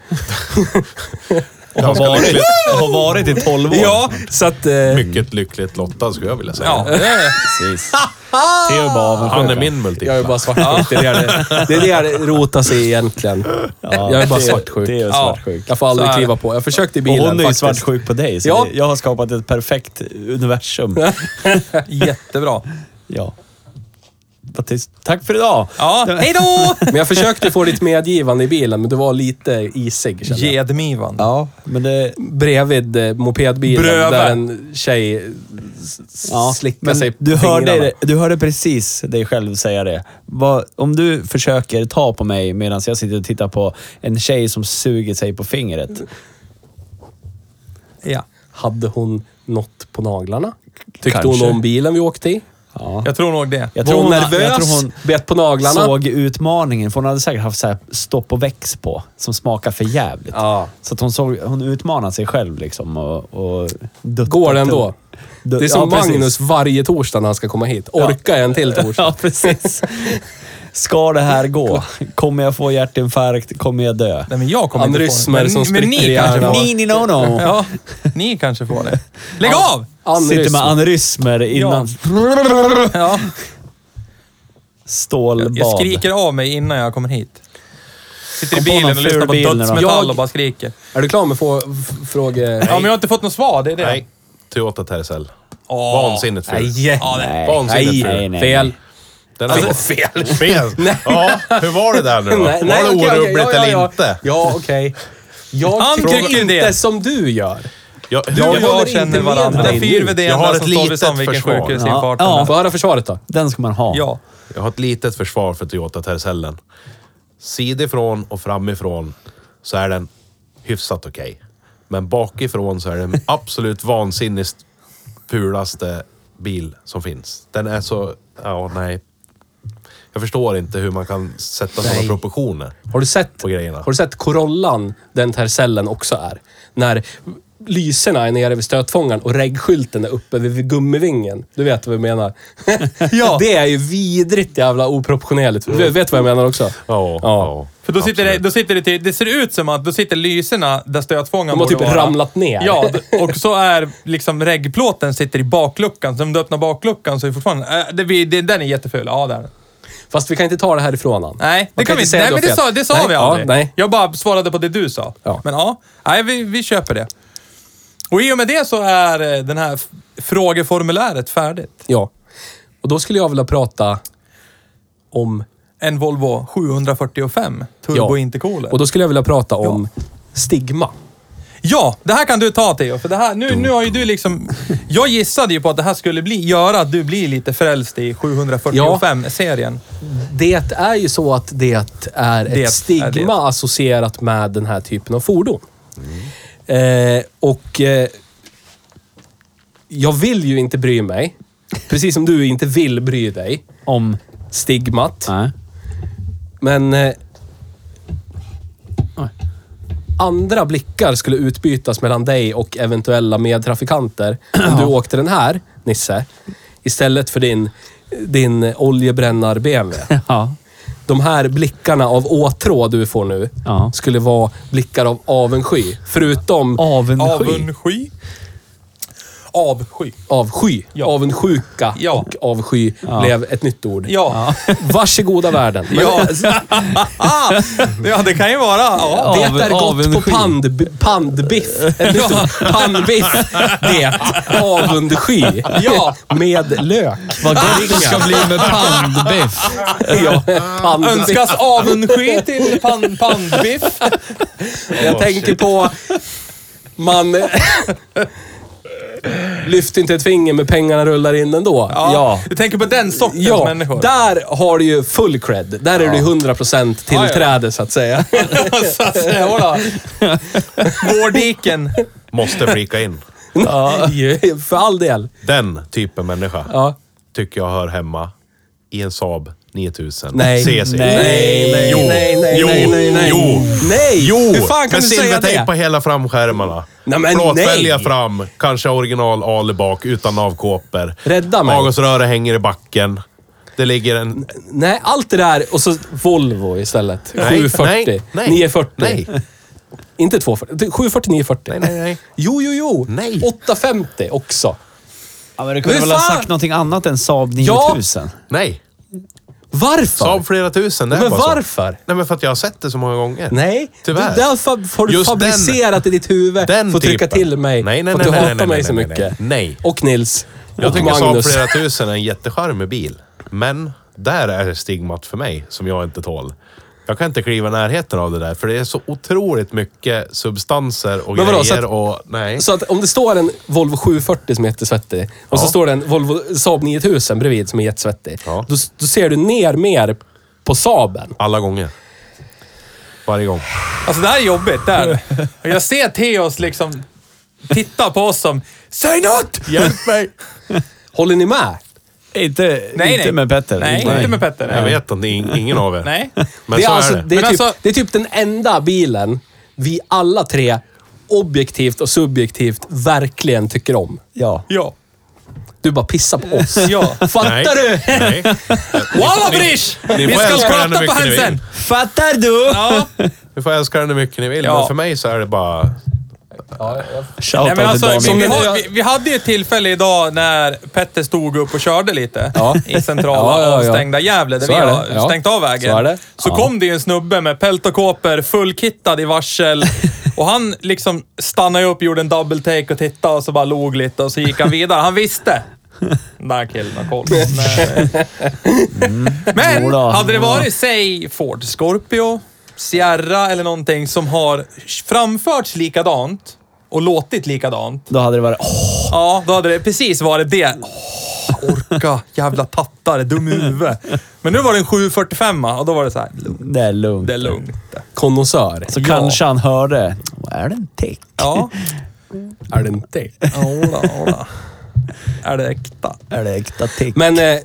Speaker 1: Och har varit, och har varit i 12 år.
Speaker 3: Ja,
Speaker 2: Så att... Eh,
Speaker 4: Mycket lyckligt lottad skulle jag vilja säga.
Speaker 3: ja. det är-
Speaker 1: Precis. Teo är bara avundsjuk.
Speaker 4: Han är min multipla.
Speaker 2: jag är bara svartsjuk. Det är det det är det det rotar sig egentligen. Jag är bara svartsjuk.
Speaker 1: Teo är svartsjuk.
Speaker 2: Jag får
Speaker 3: Så
Speaker 2: aldrig
Speaker 3: är
Speaker 2: kliva på. Jag försökte i
Speaker 1: Och
Speaker 2: bilen
Speaker 1: hon är ju
Speaker 2: faktiskt.
Speaker 1: svartsjuk på dig, så
Speaker 2: Ja.
Speaker 1: det- jag har skapat ett perfekt universum.
Speaker 3: jättebra.
Speaker 1: Ja. Vad tyst. Tack för idag!
Speaker 3: Ja, hej då!
Speaker 2: Men jag försökte få ditt medgivande i bilen, men du var lite isig kände jag.
Speaker 3: Gedmivan.
Speaker 1: Ja, men det...
Speaker 2: Bredvid eh, mopedbilen
Speaker 3: Bröve.
Speaker 2: där en tjej s- s-
Speaker 1: Ja,
Speaker 2: slickar
Speaker 1: men
Speaker 2: sig på
Speaker 1: du
Speaker 2: fingrarna.
Speaker 1: hörde, du hörde precis dig själv säga det. Vad, om du försöker ta på mig medan jag sitter och tittar på en tjej som suger sig på fingret.
Speaker 3: Ja.
Speaker 2: Hade hon något på naglarna? Tyckte
Speaker 1: Kanske.
Speaker 2: hon om bilen vi åkte i?
Speaker 1: Ja.
Speaker 3: Jag tror nog det.
Speaker 1: Jag
Speaker 2: Var
Speaker 1: tror
Speaker 2: hon
Speaker 1: hon-
Speaker 2: nervös?
Speaker 1: jag tror hon
Speaker 2: bet på naglarna?
Speaker 1: Såg utmaningen, för hon hade säkert haft så här stopp och väx på som smakar för jävligt.
Speaker 2: Ja.
Speaker 1: Så att hon, såg, hon utmanade sig själv liksom och... och duttade
Speaker 2: Går det
Speaker 1: tum-
Speaker 2: ändå?
Speaker 1: Du-
Speaker 2: Det är som
Speaker 1: ja, precis.
Speaker 2: Magnus varje torsdag när han ska komma hit. Orkar jag en till torsdag?
Speaker 1: Ja, precis. Ska det här gå? Kommer jag få hjärtinfarkt? Kommer jag dö?
Speaker 3: Nej, men jag kommer
Speaker 2: Anrysmer
Speaker 3: inte få
Speaker 2: som
Speaker 3: det. Men, men
Speaker 2: spricker
Speaker 3: ni
Speaker 2: i
Speaker 3: kanske
Speaker 2: hjärnan.
Speaker 3: får det.
Speaker 1: Ni, ni, no, no.
Speaker 3: Ja, ni kanske får det. Lägg av!
Speaker 1: Sitter med
Speaker 2: Anrysm.
Speaker 1: aneurysmer innan
Speaker 3: Ja,
Speaker 1: stålbad.
Speaker 3: jag skriker av mig innan jag kommer hit. Sitter i
Speaker 1: Kom på
Speaker 3: bilen
Speaker 1: någon
Speaker 3: och lyssnar
Speaker 1: ful
Speaker 3: på
Speaker 1: bil nu då.
Speaker 3: dödsmetall
Speaker 2: Jag-
Speaker 3: och bara skriker.
Speaker 2: Är du klar med få, f- fråge...
Speaker 3: Ja, men jag har inte fått något svar. Det är det.
Speaker 4: Nej. Toyota Tercel.
Speaker 3: Åh.
Speaker 4: Vansinnigt ful.
Speaker 3: Nej. Ja, det-
Speaker 1: Nej,
Speaker 4: Vansinnigt
Speaker 1: nej,
Speaker 4: ful.
Speaker 1: nej, nej.
Speaker 2: Fel.
Speaker 4: Den alltså, fel. fel. ja, hur var det där nu då?
Speaker 2: Nej,
Speaker 4: var
Speaker 2: nej,
Speaker 4: det
Speaker 2: okej, okej,
Speaker 4: orubbligt
Speaker 2: ja, ja, ja.
Speaker 4: eller inte?
Speaker 2: Ja, okej. Jag
Speaker 3: Han tycker
Speaker 2: tycker inte
Speaker 3: det.
Speaker 2: som du gör.
Speaker 4: Jag,
Speaker 3: Du och
Speaker 4: jag,
Speaker 2: håller
Speaker 3: jag
Speaker 2: inte
Speaker 3: känner
Speaker 2: med
Speaker 3: varandra.
Speaker 2: dig
Speaker 3: Det är fyra
Speaker 2: nu.
Speaker 4: Jag
Speaker 3: VD-andra
Speaker 4: har
Speaker 3: som
Speaker 4: ett
Speaker 3: står vid
Speaker 4: litet
Speaker 3: Sandvikens
Speaker 4: försvar.
Speaker 3: sjukhus
Speaker 1: Ja.
Speaker 3: infarten.
Speaker 1: Ja.
Speaker 3: Ja.
Speaker 2: Få höra försvaret då.
Speaker 1: Den ska man ha.
Speaker 3: ja.
Speaker 4: jag har ett litet försvar för Toyota Tercellen. Sidifrån och framifrån så är den hyfsat okej. Men bakifrån så är den absolut vansinnigt fulaste bil som finns. Den är så... Ja, nej. Jag förstår inte hur man kan sätta sådana
Speaker 2: Nej.
Speaker 4: proportioner.
Speaker 2: Har du sett,
Speaker 4: På grejerna.
Speaker 2: har du sett Corollan, den Tercellen också är? När lyserna är nere vid stötfångaren och reggskylten är uppe vid gummivingen. Du vet vad jag menar?
Speaker 3: Ja.
Speaker 2: Det är ju vidrigt jävla oproportionerligt. Du vet vad jag menar också?
Speaker 4: Ja, ja.
Speaker 3: För då sitter, det,
Speaker 4: absolut.
Speaker 3: då sitter det till, det ser ut som att då sitter lyserna där stötfångaren
Speaker 2: De har
Speaker 3: borde
Speaker 2: typ
Speaker 3: vara.
Speaker 2: ramlat ner.
Speaker 3: Ja, d- och så är liksom reggplåten sitter i bakluckan. Så om du öppnar bakluckan så är det fortfarande... Äh, det, vi- det, den är jätteful. Ja, där.
Speaker 2: Fast vi kan inte ta det härifrån än.
Speaker 3: Nej, det
Speaker 2: Man
Speaker 3: kan vi
Speaker 2: inte
Speaker 3: inte.
Speaker 2: säga
Speaker 3: Nej,
Speaker 2: att
Speaker 3: men
Speaker 2: du
Speaker 3: det
Speaker 2: har
Speaker 3: sa,
Speaker 2: fel.
Speaker 3: det sa
Speaker 2: nej,
Speaker 3: vi aldrig.
Speaker 2: Ja, nej.
Speaker 3: Jag bara svarade på det du sa.
Speaker 2: Ja.
Speaker 3: Men ja, nej, vi, vi köper det. Och i och med det så är eh, den här f- frågeformuläret färdigt.
Speaker 2: Ja. Och då skulle jag vilja prata om...
Speaker 3: En Volvo 745
Speaker 2: Ja.
Speaker 3: Turbo Intercooler.
Speaker 2: Och då skulle jag vilja prata om stigma.
Speaker 3: Ja, det här kan du ta Theo. För det här, nu, nu har ju du liksom... Jag gissade ju på att det här skulle bli, göra att du blir lite frälst i 745-serien.
Speaker 2: Det är ju så att det är ett
Speaker 3: Det är
Speaker 2: stigma
Speaker 3: det.
Speaker 2: associerat med den här typen av fordon. Eh, och eh, jag vill ju inte bry mig. Precis som du inte vill bry dig.
Speaker 1: Om...
Speaker 2: Stigmat.
Speaker 1: Nej.
Speaker 2: Men eh,
Speaker 1: Oj.
Speaker 2: andra blickar skulle utbytas mellan dig och eventuella medtrafikanter om du åkte den här, Nisse, istället för din, din oljebrännare-BMW.
Speaker 1: Ja.
Speaker 2: De här blickarna av åtrå du får nu
Speaker 1: Ja.
Speaker 2: skulle vara blickar av avundsky. Förutom...
Speaker 1: Avundsky.
Speaker 3: Avundsky. Avsky.
Speaker 2: Avsky.
Speaker 3: Ja.
Speaker 2: Avundsjuka
Speaker 3: Ja.
Speaker 2: och avsky blev ett nytt ord.
Speaker 3: Ja.
Speaker 2: Varsågoda världen. Men
Speaker 3: Ja. ja, det kan ju vara. Ja.
Speaker 2: Det
Speaker 5: Av-
Speaker 2: är gott på
Speaker 5: avundsky.
Speaker 2: pandb- pandbiff. Ett nytt ord. Pandbiff. Det. Avundsky.
Speaker 3: Ja.
Speaker 2: Med lök.
Speaker 5: Vad gott det ska bli med pandbiff.
Speaker 2: Ja, pandbiff.
Speaker 3: Önskas avundsky till pan- pandbiff.
Speaker 2: Jag tänker på... Man... Lyft inte ett finger, men pengarna rullar in ändå.
Speaker 1: Ja.
Speaker 3: Du tänker på den sortens
Speaker 2: Ja,
Speaker 3: människor.
Speaker 2: där har du ju full cred. Där är du 100% tillträde, så att säga.
Speaker 3: så att säga. Jodå. Vårdiken.
Speaker 4: Måste flika in.
Speaker 2: Ja. För all del.
Speaker 4: Den typen människa
Speaker 2: Ja.
Speaker 4: tycker jag hör hemma i en Saab 9000
Speaker 2: Nej.
Speaker 4: CC.
Speaker 2: Nej, nej,
Speaker 4: Jo.
Speaker 2: nej, nej,
Speaker 4: jo.
Speaker 2: nej, nej, nej.
Speaker 4: Jo.
Speaker 2: Nej!
Speaker 4: Jo!
Speaker 2: Hur fan kan
Speaker 4: Med
Speaker 2: du säga
Speaker 4: silvertejp
Speaker 2: det?
Speaker 4: på hela framskärmarna.
Speaker 2: Nej, men
Speaker 4: Plåtfälgar
Speaker 2: nej.
Speaker 4: fram, kanske original Ale bak utan navkåpor.
Speaker 2: Rädda mig.
Speaker 4: Avgasröret hänger i backen. Det ligger en...
Speaker 2: Nej, allt det där och så Volvo istället.
Speaker 4: Nej,
Speaker 2: 740.
Speaker 4: nej, nej.
Speaker 2: 940.
Speaker 4: Nej.
Speaker 2: Inte 240. 740, 940.
Speaker 4: Nej, nej, nej.
Speaker 2: Jo, jo, jo.
Speaker 4: Nej.
Speaker 2: 850 också.
Speaker 1: Ja, men du kunde
Speaker 2: Hur
Speaker 1: väl ha
Speaker 2: fan?
Speaker 1: sagt någonting annat än Saab
Speaker 2: Ja.
Speaker 1: 9000?
Speaker 4: Nej.
Speaker 2: Varför?
Speaker 4: Saab flera tusen. Det är
Speaker 2: Men
Speaker 4: bara så.
Speaker 2: varför?
Speaker 4: Nej, men för att jag har sett det så många gånger.
Speaker 2: Nej,
Speaker 4: Tyvärr.
Speaker 2: Det där fab- har du
Speaker 4: Just den-
Speaker 2: fabricerat i ditt huvud.
Speaker 4: den
Speaker 2: får trycka
Speaker 4: typen.
Speaker 2: till mig.
Speaker 4: Nej, nej,
Speaker 2: för att
Speaker 4: nej,
Speaker 2: du
Speaker 4: nej,
Speaker 2: hatar
Speaker 4: nej,
Speaker 2: mig
Speaker 4: nej,
Speaker 2: så
Speaker 4: nej,
Speaker 2: mycket.
Speaker 4: nej. Nej.
Speaker 2: Och Nils.
Speaker 4: Jag
Speaker 2: och
Speaker 4: tycker Saab
Speaker 2: Magnus.
Speaker 4: flera tusen är en jättecharmig bil. Men där är det stigmat för mig som jag inte tål. Jag kan inte kliva i närheten av det där, för det är så otroligt mycket substanser och
Speaker 2: Men vadå, så
Speaker 4: grejer
Speaker 2: att-
Speaker 4: och... Nej.
Speaker 2: Så att om det står en Volvo 740 som är jättesvettig och så
Speaker 4: Ja.
Speaker 2: står det en Volvo Saab 9000 bredvid som är jättesvettig.
Speaker 4: Ja.
Speaker 2: Då, då ser du ner mer på Saaben.
Speaker 4: Alla gånger. Varje gång.
Speaker 3: Alltså det här är jobbigt. Det här. Och Jag ser Theos liksom titta på oss som Säg något! Hjälp mig!
Speaker 2: Håller ni med?
Speaker 1: Inte,
Speaker 3: Nej,
Speaker 1: inte
Speaker 3: nej.
Speaker 1: med Petter.
Speaker 3: Nej, inte med Petter.
Speaker 4: Jag
Speaker 3: Nej.
Speaker 4: vet att det är ing- ingen av er.
Speaker 3: Nej.
Speaker 4: Men
Speaker 2: Eh. det, är
Speaker 4: så
Speaker 2: alltså,
Speaker 4: är det.
Speaker 2: det, är
Speaker 3: Men
Speaker 2: typ,
Speaker 3: alltså-
Speaker 2: det är typ den enda bilen vi alla tre objektivt och subjektivt verkligen tycker om.
Speaker 1: Ja.
Speaker 3: Ja.
Speaker 2: Du bara pissar på oss.
Speaker 3: Ja.
Speaker 4: Nej.
Speaker 2: Fattar du?
Speaker 4: Nej.
Speaker 3: Walla Brish! Vi
Speaker 4: får
Speaker 3: ska
Speaker 4: älska den
Speaker 3: skratta
Speaker 4: hur
Speaker 3: på
Speaker 4: mycket ni vill.
Speaker 3: Hansen!
Speaker 1: Fattar du?
Speaker 3: Ja.
Speaker 4: Ni får älska den hur mycket ni vill,
Speaker 3: Ja.
Speaker 4: men för mig så är det bara...
Speaker 3: Nej,
Speaker 1: Shoutout
Speaker 3: men alltså,
Speaker 1: till
Speaker 3: vi,
Speaker 1: Daniel.
Speaker 3: vi, har- vi, vi hade ju ett tillfälle idag när Petter stod upp och körde lite
Speaker 2: Ja.
Speaker 3: i centrala
Speaker 2: Ja, ja, ja.
Speaker 3: avstängda Gävle där
Speaker 2: Så
Speaker 3: vi
Speaker 2: är det.
Speaker 3: har
Speaker 2: Ja.
Speaker 3: stängt av vägen.
Speaker 2: Så är det.
Speaker 3: Så
Speaker 2: Ja.
Speaker 3: kom det ju en snubbe med pält och kåpor, fullkittad i varsel. Och han liksom stannade upp, gjorde en double take och tittade och så bara log lite och så gick han vidare. Han visste. Den där killen har koll. eh, Men
Speaker 1: Jodå.
Speaker 3: hade det varit, säg Ford Scorpio, Sierra eller någonting som har framförts likadant och låtit likadant.
Speaker 1: Då hade det varit... Åh,
Speaker 3: Ja, då hade det precis varit det. Åh, orka, jävla tattare, dum i huvudet. Men nu var det en 745 och då var det så här, lugnt,
Speaker 1: det är lugnt.
Speaker 3: det är lugnt.
Speaker 2: Konnässör.
Speaker 3: Alltså,
Speaker 1: Så kanske han hörde... Är det en tick?
Speaker 3: Ja,
Speaker 2: Är det inte?
Speaker 3: ola, ola. Är det äkta?
Speaker 1: Är det äkta tick?
Speaker 2: Men eh,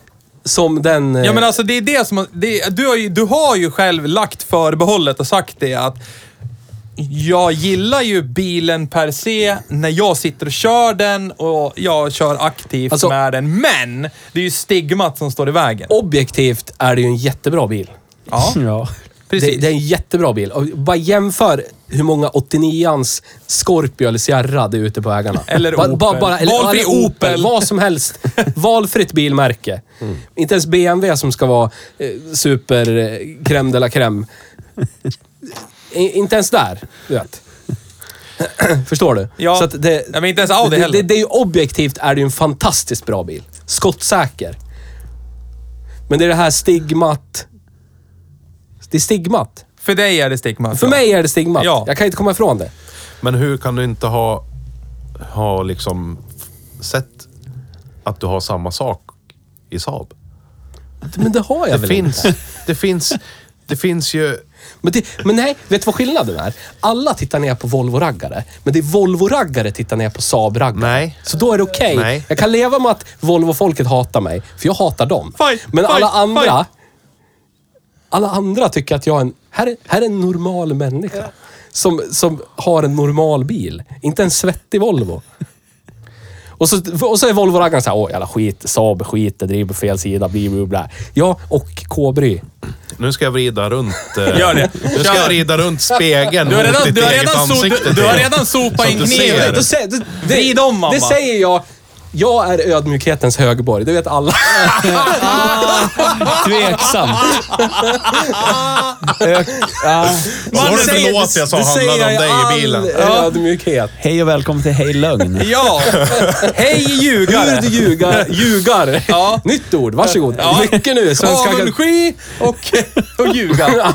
Speaker 2: som den... Eh,
Speaker 3: Ja, men alltså det är det som... Det, du, har ju, du har ju själv lagt förbehållet och sagt det att jag gillar ju bilen per se när jag sitter och kör den och jag kör aktivt
Speaker 2: Alltså-
Speaker 3: med den. Men det är ju stigmat som står i vägen.
Speaker 2: objektivt är det ju en jättebra bil.
Speaker 3: Ja,
Speaker 1: Ja.
Speaker 3: precis.
Speaker 2: Det, det är en jättebra bil. Och bara jämför hur många 89ans Scorpio eller Sierra det är ute på vägarna.
Speaker 3: Eller Opel. Valfri
Speaker 2: Valfri Opel.
Speaker 3: Opel. Mm.
Speaker 2: Vad som helst. Valfritt bilmärke. Inte ens BMW som ska vara eh, super eh, crème de la crème. I, inte ens där, du vet. Förstår du?
Speaker 3: Ja.
Speaker 2: Så att det,
Speaker 3: Nej, men inte ens Audi
Speaker 2: det,
Speaker 3: heller.
Speaker 2: det, det är ju objektivt är det ju en fantastiskt bra bil. Skottsäker. Men det är det här stigmat. Det är stigmat.
Speaker 3: För dig är det stigmat.
Speaker 2: För
Speaker 3: ja.
Speaker 2: mig är det stigmat.
Speaker 3: Ja.
Speaker 2: Jag kan inte komma ifrån det.
Speaker 4: Men hur kan du inte ha, ha liksom sett att du har samma sak i Saab?
Speaker 2: Men det har jag
Speaker 4: Det
Speaker 2: väl
Speaker 4: finns,
Speaker 2: inte.
Speaker 4: det finns, det finns ju...
Speaker 2: Men, det, men nej, vet du vad skillnaden är? Alla tittar ner på Volvo-raggare, men det är Volvo-raggare tittar ner på Saab-raggare.
Speaker 4: Nej.
Speaker 2: Så då är det okej.
Speaker 4: Nej.
Speaker 2: Jag kan leva med att Volvo-folket hatar mig, för jag hatar dem.
Speaker 3: Fight,
Speaker 2: men alla
Speaker 3: fight,
Speaker 2: andra...
Speaker 3: fight.
Speaker 2: Alla andra tycker att jag är en... Här är, här är en normal människa. Som, som har en normal bil. Inte en svettig Volvo. Och så, och så är Volvo-raggaren såhär, åh jävla skit, Saab är skit, det driver på fel sida, bli bli bla. Ja, och K-bry.
Speaker 4: Nu ska jag vrida runt... eh,
Speaker 5: Gör det.
Speaker 4: Nu ska
Speaker 5: Kör.
Speaker 4: jag vrida runt spegeln
Speaker 5: Du har
Speaker 4: mot
Speaker 5: redan,
Speaker 4: ditt
Speaker 5: du har
Speaker 4: eget
Speaker 5: redan, so,
Speaker 4: ansikte.
Speaker 5: du, du har
Speaker 4: Theo.
Speaker 5: redan sopat in
Speaker 4: att du ser
Speaker 5: kniven.
Speaker 4: det.
Speaker 2: sä- det,
Speaker 5: Vrid om, mamma.
Speaker 2: Det säger jag. Jag är ödmjukhetens högborg, det vet alla.
Speaker 1: Tveksamt. Ök- ja.
Speaker 4: Var det
Speaker 2: säger-
Speaker 4: förlåt jag sa
Speaker 2: det
Speaker 4: handlade
Speaker 2: säger
Speaker 4: om
Speaker 2: jag
Speaker 4: dig i bilen?
Speaker 2: all ödmjukhet.
Speaker 1: Hej och välkommen till Hej Lögn.
Speaker 3: Ja! Hej ljugare!
Speaker 2: Gud ljugar. ljugar.
Speaker 3: Ja.
Speaker 2: Nytt ord, varsågod. Mycket nu. Svenska...
Speaker 3: Avundsky och, och ljuga.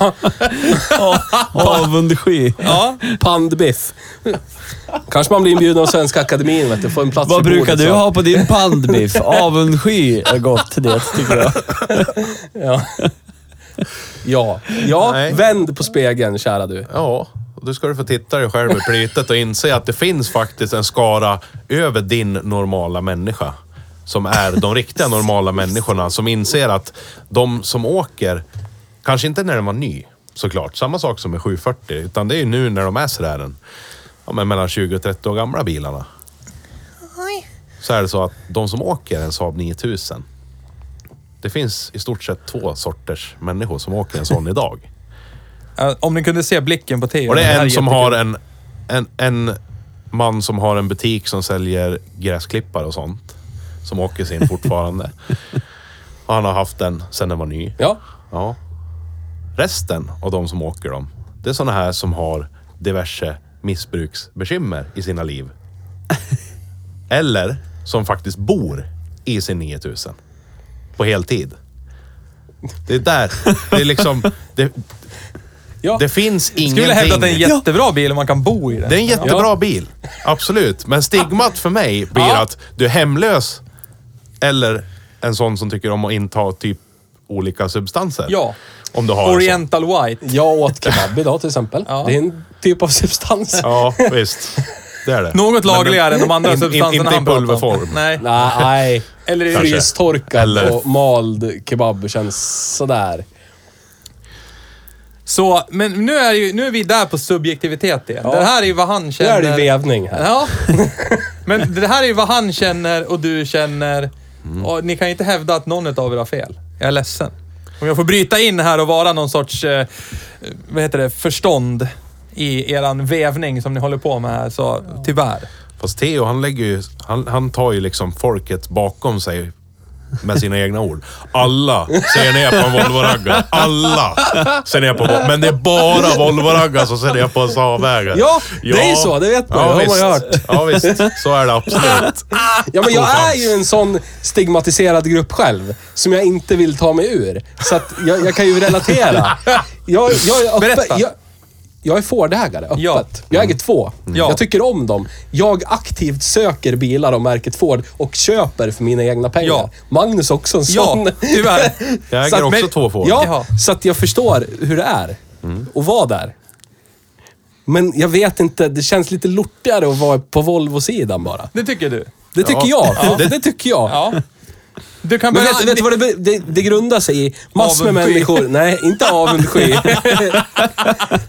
Speaker 1: Avundsky.
Speaker 3: Ja.
Speaker 2: Pandbiff. Kanske man blir inbjuden av Svenska Akademin, vet du. Får en plats
Speaker 1: Vad
Speaker 2: vid
Speaker 1: brukar
Speaker 2: bordet,
Speaker 1: du
Speaker 2: så.
Speaker 1: ha på din pandbiff? Avundsky är gott till det, tycker jag.
Speaker 2: Ja. Ja, ja
Speaker 4: Nej.
Speaker 2: vänd på spegeln, kära du.
Speaker 4: Ja, och då ska du få titta dig själv i plytet och inse att det finns faktiskt en skara över din normala människa. Som är de riktiga normala människorna som inser att de som åker, kanske inte när den var ny såklart, samma sak som med 740, utan det är ju nu när de är sådär en, ja, men mellan 20 och 30 år gamla bilarna. Så är det så att de som åker en Saab 9000, det finns i stort sett två sorters människor som åker en sån idag.
Speaker 3: Eh, Om ni kunde se blicken på Theo.
Speaker 4: Och det är
Speaker 3: här
Speaker 4: en som
Speaker 3: jättekul.
Speaker 4: har en, en, en man som har en butik som säljer gräsklippare och sånt. Som åker sin fortfarande. och han har haft den sedan den var ny.
Speaker 2: Ja.
Speaker 4: Ja. Resten av de som åker dem, det är såna här som har diverse missbruksbekymmer i sina liv. Eller som faktiskt bor i sin 9000. På heltid. Det är där. Det är liksom... Det,
Speaker 2: Ja.
Speaker 4: det finns ingenting.
Speaker 3: Skulle hävda att det är en jättebra bil om man kan bo i den.
Speaker 4: Det är en jättebra bil. Absolut. Men stigmat för mig blir
Speaker 2: Ja.
Speaker 4: att du är hemlös. Eller en sån som tycker om att inta typ olika substanser.
Speaker 3: Ja.
Speaker 4: Om du har en sån.
Speaker 3: Oriental White.
Speaker 2: Jag åt kebab idag till exempel.
Speaker 3: Ja.
Speaker 2: Det är en typ av substans.
Speaker 4: Ja, visst. Det är det.
Speaker 3: Något lagligare än de andra
Speaker 4: in- in-
Speaker 3: substanserna
Speaker 4: inte i
Speaker 3: han pratar om.
Speaker 4: pulverform.
Speaker 3: Nej.
Speaker 2: Nej, nej. Eller
Speaker 3: i-
Speaker 2: frystorkad
Speaker 4: Eller-
Speaker 2: och mald kebab känns sådär.
Speaker 3: Så, men nu är, ju, nu är vi där på subjektivitet igen.
Speaker 2: Ja.
Speaker 3: Det här är ju vad han
Speaker 2: Nu
Speaker 3: känner.
Speaker 2: är det vevning här.
Speaker 3: Ja. Men det här är ju vad han känner och du känner.
Speaker 4: Mm.
Speaker 3: Och ni kan ju inte hävda att någon av er har fel. Jag är ledsen. Om jag får bryta in här och vara någon sorts, eh, vad heter det, förstånd i eran vävning som ni håller på med här, så tyvärr.
Speaker 4: Fast Theo, han, lägger ju, han, han tar ju liksom folket bakom sig med sina egna ord. Alla ser ner på en Volvo-raggare. Alla ser ner på Men det är bara Volvo-raggare som ser ner på en Saab-ägare.
Speaker 2: Ja, det är ju så. Det vet man ju.
Speaker 4: ja,
Speaker 2: Har man ju
Speaker 4: visst.
Speaker 2: hört.
Speaker 4: Ja, visst. Så är det absolut.
Speaker 2: Ja, men jag är ju en sån stigmatiserad grupp själv, som jag inte vill ta mig ur. Så att jag, jag kan ju relatera. Jag, jag, är öppet,
Speaker 3: Berätta.
Speaker 2: jag, jag är Fordägare, öppet.
Speaker 3: Ja.
Speaker 2: Jag äger två.
Speaker 4: Mm.
Speaker 3: Ja.
Speaker 2: Jag tycker om dem. Jag aktivt söker bilar av märket Ford och köper för mina egna pengar.
Speaker 3: Ja.
Speaker 2: Magnus också en sån.
Speaker 3: Ja, tyvärr.
Speaker 4: Jag äger
Speaker 2: Så att-
Speaker 4: också
Speaker 3: men-
Speaker 4: två får.
Speaker 2: Ja,
Speaker 3: Jaha.
Speaker 2: så att jag förstår hur det är.
Speaker 4: Mm.
Speaker 2: Och vad där. Men jag vet inte, det känns lite lortigare att vara på Volvo-sidan bara.
Speaker 3: Det tycker du.
Speaker 2: Det tycker
Speaker 4: Ja.
Speaker 2: jag. Det, det tycker jag.
Speaker 3: Ja. Du kan
Speaker 2: Men
Speaker 3: börja...
Speaker 2: vet, vet du vad det, be- det, det grundar sig i? Massor med
Speaker 3: Avundsky.
Speaker 2: människor. Nej, inte avundsky.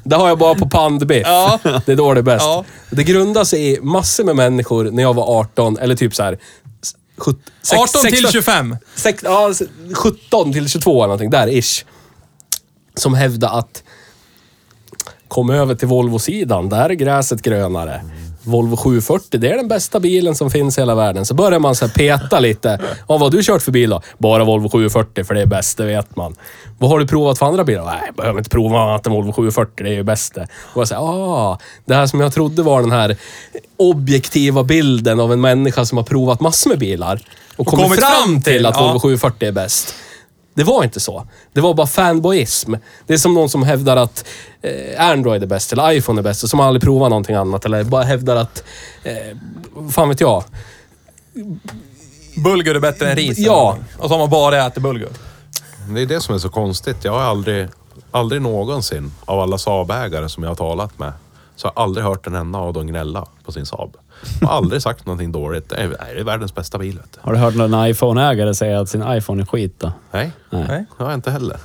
Speaker 2: det har jag bara på pandbiff.
Speaker 3: Ja.
Speaker 2: Det är då det är bäst.
Speaker 3: Ja.
Speaker 2: Det grundar sig i massor med människor när jag var 18, eller typ så här... 17,
Speaker 3: 18 till 25.
Speaker 2: sex, ja, s- 17 till 22 eller någonting, där ish. Som hävdade att kom över till Volvo-sidan, där är gräset grönare. Volvo 740, det är den bästa bilen som finns i hela världen. Så börjar man så här peta lite. Ja, vad har du kört för bil då? Bara Volvo 740, för det är bäst, det vet man. Vad har du provat för andra bilar? Nej, jag behöver inte prova annat än Volvo 740, det är ju bäst det. Och jag säger, ah, det här som jag trodde var den här objektiva bilden av en människa som har provat massor med bilar. Och, kommit,
Speaker 3: kommit
Speaker 2: fram,
Speaker 3: fram till,
Speaker 2: till att
Speaker 3: ja.
Speaker 2: Volvo 740 är bäst. Det var inte så. Det var bara fanboyism. Det är som någon som hävdar att eh, Android är bäst, eller iPhone är bäst, och som aldrig provar någonting annat. Eller bara hävdar att... Eh, fan vet jag.
Speaker 3: Bulgur är bättre än ris.
Speaker 2: Ja.
Speaker 3: Och så har man bara ätit bulgur.
Speaker 4: Det är det som är så konstigt. Jag har aldrig, aldrig någonsin, av alla Saab-ägare som jag har talat med, så har jag aldrig hört en enda av dem gnälla på sin Saab. Jag har aldrig sagt någonting dåligt. Det är, nej, det är världens bästa bil, vet du.
Speaker 1: Har du hört någon iPhone-ägare säga att sin iPhone är skit då?
Speaker 4: Nej,
Speaker 1: Nej.
Speaker 4: det har jag inte heller.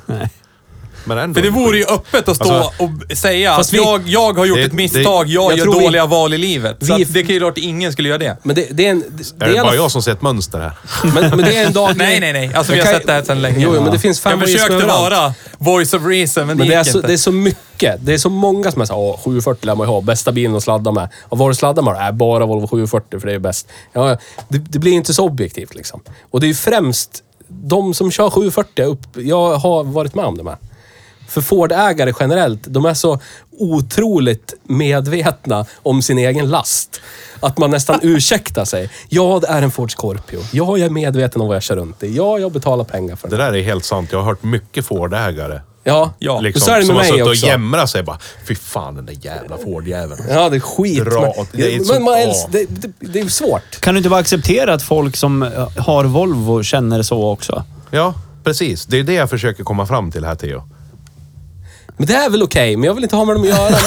Speaker 4: Men ändå.
Speaker 3: För det vore ju öppet att stå
Speaker 4: Alltså-
Speaker 3: och säga att
Speaker 2: Fast vi-
Speaker 3: jag, jag har gjort
Speaker 4: det-
Speaker 3: ett misstag,
Speaker 4: det-
Speaker 3: jag,
Speaker 2: jag
Speaker 3: gör
Speaker 2: tror vi-
Speaker 3: dåliga val i livet. Så
Speaker 2: Vi-
Speaker 3: att det kan ju klart ingen skulle göra det.
Speaker 2: Men det, det är en... Det,
Speaker 4: Är det,
Speaker 2: i alla
Speaker 4: bara
Speaker 2: fall-
Speaker 4: jag som ser ett mönster här?
Speaker 2: Men, men det är en daglig...
Speaker 3: Nej, nej, nej. Alltså, vi
Speaker 2: Jag
Speaker 3: har
Speaker 2: kan-
Speaker 3: sett det här sedan länge.
Speaker 2: Jo, jo, men det finns
Speaker 3: Jag
Speaker 2: fem
Speaker 3: försökte vara voice of reason, men,
Speaker 2: Men
Speaker 3: det
Speaker 2: det är,
Speaker 3: gick
Speaker 2: så,
Speaker 3: inte.
Speaker 2: det är så mycket. Det är så många som är såhär, "Åh, 740 lär man ju ha. Bästa bilen att sladda med. Och vad har du sladdat med då? Äh, bara Volvo 740 för det är bäst. Ja, ja. det, det blir inte så objektivt liksom. Och det är ju främst de som kör 740 upp. Jag har varit med om det med. För Ford-ägare generellt, de är så otroligt medvetna om sin egen last. Att man nästan ursäktar sig. Ja, det är en Ford Scorpio. Ja, jag är medveten om vad jag kör runt i. Ja, jag betalar pengar för
Speaker 4: Det
Speaker 2: det.
Speaker 4: där är helt sant. Jag har hört mycket Ford-ägare. liksom,
Speaker 2: Ja,
Speaker 3: Ja,
Speaker 2: och så är det med
Speaker 4: som har
Speaker 2: mig
Speaker 4: suttit och
Speaker 2: också.
Speaker 4: jämrat sig bara. Fy fan den där jävla Ford-jäveln.
Speaker 2: Ja, det är skit.
Speaker 4: Dra
Speaker 2: men
Speaker 4: åt- det är så-
Speaker 2: men man
Speaker 4: ja.
Speaker 2: älskar, det, det, det är svårt.
Speaker 1: Kan du inte bara acceptera att folk som eh, har Volvo känner så också?
Speaker 4: Ja, precis. Det är det jag försöker komma fram till här, Theo.
Speaker 2: Men det är väl okej, men jag vill inte ha med dem att göra.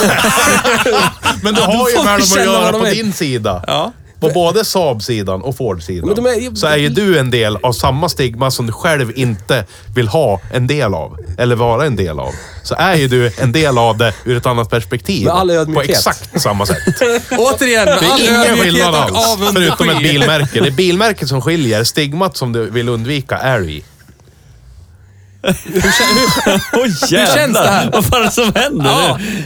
Speaker 4: Men du har ju
Speaker 2: får
Speaker 4: med dem att
Speaker 2: känna vad
Speaker 4: göra
Speaker 2: de
Speaker 4: på
Speaker 2: är.
Speaker 4: din sida.
Speaker 3: Ja.
Speaker 4: På både Saab-sidan och Ford-sidan.
Speaker 2: Men de är ju-
Speaker 4: Så är ju du en del av samma stigma som du själv inte vill ha en del av. Eller vara en del av. Så är ju du en del av det ur ett annat perspektiv.
Speaker 2: Med all
Speaker 4: på
Speaker 2: ödmjukhet.
Speaker 4: exakt samma sätt.
Speaker 3: Återigen,
Speaker 4: Det
Speaker 3: all
Speaker 4: är ingen
Speaker 3: ödmjukhet
Speaker 4: skillnad
Speaker 3: och
Speaker 4: alls.
Speaker 3: avundsjuka.
Speaker 4: Förutom ett bilmärke. Det är bilmärket som skiljer. Stigmat som du vill undvika är i.
Speaker 1: Oj, jävlar!
Speaker 3: känns det här?
Speaker 1: Vad fan är det som händer
Speaker 3: Ja.
Speaker 1: nu?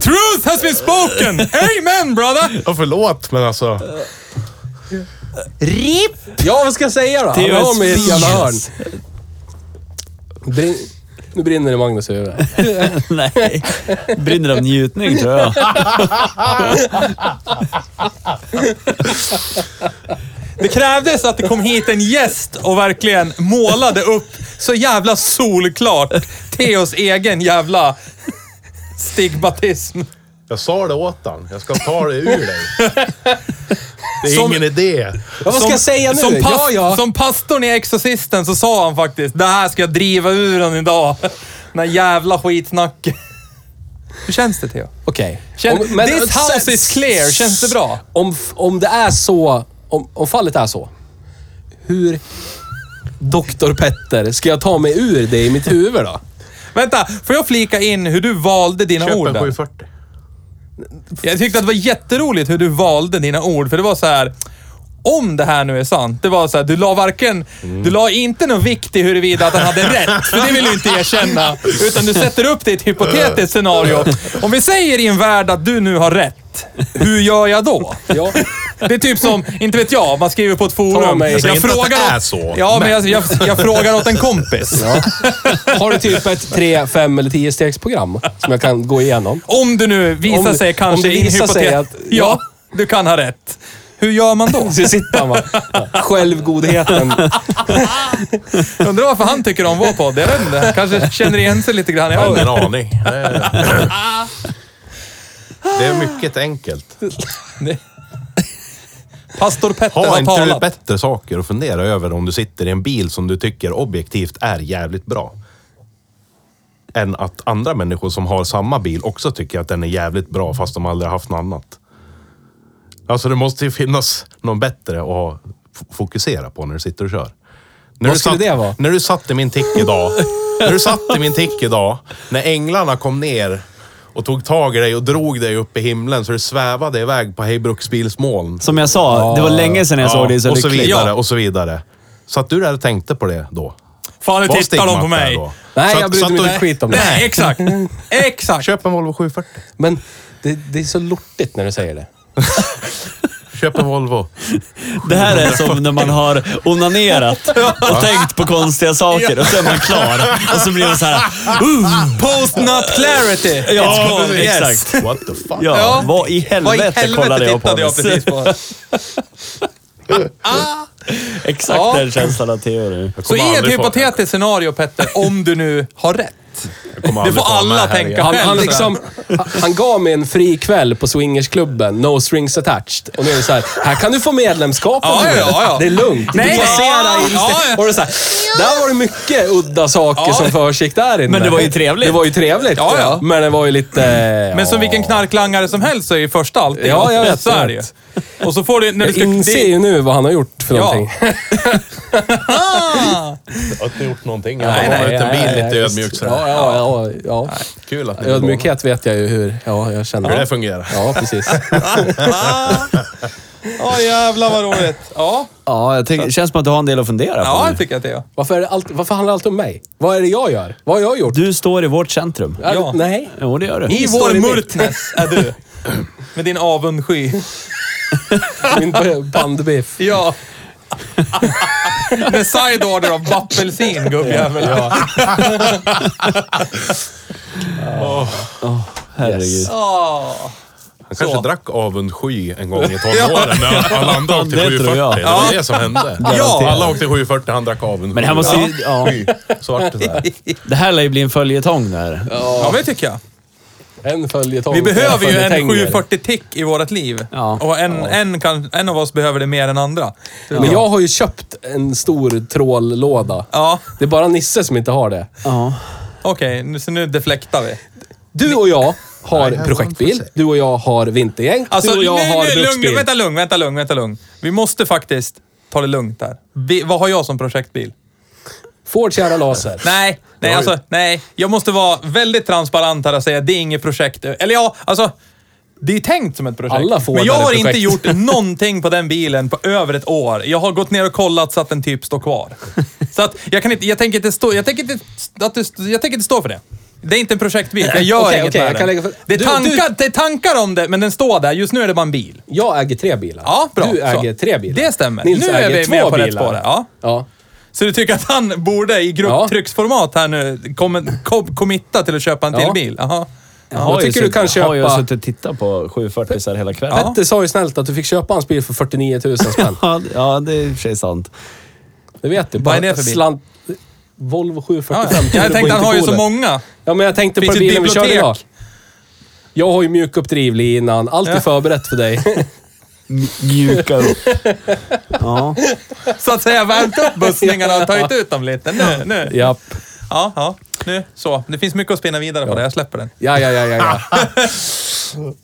Speaker 3: Truth has been spoken! Amen, brother!
Speaker 4: Ja, förlåt, men alltså.
Speaker 2: ja, vad ska jag säga då? Han
Speaker 1: är
Speaker 2: har mig i ett jävla
Speaker 1: Jesus.
Speaker 2: hörn. Brin- nu brinner det i Magnus huvud.
Speaker 1: Nej. Brinner av njutning tror jag.
Speaker 3: Det krävdes att det kom hit en gäst och verkligen målade upp så jävla solklart Theos egen jävla stigmatism.
Speaker 4: Jag sa det åt han. Jag ska ta det ur dig. Det är
Speaker 3: Som-
Speaker 4: ingen idé.
Speaker 2: Ja, vad ska jag säga nu?
Speaker 3: Som,
Speaker 2: ja, ja.
Speaker 3: som pastorn i Exorcisten så sa han faktiskt, det här ska jag driva ur honom idag. Den här jävla skitsnacken. Hur känns det Theo?
Speaker 2: Okej.
Speaker 3: Känn,
Speaker 2: Om- men- alltså,
Speaker 3: this house is clear, känns det bra?
Speaker 2: Om, f- om det är så, om, om fallet är så, hur Doktor Petter ska jag ta mig ur det i mitt huvud då?
Speaker 3: Vänta, får jag flika in hur du valde dina
Speaker 4: Köp
Speaker 3: ord?
Speaker 4: en
Speaker 3: där?
Speaker 4: 740.
Speaker 3: Jag tyckte att det var jätteroligt hur du valde dina ord, för det var så här. Om det här nu är sant, det var så här, du la varken,
Speaker 2: Mm.
Speaker 3: du la inte någon vikt i huruvida att han hade rätt, för det vill du inte erkänna. Utan du sätter upp det i ett hypotetiskt scenario. Om vi säger i en värld att du nu har rätt, hur gör jag då?
Speaker 2: Ja.
Speaker 3: Det är typ som, inte vet jag, man skriver på ett
Speaker 2: Ta
Speaker 3: forum.
Speaker 2: mig. Jag
Speaker 4: säger inte att det
Speaker 3: åt-
Speaker 4: är så,
Speaker 3: Ja, men jag, jag, jag frågar åt en kompis.
Speaker 2: Har du typ ett tre, fem eller tio stegsprogram som jag kan gå igenom?
Speaker 3: Om du nu visar
Speaker 2: Om-
Speaker 3: sig
Speaker 2: om
Speaker 3: kanske
Speaker 2: det
Speaker 3: i en
Speaker 2: visar sig
Speaker 3: hypotet...
Speaker 2: att-
Speaker 3: ja, du kan ha rätt. Hur gör man då?
Speaker 2: Så sitter han bara. Självgodheten.
Speaker 3: Undrar varför han tycker om vår podd. Jag vet inte. Kanske känner igen sig lite grann. Jag vet
Speaker 4: Ingen
Speaker 3: inte.
Speaker 4: aning. Det är mycket enkelt.
Speaker 3: Pastor Petter
Speaker 4: Ha
Speaker 3: har
Speaker 4: inte du
Speaker 3: talat.
Speaker 4: bättre saker att fundera över om du sitter i en bil som du tycker objektivt är jävligt bra? Än att andra människor som har samma bil också tycker att den är jävligt bra fast de aldrig har haft något annat. Alltså det måste ju finnas någon bättre att ha- f- fokusera på när du sitter och kör. När
Speaker 2: Vad
Speaker 4: du
Speaker 2: skulle
Speaker 4: satt-
Speaker 2: det vara?
Speaker 4: När du satt i min tick idag. när du satt i min tick idag. När änglarna kom ner och tog tag i dig och drog dig upp i himlen så du svävade iväg på Hejbruksbilsmoln
Speaker 1: Som jag sa, det var länge sedan jag såg dig så
Speaker 4: och så
Speaker 1: lycklig.
Speaker 4: vidare
Speaker 3: Ja.
Speaker 4: och så vidare. Så att du där och tänkte på det då?
Speaker 3: Fan, nu
Speaker 4: Var
Speaker 3: tittar de
Speaker 4: stigmat
Speaker 3: på mig.
Speaker 4: där då?
Speaker 2: Nej,
Speaker 4: Så att-
Speaker 2: jag brydde
Speaker 4: så att
Speaker 2: mig
Speaker 4: du-
Speaker 2: inte skit om det.
Speaker 3: Nej, exakt. Exakt.
Speaker 4: Köp en Volvo 740.
Speaker 2: Men det, det är så lortigt när du säger det.
Speaker 4: Köp en Volvo.
Speaker 1: Det här är som när man har onanerat och tänkt på konstiga saker och så är man klar. Och så blir det så här. Uh,
Speaker 3: Post not clarity. It's
Speaker 1: ja,
Speaker 3: called. Yes.
Speaker 1: exakt.
Speaker 4: What the fuck?
Speaker 1: Ja,
Speaker 3: Ja.
Speaker 1: vad i
Speaker 3: Vad i
Speaker 1: helvete,
Speaker 3: helvete
Speaker 1: kollade jag på?
Speaker 3: tittade jag
Speaker 1: nyss?
Speaker 3: precis på?
Speaker 1: Exakt
Speaker 3: Ja.
Speaker 1: den känslan att Theo nu.
Speaker 4: Jag
Speaker 3: Så
Speaker 4: kommer
Speaker 3: i ett
Speaker 4: aldrig få-
Speaker 3: hypotetiskt scenario, Petter, om du nu har rätt.
Speaker 4: jag kommer
Speaker 3: Det
Speaker 4: aldrig
Speaker 3: får
Speaker 4: få vara med
Speaker 3: alla
Speaker 4: här
Speaker 3: tänka
Speaker 4: igen.
Speaker 2: Han,
Speaker 3: själv.
Speaker 2: han, liksom, han- han gav mig en fri kväll på swingersklubben, no strings attached. Och nu är det så här, här kan du få medlemskap om
Speaker 3: Ja,
Speaker 2: du vill.
Speaker 3: ja, ja.
Speaker 2: Det är lugnt.
Speaker 3: Nej,
Speaker 2: du får
Speaker 3: nej.
Speaker 2: se dig i-
Speaker 3: Ja, ja.
Speaker 2: Och det är så här, där var det mycket udda saker
Speaker 3: Ja.
Speaker 2: som försiggick där inne.
Speaker 1: Men det var ju trevligt.
Speaker 2: Det var ju trevligt.
Speaker 3: Ja, ja.
Speaker 2: Men det var ju lite...
Speaker 3: Men som
Speaker 2: ja.
Speaker 3: vilken knarklangare som helst så är ju första alltid.
Speaker 2: Ja, jag vet,
Speaker 3: Så är det ju.
Speaker 2: vet.
Speaker 3: Och så får du... När du
Speaker 2: Jag
Speaker 3: ska,
Speaker 2: inser
Speaker 3: det,
Speaker 2: ju nu vad han har gjort för
Speaker 3: Ja.
Speaker 2: någonting.
Speaker 3: ah,
Speaker 4: Och inte gjort någonting. Jag
Speaker 2: Nej,
Speaker 4: har
Speaker 2: nej,
Speaker 4: varit en
Speaker 2: nej,
Speaker 4: bil lite
Speaker 2: nej,
Speaker 4: ödmjuk sådär.
Speaker 2: Ja, ja, ja. ja.
Speaker 4: Kul att ni är
Speaker 2: Ödmjukhet vet jag ju hur. Ja, jag känner
Speaker 4: Hur det fungerar.
Speaker 2: Ja, precis.
Speaker 3: Ah. Ja, jävlar vad roligt. Ja,
Speaker 1: Ja, jag tycker, känns som att du har en del att fundera på.
Speaker 3: ja
Speaker 1: nu.
Speaker 3: jag tycker att det är jag.
Speaker 2: Varför, är det allt, varför handlar allt om mig? Vad är det jag gör? Vad har jag gjort?
Speaker 1: Du står i vårt centrum.
Speaker 2: Är-
Speaker 3: Ja.
Speaker 2: Nej.
Speaker 1: Jo, det gör du.
Speaker 3: I
Speaker 2: står
Speaker 3: vår
Speaker 2: i mitt.
Speaker 3: Murtnäs är du. Med din avundsky.
Speaker 2: Min bandbiff.
Speaker 3: Ja. Med side order av bappelsin, gubbjävel. Ja.
Speaker 1: Herregud.
Speaker 4: Han kanske
Speaker 3: Så.
Speaker 4: drack avundsky en gång i tonåren när alla andra åkte
Speaker 1: Det
Speaker 4: 740.
Speaker 1: tror
Speaker 4: Det
Speaker 1: jag.
Speaker 4: var det som hände.
Speaker 3: Ja.
Speaker 4: Alla åkte 740, han drack avundsky.
Speaker 1: Men det här måste ju... Ja.
Speaker 4: Så vart det där.
Speaker 1: Det här lär ju bli en följetong där.
Speaker 3: ja, men det tycker jag.
Speaker 2: En följetong.
Speaker 3: Vi behöver ju en
Speaker 2: följetänger.
Speaker 3: 740 tick i vårt liv.
Speaker 1: Ja.
Speaker 3: Och en, en, kan, en av oss behöver det mer än andra.
Speaker 2: Men jag har ju köpt en stor trållåda.
Speaker 3: Ja,
Speaker 2: Det är bara Nisse som inte har det.
Speaker 1: Ja.
Speaker 3: okej. nu- Så nu deflektar vi.
Speaker 2: Du och jag har projektbil. Du och jag har vintergäng.
Speaker 3: Alltså,
Speaker 2: du och jag
Speaker 3: nej,
Speaker 2: har
Speaker 3: nej, lugn,
Speaker 2: bruksbil.
Speaker 3: vänta lugn, vänta lugn, vänta lugn. Vi måste faktiskt ta det lugnt där. Vi, vad har jag som projektbil?
Speaker 2: Ford Sierra Laser.
Speaker 3: Nej, nej, alltså, nej. Jag måste vara väldigt transparent här och säga det är inget projekt. Eller ja, alltså. Det är tänkt som ett projekt.
Speaker 2: Alla får
Speaker 3: men jag
Speaker 2: det
Speaker 3: har
Speaker 2: projekt.
Speaker 3: inte gjort någonting på den bilen på över ett år. Jag har gått ner och kollat så att den typ står kvar. Så att jag kan inte, jag tänker inte stå, jag tänker inte, att det, jag tänker inte stå för det. Det är inte en projektbil, för jag gör
Speaker 2: Okej,
Speaker 3: inget
Speaker 2: okej,
Speaker 3: med
Speaker 2: jag kan
Speaker 3: den.
Speaker 2: lägga för-
Speaker 3: det, är
Speaker 2: Du-
Speaker 3: tankar, det är tankar om det, men den står där. Just nu är det bara en bil.
Speaker 2: Jag äger tre bilar.
Speaker 3: Ja, bra.
Speaker 2: Du äger
Speaker 3: Så.
Speaker 2: tre bilar.
Speaker 3: Det stämmer.
Speaker 2: Nils
Speaker 3: Nu är
Speaker 2: äger
Speaker 3: vi
Speaker 2: två
Speaker 3: med på
Speaker 2: bilar.
Speaker 3: rätt spår här, ja.
Speaker 2: ja.
Speaker 3: Så du tycker att han borde i grupptrycksformat här nu kom, kom, committa till att köpa en till
Speaker 2: Ja.
Speaker 3: bil? Jaha.
Speaker 1: Jag har
Speaker 2: Vad
Speaker 1: ju
Speaker 2: tycker du
Speaker 1: suttit-
Speaker 2: kan köpa-
Speaker 1: har ju suttit och tittat på 740 så här hela kvällen.
Speaker 2: Petter sa ju snällt att du fick köpa hans bil för 49 000 spänn.
Speaker 1: Ja, det- ja, det är i och för sig sant.
Speaker 2: Det vet du.
Speaker 3: Vad är det för bil?
Speaker 2: Slant... Volvo 745.
Speaker 3: Ja, ja. Jag
Speaker 2: turbo,
Speaker 3: tänkte han har ju så
Speaker 2: intercooler.
Speaker 3: många.
Speaker 2: Ja, men jag tänkte på
Speaker 3: Finns
Speaker 2: den
Speaker 3: ju ett
Speaker 2: bilen vi körde idag.
Speaker 3: bibliotek.
Speaker 2: Jag har ju mjuk upp drivlinan. Allt är
Speaker 3: Ja.
Speaker 2: förberett för dig.
Speaker 1: Mjuka upp. Ja.
Speaker 3: Så att säga värmt upp bussningarna och tagit ut dem lite. Nu, nu.
Speaker 2: Japp.
Speaker 3: Ja, ja. Nu, så. Det finns mycket att spinna vidare på det. Jag släpper den.
Speaker 2: Ja, ja, ja, ja. ja.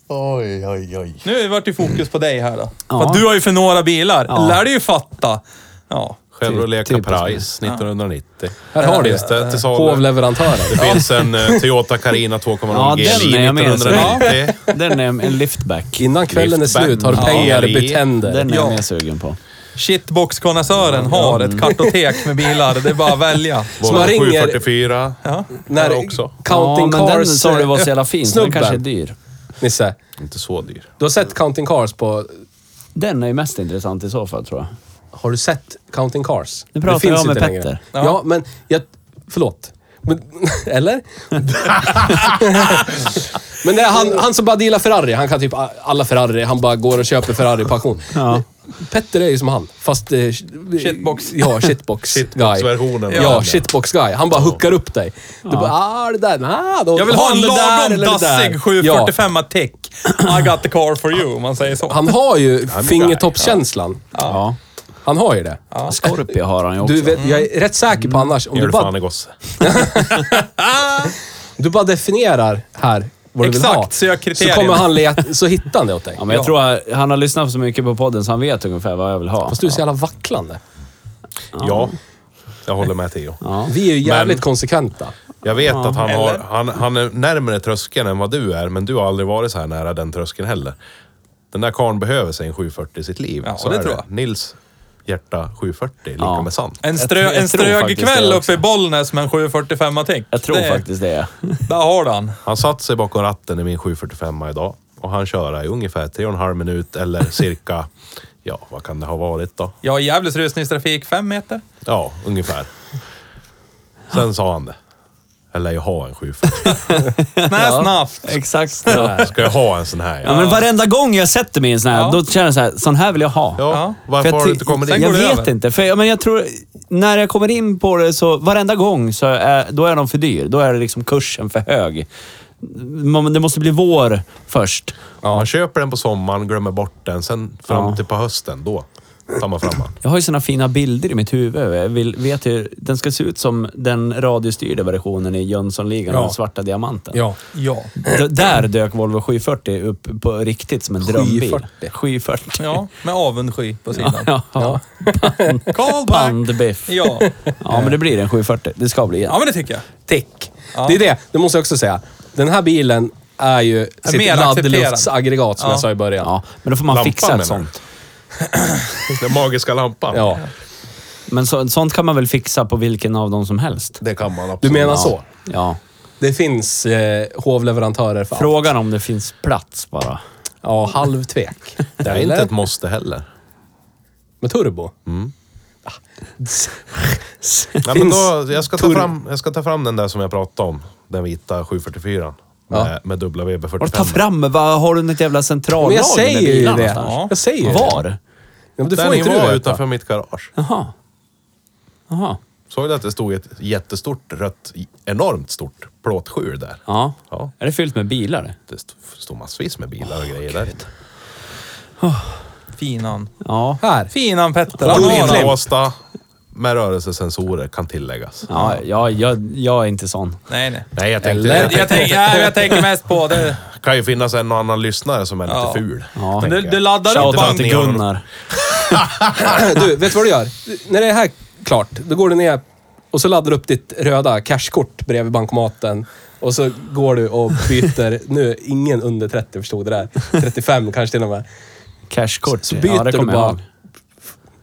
Speaker 5: Oj, oj, oj.
Speaker 3: Nu har det varit i fokus på dig här då.
Speaker 1: Ja.
Speaker 3: För att du har ju för några bilar.
Speaker 1: Ja.
Speaker 3: Lär dig ju fatta. Ja.
Speaker 4: Chevrolet
Speaker 1: Typiskt
Speaker 4: Caprice 1990.
Speaker 2: Här har du
Speaker 4: Finns det till salu.
Speaker 2: hovleverantören.
Speaker 4: Det finns en eh, Toyota Carina 2.0
Speaker 1: Ja,
Speaker 4: GLI
Speaker 1: den är jag med.
Speaker 4: 1990.
Speaker 1: Den är en liftback.
Speaker 2: Innan kvällen är
Speaker 4: Liftback.
Speaker 2: slut har du
Speaker 4: Ja.
Speaker 2: pengar
Speaker 4: Ja.
Speaker 2: i tänder.
Speaker 1: Den är jag
Speaker 3: Ja.
Speaker 1: mer sugen på.
Speaker 3: Shitbox-konnässören har ett kartotek med bilar. Det är bara att välja.
Speaker 2: Så man
Speaker 4: Volvo
Speaker 2: ringer-
Speaker 4: 744.
Speaker 3: Ja.
Speaker 2: När
Speaker 4: Ja, också.
Speaker 1: Ja,
Speaker 2: Counting
Speaker 1: men den
Speaker 2: Cars... eh,
Speaker 1: sa du var så jävla fin, så den
Speaker 2: snubben.
Speaker 1: kanske är dyr.
Speaker 2: Nisse,
Speaker 4: Inte så dyr.
Speaker 2: du har sett Counting Cars på...
Speaker 1: Den är ju mest intressant i så fall, tror jag.
Speaker 2: Har du sett Counting Cars?
Speaker 1: Nu pratar jag med
Speaker 2: inte
Speaker 1: Petter.
Speaker 2: längre.
Speaker 3: Ja.
Speaker 2: Ja. men jag... Förlåt. Men, eller? men det är han, han som bara dealar Ferrari, han kan typ alla Ferrari. Han bara går och köper Ferrari-passion.
Speaker 1: Ja.
Speaker 2: Petter är ju som han, fast... Eh,
Speaker 3: Shitbox.
Speaker 2: Ja, shitbox.
Speaker 4: Shitbox-versionen.
Speaker 2: Ja,
Speaker 4: Ja.
Speaker 2: shitbox guy. Han bara hookar upp dig. Du bara, ah, det där, nah, då,
Speaker 3: Jag vill ha en
Speaker 2: det där
Speaker 3: lagom
Speaker 2: eller det där.
Speaker 3: dassig 745 ja. tech. I got the car for you, om man säger så.
Speaker 2: Ja. Han har ju fingertoppskänslan.
Speaker 1: Ja.
Speaker 2: Han har ju det.
Speaker 1: Scorpio har han ju också.
Speaker 2: Du, vet, jag är rätt säker på annars, om
Speaker 4: Gör
Speaker 2: du
Speaker 4: det fan
Speaker 2: bara,
Speaker 4: i gosse.
Speaker 2: du bara definierar här vad du vill
Speaker 3: Exakt,
Speaker 2: ha.
Speaker 3: så jag kriterier.
Speaker 2: Så kommer han leta, så hittar han det åt dig.
Speaker 1: Ja, men jag tror han har lyssnat så mycket på podden så han vet ungefär vad jag vill ha.
Speaker 2: Fast du är så jävla vacklande.
Speaker 4: Ja, jag håller med Theo.
Speaker 2: Vi är ju jävligt
Speaker 4: Men-
Speaker 2: konsekventa.
Speaker 4: Jag vet att han, har,
Speaker 3: Eller?
Speaker 4: han, han är närmare tröskeln än vad du är, men du har aldrig varit så här nära den tröskeln heller. Den där karln behöver sig en 740 i sitt liv.
Speaker 3: Ja,
Speaker 4: så
Speaker 3: det
Speaker 4: är
Speaker 3: tror jag.
Speaker 4: Nils hjärta 740, lika
Speaker 1: Ja.
Speaker 4: med sant.
Speaker 3: En, strö,
Speaker 1: tror- jag
Speaker 3: en
Speaker 1: tror
Speaker 3: strög
Speaker 1: faktiskt det
Speaker 3: kväll uppe
Speaker 1: också.
Speaker 3: i Bollnäs med en 745 tick.
Speaker 1: Jag tror
Speaker 3: det,
Speaker 1: faktiskt det.
Speaker 3: Där har du han.
Speaker 4: Han satt sig bakom ratten i min 745 idag och han körde i ungefär tre och en halv minut eller cirka, ja vad kan det ha varit då?
Speaker 3: Jag har Gävles rusningstrafik, fem meter.
Speaker 4: Ja, ungefär. Sen sa han det. Eller jag har en 740.
Speaker 3: Snäsnaft.
Speaker 1: Exakt så.
Speaker 4: Ska jag ha en sån här?
Speaker 1: Ja, men varenda gång jag sätter mig i en sån här, då känner jag så här, sån här vill jag ha.
Speaker 4: Ja, varför
Speaker 1: För jag
Speaker 4: har
Speaker 1: ty-
Speaker 4: du inte kommit
Speaker 3: Sen
Speaker 4: dit?
Speaker 1: Jag
Speaker 3: går det
Speaker 1: vet
Speaker 3: över.
Speaker 1: inte. För jag, men jag tror, när jag kommer in på det så, varenda gång så är, då är de för dyr. Då är det liksom kursen för hög. Man, det måste bli vår först.
Speaker 4: Man köper den på sommaren, glömmer bort den, sen fram
Speaker 1: Ja.
Speaker 4: till på hösten, då. tar man fram den.
Speaker 1: Jag har ju såna fina bilder i mitt huvud. Jag vill, vet hur, den ska se ut som den radiostyrda versionen i Jönssonligan,
Speaker 2: Ja.
Speaker 1: den svarta diamanten.
Speaker 2: Ja.
Speaker 3: Ja.
Speaker 1: D- där dök Volvo 740 upp på riktigt som en drömbil.
Speaker 2: 740.
Speaker 1: 740.
Speaker 3: Ja, med avundsky på sidan.
Speaker 1: Ja. ja.
Speaker 3: Callback!
Speaker 1: Pandbiff. Ja.
Speaker 3: Ja.
Speaker 1: men det blir en 740. Det ska bli en.
Speaker 3: ja, men det tycker jag.
Speaker 2: Tick.
Speaker 3: Ja.
Speaker 2: Det är det, det måste jag också säga. Den här bilen är ju
Speaker 3: mer
Speaker 2: sitt
Speaker 3: accepterad.
Speaker 2: laddluftsaggregat som
Speaker 3: Ja.
Speaker 2: jag sa i början.
Speaker 1: Ja, men då får man
Speaker 4: Lampan,
Speaker 1: fixa ett
Speaker 4: menar du?
Speaker 1: sånt.
Speaker 4: Den magiska lampan.
Speaker 2: Ja.
Speaker 1: Men så, sånt kan man väl fixa på vilken av dem som helst?
Speaker 5: Det kan man absolut.
Speaker 2: Du menar
Speaker 1: Ja.
Speaker 2: så?
Speaker 1: Ja.
Speaker 2: Det finns eh, hovleverantörer för allt.
Speaker 1: Frågan om det finns plats bara.
Speaker 2: Ja, halvtvek.
Speaker 4: Det är inte ett måste heller.
Speaker 2: Med turbo?
Speaker 4: Nej, men
Speaker 2: Finns
Speaker 4: då, jag, ska ta
Speaker 2: tur-
Speaker 4: fram, jag ska ta fram den där som jag pratade om. Den vita 744. Med,
Speaker 2: Ja.
Speaker 4: med dubbla
Speaker 1: Var ta
Speaker 4: VB45.
Speaker 1: fram? Vad har du något jävla centrallager
Speaker 2: Men jag
Speaker 1: med
Speaker 2: säger ju
Speaker 1: bilar
Speaker 2: det.
Speaker 1: någonstans?
Speaker 2: Jag säger ju
Speaker 1: Var?
Speaker 2: det. Ja, men det får
Speaker 4: Den
Speaker 2: inte du
Speaker 4: var
Speaker 2: veta.
Speaker 4: utanför mitt garage.
Speaker 1: Jaha. Jaha.
Speaker 4: Såg du att det stod ett jättestort rött, enormt stort plåtskjul där?
Speaker 1: Ja.
Speaker 4: Ja.
Speaker 1: Är det fyllt med bilar?
Speaker 4: Det st- stod massvis med bilar och grejer där.
Speaker 3: Finan.
Speaker 1: Ja.
Speaker 2: Här.
Speaker 3: Finan Petter.
Speaker 2: Ja,
Speaker 3: Han har
Speaker 2: Glenn.
Speaker 3: den.
Speaker 4: Inlåsta med rörelsesensorer kan tilläggas.
Speaker 1: Ja, jag, jag, jag är inte sån.
Speaker 3: Nej, nej.
Speaker 4: Nej, jag tänkte,
Speaker 2: Eller-
Speaker 4: jag
Speaker 3: Jag
Speaker 4: tänkte,
Speaker 3: tänker, ja, jag tänker mest på det.
Speaker 4: det kan ju finnas en och annan lyssnare som är
Speaker 3: Ja.
Speaker 4: lite ful.
Speaker 1: Ja.
Speaker 4: tänker
Speaker 3: Du,
Speaker 4: jag.
Speaker 3: du laddar upp
Speaker 1: Shoutout
Speaker 4: fan
Speaker 3: band.
Speaker 1: till
Speaker 4: ner honom.
Speaker 1: Gunnar.
Speaker 2: Du, vet du vad du gör? Du- När det är här klart, då går du ner och så laddar du upp ditt röda cashkort bredvid bankomaten. Och så går du och byter, nu ingen under 30 förstod det där, 35 kanske till och med.
Speaker 1: Cashkort.
Speaker 2: Så byter
Speaker 1: ja, det
Speaker 2: du
Speaker 1: kommer jag
Speaker 2: bara.
Speaker 1: ihåg.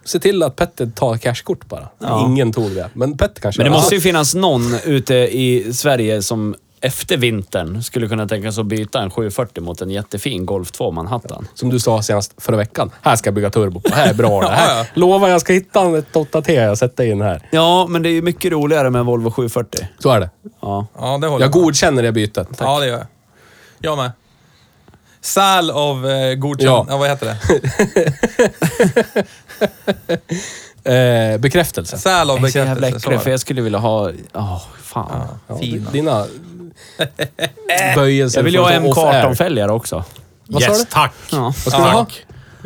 Speaker 2: Se till att Petter tar cashkort bara.
Speaker 1: Ja.
Speaker 2: Ingen tog det, men Petter kanske
Speaker 1: Men det
Speaker 2: gör
Speaker 1: måste ju finnas någon ute i Sverige som efter vintern skulle kunna tänka sig att byta en 740 mot en jättefin Golf 2 Manhattan.
Speaker 2: Alltså, Som du sa senast förra veckan. Här ska jag bygga turbo på. Här är bra det här. Lovar jag ska hitta ett 8T och sätta in här.
Speaker 1: Ja, men det är ju mycket roligare med en Volvo 740.
Speaker 2: Så är det.
Speaker 1: Ja.
Speaker 3: Ja, det håller
Speaker 2: Jag
Speaker 3: med.
Speaker 2: godkänner det bytet.
Speaker 3: Ja, det gör jag. Jag med. Sal av eh, godkänd... Ja.
Speaker 2: Ja.
Speaker 3: vad heter det?
Speaker 2: Eh, bekräftelse.
Speaker 3: Sal av
Speaker 1: Jag är så jävla
Speaker 3: bekräftelse. så
Speaker 1: äcklig,
Speaker 3: var
Speaker 1: för
Speaker 3: det.
Speaker 1: jag skulle vilja ha... Åh, fan.
Speaker 2: Ja,
Speaker 3: Fina.
Speaker 2: dina böjelser.
Speaker 1: Jag vill ju
Speaker 2: från
Speaker 1: ha
Speaker 2: off-air.
Speaker 1: M18-fälgare också.
Speaker 2: Vad sa
Speaker 4: yes,
Speaker 2: du?
Speaker 4: tack!
Speaker 1: Ja.
Speaker 2: Vad ska du ha?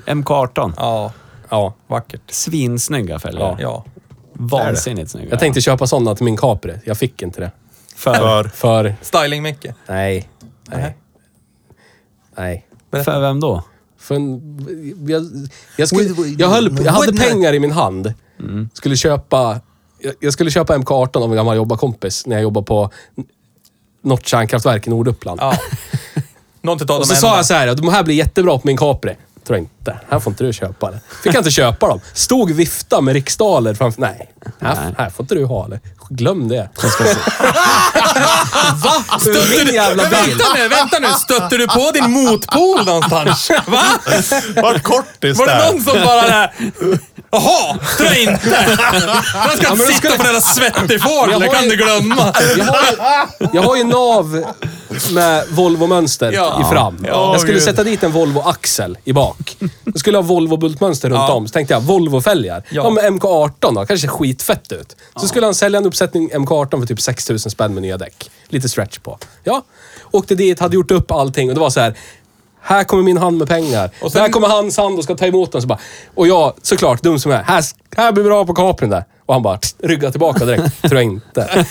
Speaker 1: M18.
Speaker 3: Ja,
Speaker 2: Ja.
Speaker 3: vackert.
Speaker 1: Svinsnygga fälgar.
Speaker 3: Ja.
Speaker 1: Vansinnigt snygga.
Speaker 2: Jag tänkte köpa sådana till min Capri. Jag fick inte det.
Speaker 1: för,
Speaker 4: För
Speaker 2: För...
Speaker 3: Styling-Micke.
Speaker 2: Nej.
Speaker 3: Nej.
Speaker 2: Nej. Nej.
Speaker 1: för vem då?
Speaker 2: För en, jag, jag, skulle, jag, höll, på- jag hade pengar i min hand. Skulle köpa, jag, jag skulle köpa MK18 av en gammal jobbarkompis när jag jobbade på n- något kärnkraftverk i Norduppland.
Speaker 3: Ja. Någon utav dem
Speaker 2: Och så
Speaker 3: är
Speaker 2: sa "Alltså,
Speaker 3: ändå-
Speaker 2: jag så här, de här blir jättebra på min Capri. Tror jag inte. Här får inte du köpa det. Fick jag inte köpa dem. Stod vifta med riksdaler framför... Nej. Här, här får inte du ha det. Glöm det. Va? Ur min jävla bil.
Speaker 3: Alltså, Vänta nu, vänta nu. Stötte du på din motpol någonstans? Va?
Speaker 4: vart kortis
Speaker 3: Var det
Speaker 4: där.
Speaker 3: någon som bara där... Jaha, dra inte! Man ska inte sitta på den där svettig Ford,
Speaker 2: Men jag
Speaker 3: det
Speaker 2: har
Speaker 3: kan
Speaker 2: ju-
Speaker 3: du glömma.
Speaker 2: Jag har, jag har ju nav med Volvo-mönster
Speaker 3: Ja.
Speaker 2: i fram.
Speaker 3: Ja,
Speaker 2: jag skulle
Speaker 3: gud.
Speaker 2: sätta dit en Volvo-axel i bak. Jag skulle ha Volvo-bultmönster runt
Speaker 3: Ja.
Speaker 2: om. Så tänkte jag, Volvo-fälgar.
Speaker 3: Ja.
Speaker 2: Ja. men MK18 då, kanske ser skitfett ut. Så skulle han sälja en uppsättning MK18 för typ 6 000 spänn med nya däck. Lite stretch på. Ja. Åkte dit, hade gjort upp allting och det var så här. Här kommer min hand med pengar.
Speaker 3: Och
Speaker 2: Och
Speaker 3: sen-
Speaker 2: Där kommer hans hand och ska ta emot den. Så bara, och jag, såklart, dum som jag är. Här, här blir bra på kaprin där. Och han bara tss, ryggar tillbaka direkt. Tror jag inte.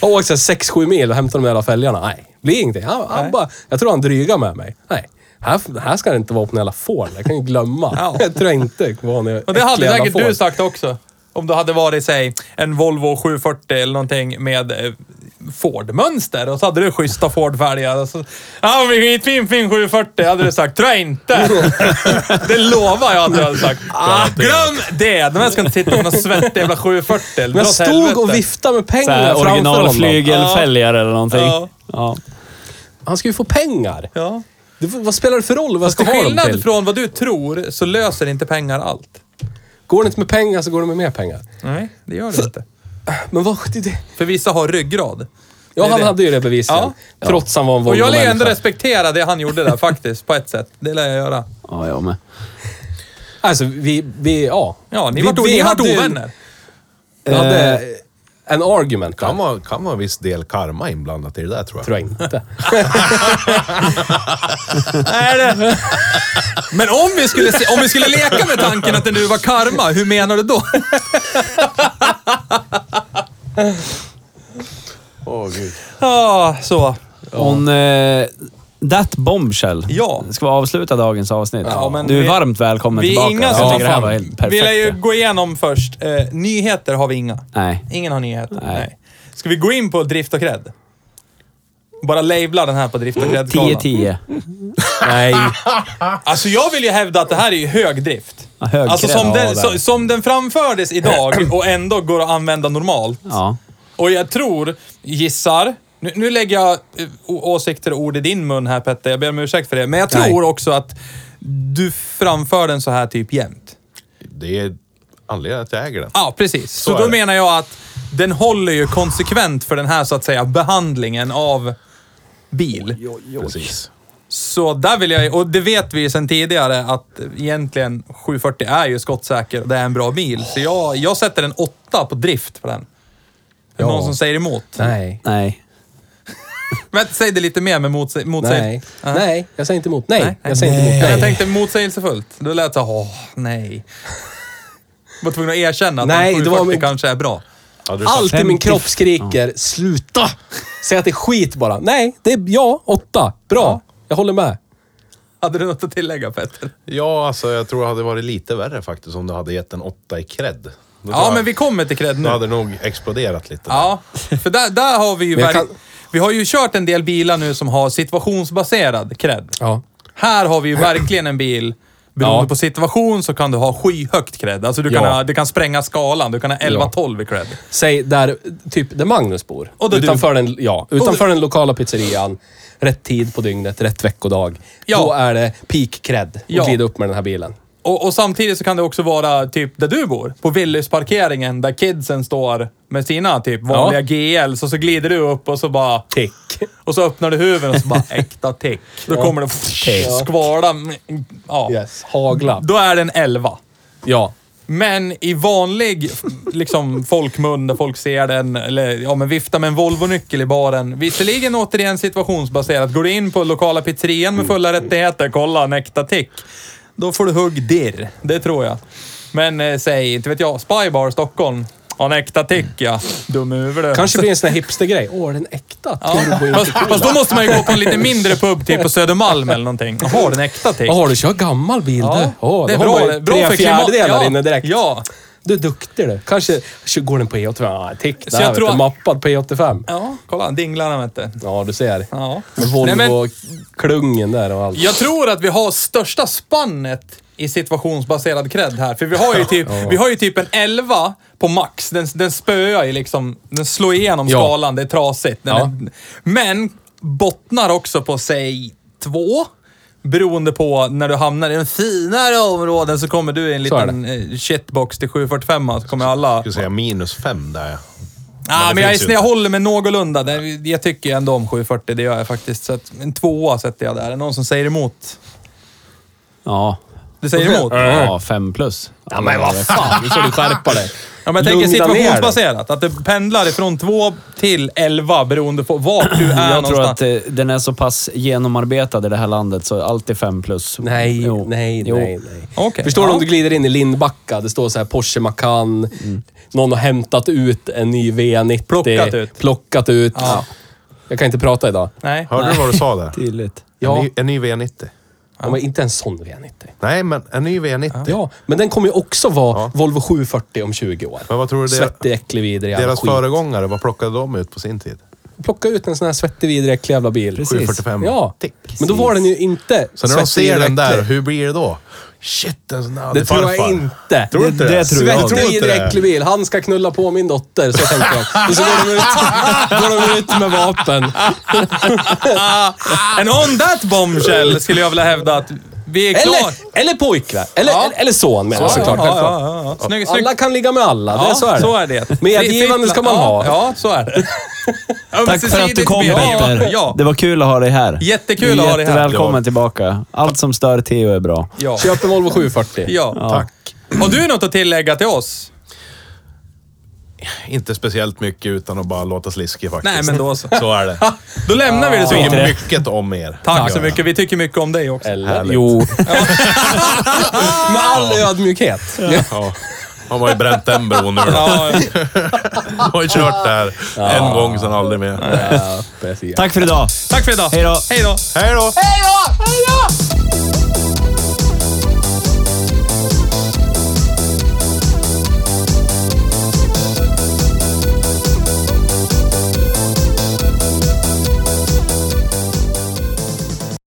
Speaker 2: Jag har åkt 6-7 mil och hämtat de jävla fälgarna. Nej, blir ingenting. Han, han bara, jag tror han drygar med mig. Nej, här, här ska det inte vara på en jävla får. Jag kan ju glömma.
Speaker 3: Ja.
Speaker 2: Jag tror jag inte var en
Speaker 3: Och det hade säkert du sagt också. Om du hade varit, säg, en Volvo 740 eller någonting med eh, Ford-mönster och så hade du schyssta Ford-fälgar. och så- Ja, men skitfin fin 740 hade du sagt. Tror jag inte. Det lovar jag att du hade sagt. Ah, glöm det! De här ska inte sitta på någon svettig jävla 740.
Speaker 2: Men jag stod och viftade med
Speaker 1: Så
Speaker 2: pengar
Speaker 1: här,
Speaker 2: framför
Speaker 1: original
Speaker 2: honom.
Speaker 1: flygelfälgare eller någonting.
Speaker 3: Ja.
Speaker 1: Ja.
Speaker 2: Han ska ju få pengar.
Speaker 3: Ja.
Speaker 2: Det, vad spelar det för roll vad jag ska
Speaker 3: Till
Speaker 2: ha dem till?
Speaker 3: skillnad från vad du tror så löser inte pengar allt.
Speaker 2: Går det inte med pengar så går det med mer pengar.
Speaker 3: Nej, det gör det inte.
Speaker 2: Men vad... Det, det.
Speaker 3: För vissa har ryggrad.
Speaker 2: Ja,
Speaker 3: Det är
Speaker 2: han
Speaker 3: det.
Speaker 2: hade ju det bevisligen.
Speaker 3: Ja.
Speaker 2: Trots han var en
Speaker 3: Och jag lär ändå
Speaker 2: Volvo-människa.
Speaker 3: respektera det han gjorde där faktiskt, på ett sätt. Det lär jag göra.
Speaker 1: ja, jag med.
Speaker 2: Alltså, vi... vi ja.
Speaker 3: Ja, ni
Speaker 2: vi,
Speaker 3: vart, ni vart
Speaker 2: hade ju-
Speaker 3: ovänner.
Speaker 1: Eh.
Speaker 2: Jag hade an argument.
Speaker 4: Kan
Speaker 2: Där.
Speaker 4: vara, kan vara en viss del karma inblandat i det där tror jag.
Speaker 2: Tror jag inte.
Speaker 3: Men om vi, skulle se, om vi skulle leka med tanken att det nu var karma, hur menar du då?
Speaker 5: Åh gud.
Speaker 3: Ja, så.
Speaker 1: On eh, that bombshell
Speaker 3: Ja.
Speaker 1: ska vi avsluta dagens avsnitt.
Speaker 3: Ja, men
Speaker 1: du är
Speaker 3: vi-
Speaker 1: varmt välkommen
Speaker 3: Vi är
Speaker 1: tillbaka.
Speaker 3: inga
Speaker 1: Jag
Speaker 3: som...
Speaker 1: tycker det här var helt
Speaker 3: Vi lär
Speaker 1: perfekt.
Speaker 3: ju gå igenom först. Eh, nyheter har vi inga.
Speaker 1: Nej.
Speaker 3: Ingen har nyheter. Nej. Ska vi gå in på drift och cred? Bara labla den här på
Speaker 1: Mm,
Speaker 3: drift och cred
Speaker 1: 10-10.
Speaker 2: Nej.
Speaker 3: Alltså jag vill ju hävda att det här är ju hög drift.
Speaker 1: Ja, hög
Speaker 3: alltså
Speaker 1: cred.
Speaker 3: som,
Speaker 1: Ja,
Speaker 3: den,
Speaker 1: där.
Speaker 3: så, som den framfördes idag och ändå går att använda normalt.
Speaker 1: Ja.
Speaker 3: Och jag tror, gissar, nu, nu lägger jag eh, å- åsikter och ord i din mun här Petter, jag ber om ursäkt för det. Men jag tror
Speaker 2: Nej.
Speaker 3: också att du framför den så här typ jämt.
Speaker 4: Det är anledningen att jag äger den.
Speaker 3: Ja, precis. Så,
Speaker 4: är
Speaker 3: då
Speaker 4: det.
Speaker 3: menar jag att den håller ju konsekvent för den här så att säga behandlingen av bil.
Speaker 4: Precis.
Speaker 3: Så där vill jag och det vet vi ju sedan tidigare att egentligen 740 är ju skottsäker och det är en bra bil. Så jag, jag sätter en åtta på drift på den. Är det
Speaker 2: Ja.
Speaker 3: någon som säger emot?
Speaker 2: Nej.
Speaker 1: Nej.
Speaker 3: Men säg det lite mer med motsäg-
Speaker 2: Nej.
Speaker 3: motsägelse. Ja.
Speaker 2: Nej. Jag säger inte emot. Nej. Jag säger
Speaker 3: Nej.
Speaker 2: inte
Speaker 3: Jag
Speaker 2: emot. Nej.
Speaker 3: tänkte motsägelsefullt. Du lät så åh, nej. Var tvungen att erkänna att
Speaker 2: Nej,
Speaker 3: en
Speaker 2: det var
Speaker 3: 740
Speaker 2: min-
Speaker 3: kanske är bra.
Speaker 4: Hade du
Speaker 2: Allt
Speaker 4: satt,
Speaker 2: i min
Speaker 1: 50.
Speaker 2: kropp skriker sluta! Säg att det är skit bara. Nej, det är ja, åtta. Bra. Jag håller med.
Speaker 3: Hade du något att tillägga Petter?
Speaker 4: ja, alltså jag tror det hade varit lite värre faktiskt om du hade gett en åtta i cred. Då tror
Speaker 3: Ja,
Speaker 4: jag-
Speaker 3: men vi kommer till cred
Speaker 4: Då
Speaker 3: nu.
Speaker 4: hade det nog exploderat lite.
Speaker 3: Ja, för där, där har vi ju...
Speaker 2: Men jag
Speaker 3: verk-
Speaker 2: kan-
Speaker 3: Vi har ju kört en del bilar nu som har situationsbaserad cred.
Speaker 2: Ja.
Speaker 3: Här har vi ju verkligen en bil. Beroende
Speaker 2: Ja.
Speaker 3: på situation så kan du ha skyhögt cred. Alltså du kan,
Speaker 2: Ja.
Speaker 3: ha, du kan spränga skalan. Du kan ha 11-12 i cred.
Speaker 2: Säg där, typ där Magnus bor.
Speaker 3: Och där du-
Speaker 2: utanför, den, ja, utanför den lokala pizzerian. Rätt tid på dygnet, rätt veckodag.
Speaker 3: Ja.
Speaker 2: Då är det peak cred att
Speaker 3: Ja.
Speaker 2: glida upp med den här bilen.
Speaker 3: Och, och samtidigt så kan det också vara typ där du bor. På Willys-parkeringen där kidsen står med sina typ vanliga GL. Så så glider du upp och så bara...
Speaker 2: Tick.
Speaker 3: Och så öppnar du huven och så bara äkta tick. Då kommer det skvala. mm, Ja.
Speaker 2: Yes. Hagla.
Speaker 3: Då är det en 11.
Speaker 2: Ja.
Speaker 3: Men i vanlig liksom, folkmun där folk ser den, eller ja, men vifta med en Volvo-nyckel i baren. Visserligen återigen situationsbaserat. Går du in på lokala pizzerian med fulla rättigheter, kolla en äkta tick. Då får du hugg dirr, det tror jag. Men eh, säg, inte vet jag, Spybar Stockholm. Ja, en äkta tick ja. Dum i huvudet.
Speaker 2: Kanske blir en sån här hipstergrej. Åh, den äkta
Speaker 3: Ja. Fast,
Speaker 2: turboinfektionen.
Speaker 3: fast då måste man ju gå på en lite mindre pub, typ på Södermalm eller någonting. Jaha, den äkta tick.
Speaker 2: Jaha, du kör gammal bil
Speaker 3: Ja,
Speaker 2: du. Åh,
Speaker 3: det är
Speaker 2: då har
Speaker 3: bra.
Speaker 2: man ju
Speaker 3: det är Bra
Speaker 2: tre
Speaker 3: för klimat-
Speaker 2: fjärdedelar
Speaker 3: ja,
Speaker 2: inne direkt.
Speaker 3: Ja.
Speaker 2: Du är duktig du. Kanske kör- går den på E85. Ja, tick där.
Speaker 3: Så jag
Speaker 2: vet
Speaker 3: tror
Speaker 2: du.
Speaker 3: att-
Speaker 2: Mappad P85.
Speaker 3: Ja, kolla. Dinglarna vet du.
Speaker 2: Ja, du ser.
Speaker 3: Ja.
Speaker 2: Med
Speaker 3: Nej, men-
Speaker 2: Volvo-klungen där och allt.
Speaker 3: Jag tror att vi har största spannet i situationsbaserad cred här. För vi har ju typ, vi har ju typ en 11 på max. Den, den spöar ju liksom. Den slår igenom
Speaker 2: Ja.
Speaker 3: skalan. Det är trasigt. Den
Speaker 2: Ja.
Speaker 3: är, men bottnar också på, säg, två. Beroende på när du hamnar i den finare områden så kommer du i en
Speaker 2: Så är
Speaker 3: liten eh, shitbox till 745 så kommer alla...
Speaker 4: Jag skulle säga minus fem där.
Speaker 3: Ja,
Speaker 4: det
Speaker 3: men jag,
Speaker 4: finns
Speaker 3: är-
Speaker 4: ju
Speaker 3: jag
Speaker 4: inte.
Speaker 3: håller mig någorlunda. Det- Jag tycker ändå om 740, det gör jag faktiskt. Så att, en tvåa sätter jag där. Är det någon som säger emot?
Speaker 1: Ja.
Speaker 3: Du säger emot?
Speaker 1: Ja, fem plus. Ja, men vad
Speaker 2: Fan, nu får du skärpa dig.
Speaker 3: Ja, men jag tänker
Speaker 2: Lugna ner dig.
Speaker 3: situationsbaserat. Att det pendlar ifrån 2 till 11 beroende på vart du är
Speaker 1: Jag tror
Speaker 3: någonstans.
Speaker 1: att eh, den är så pass genomarbetad i det här landet så allt är fem plus.
Speaker 2: Nej,
Speaker 1: Jo.
Speaker 2: nej,
Speaker 1: Jo.
Speaker 2: nej, nej.
Speaker 3: Okej,
Speaker 2: Förstår du
Speaker 3: ja.
Speaker 2: om du glider in i Lindbacka? Det står så här Porsche Macan.
Speaker 4: Mm.
Speaker 2: Någon har hämtat ut en ny V90.
Speaker 3: Plockat ut.
Speaker 2: Plockat ut.
Speaker 3: Ja.
Speaker 2: Jag kan inte prata idag.
Speaker 3: Nej.
Speaker 4: Hörde du vad du sa där?
Speaker 1: Tydligt.
Speaker 2: Ja.
Speaker 4: En, ny, en ny V90.
Speaker 2: Ja. Men inte en sån V90.
Speaker 4: Nej, men en ny V90.
Speaker 2: Ja, men den kommer ju också vara Volvo 740 om 20 år.
Speaker 4: Men vad tror du det-
Speaker 2: Svettig, äcklig, vidrig jävla
Speaker 4: Deras
Speaker 2: skit.
Speaker 4: föregångare, vad plockade de ut på sin tid?
Speaker 2: Plocka ut en sån här svettig, vidrig, äcklig jävla bil.
Speaker 1: Precis.
Speaker 4: 745.
Speaker 2: Ja,
Speaker 4: Tick.
Speaker 2: men då var den ju inte
Speaker 4: Så när de
Speaker 2: svettig,
Speaker 4: ser den
Speaker 2: vidrig,
Speaker 4: där,
Speaker 2: äcklig.
Speaker 4: hur blir det då? Shit, en sån där
Speaker 2: Det tror jag
Speaker 4: farfar.
Speaker 2: inte.
Speaker 4: Tror du inte
Speaker 1: Det-
Speaker 4: det?
Speaker 1: det tror jag.
Speaker 4: tror
Speaker 2: Svettig,
Speaker 4: inte
Speaker 2: vidrig,
Speaker 4: det.
Speaker 2: äcklig bil. Han ska knulla på min dotter, så tänkte de. Och så går de ut, går de ut med vapen.
Speaker 3: And Ah, on that bombshell skulle jag vilja hävda att vi är klara.
Speaker 2: Eller, eller pojkvän. Eller,
Speaker 3: Ja.
Speaker 2: eller son menar jag såklart.
Speaker 3: ja,
Speaker 2: självklart.
Speaker 3: ja, ja, ja. Snygg, snygg.
Speaker 2: Alla kan ligga med alla. det,
Speaker 3: Ja,
Speaker 2: så är det. Medgivande
Speaker 3: Fritt-
Speaker 2: ska man
Speaker 3: ja,
Speaker 2: ha.
Speaker 3: Ja, så är det.
Speaker 1: Tack för att du kom
Speaker 3: ja,
Speaker 1: Peter.
Speaker 3: ja,
Speaker 1: Det var kul att ha dig här.
Speaker 3: Jättekul
Speaker 1: Du
Speaker 3: att
Speaker 1: är
Speaker 3: ha dig här.
Speaker 1: Välkommen tillbaka. Allt som stör Theo är bra.
Speaker 3: ja,
Speaker 2: Köp en Volvo 740.
Speaker 3: ja.
Speaker 1: Tack.
Speaker 3: Har du något att tillägga till oss?
Speaker 4: inte speciellt mycket utan att bara låta sliskig faktiskt.
Speaker 3: Nej, men då så.
Speaker 4: Så är det.
Speaker 3: Då lämnar vi det så.
Speaker 4: Jag
Speaker 3: Tack,
Speaker 4: tycker mycket om er.
Speaker 3: Tack så mycket. Vi tycker mycket om dig också.
Speaker 2: Eller? Jo. Med all ödmjukhet.
Speaker 4: Ja. Man har ju bränt den bron nu då.
Speaker 3: Ja,
Speaker 4: Man har ju kört där en gång, sen aldrig mer.
Speaker 2: Ja, precis.
Speaker 1: Tack för idag!
Speaker 3: tack för idag.
Speaker 1: Hej då.
Speaker 3: Hej då.
Speaker 4: Hej då!
Speaker 6: Hej då! Hej då!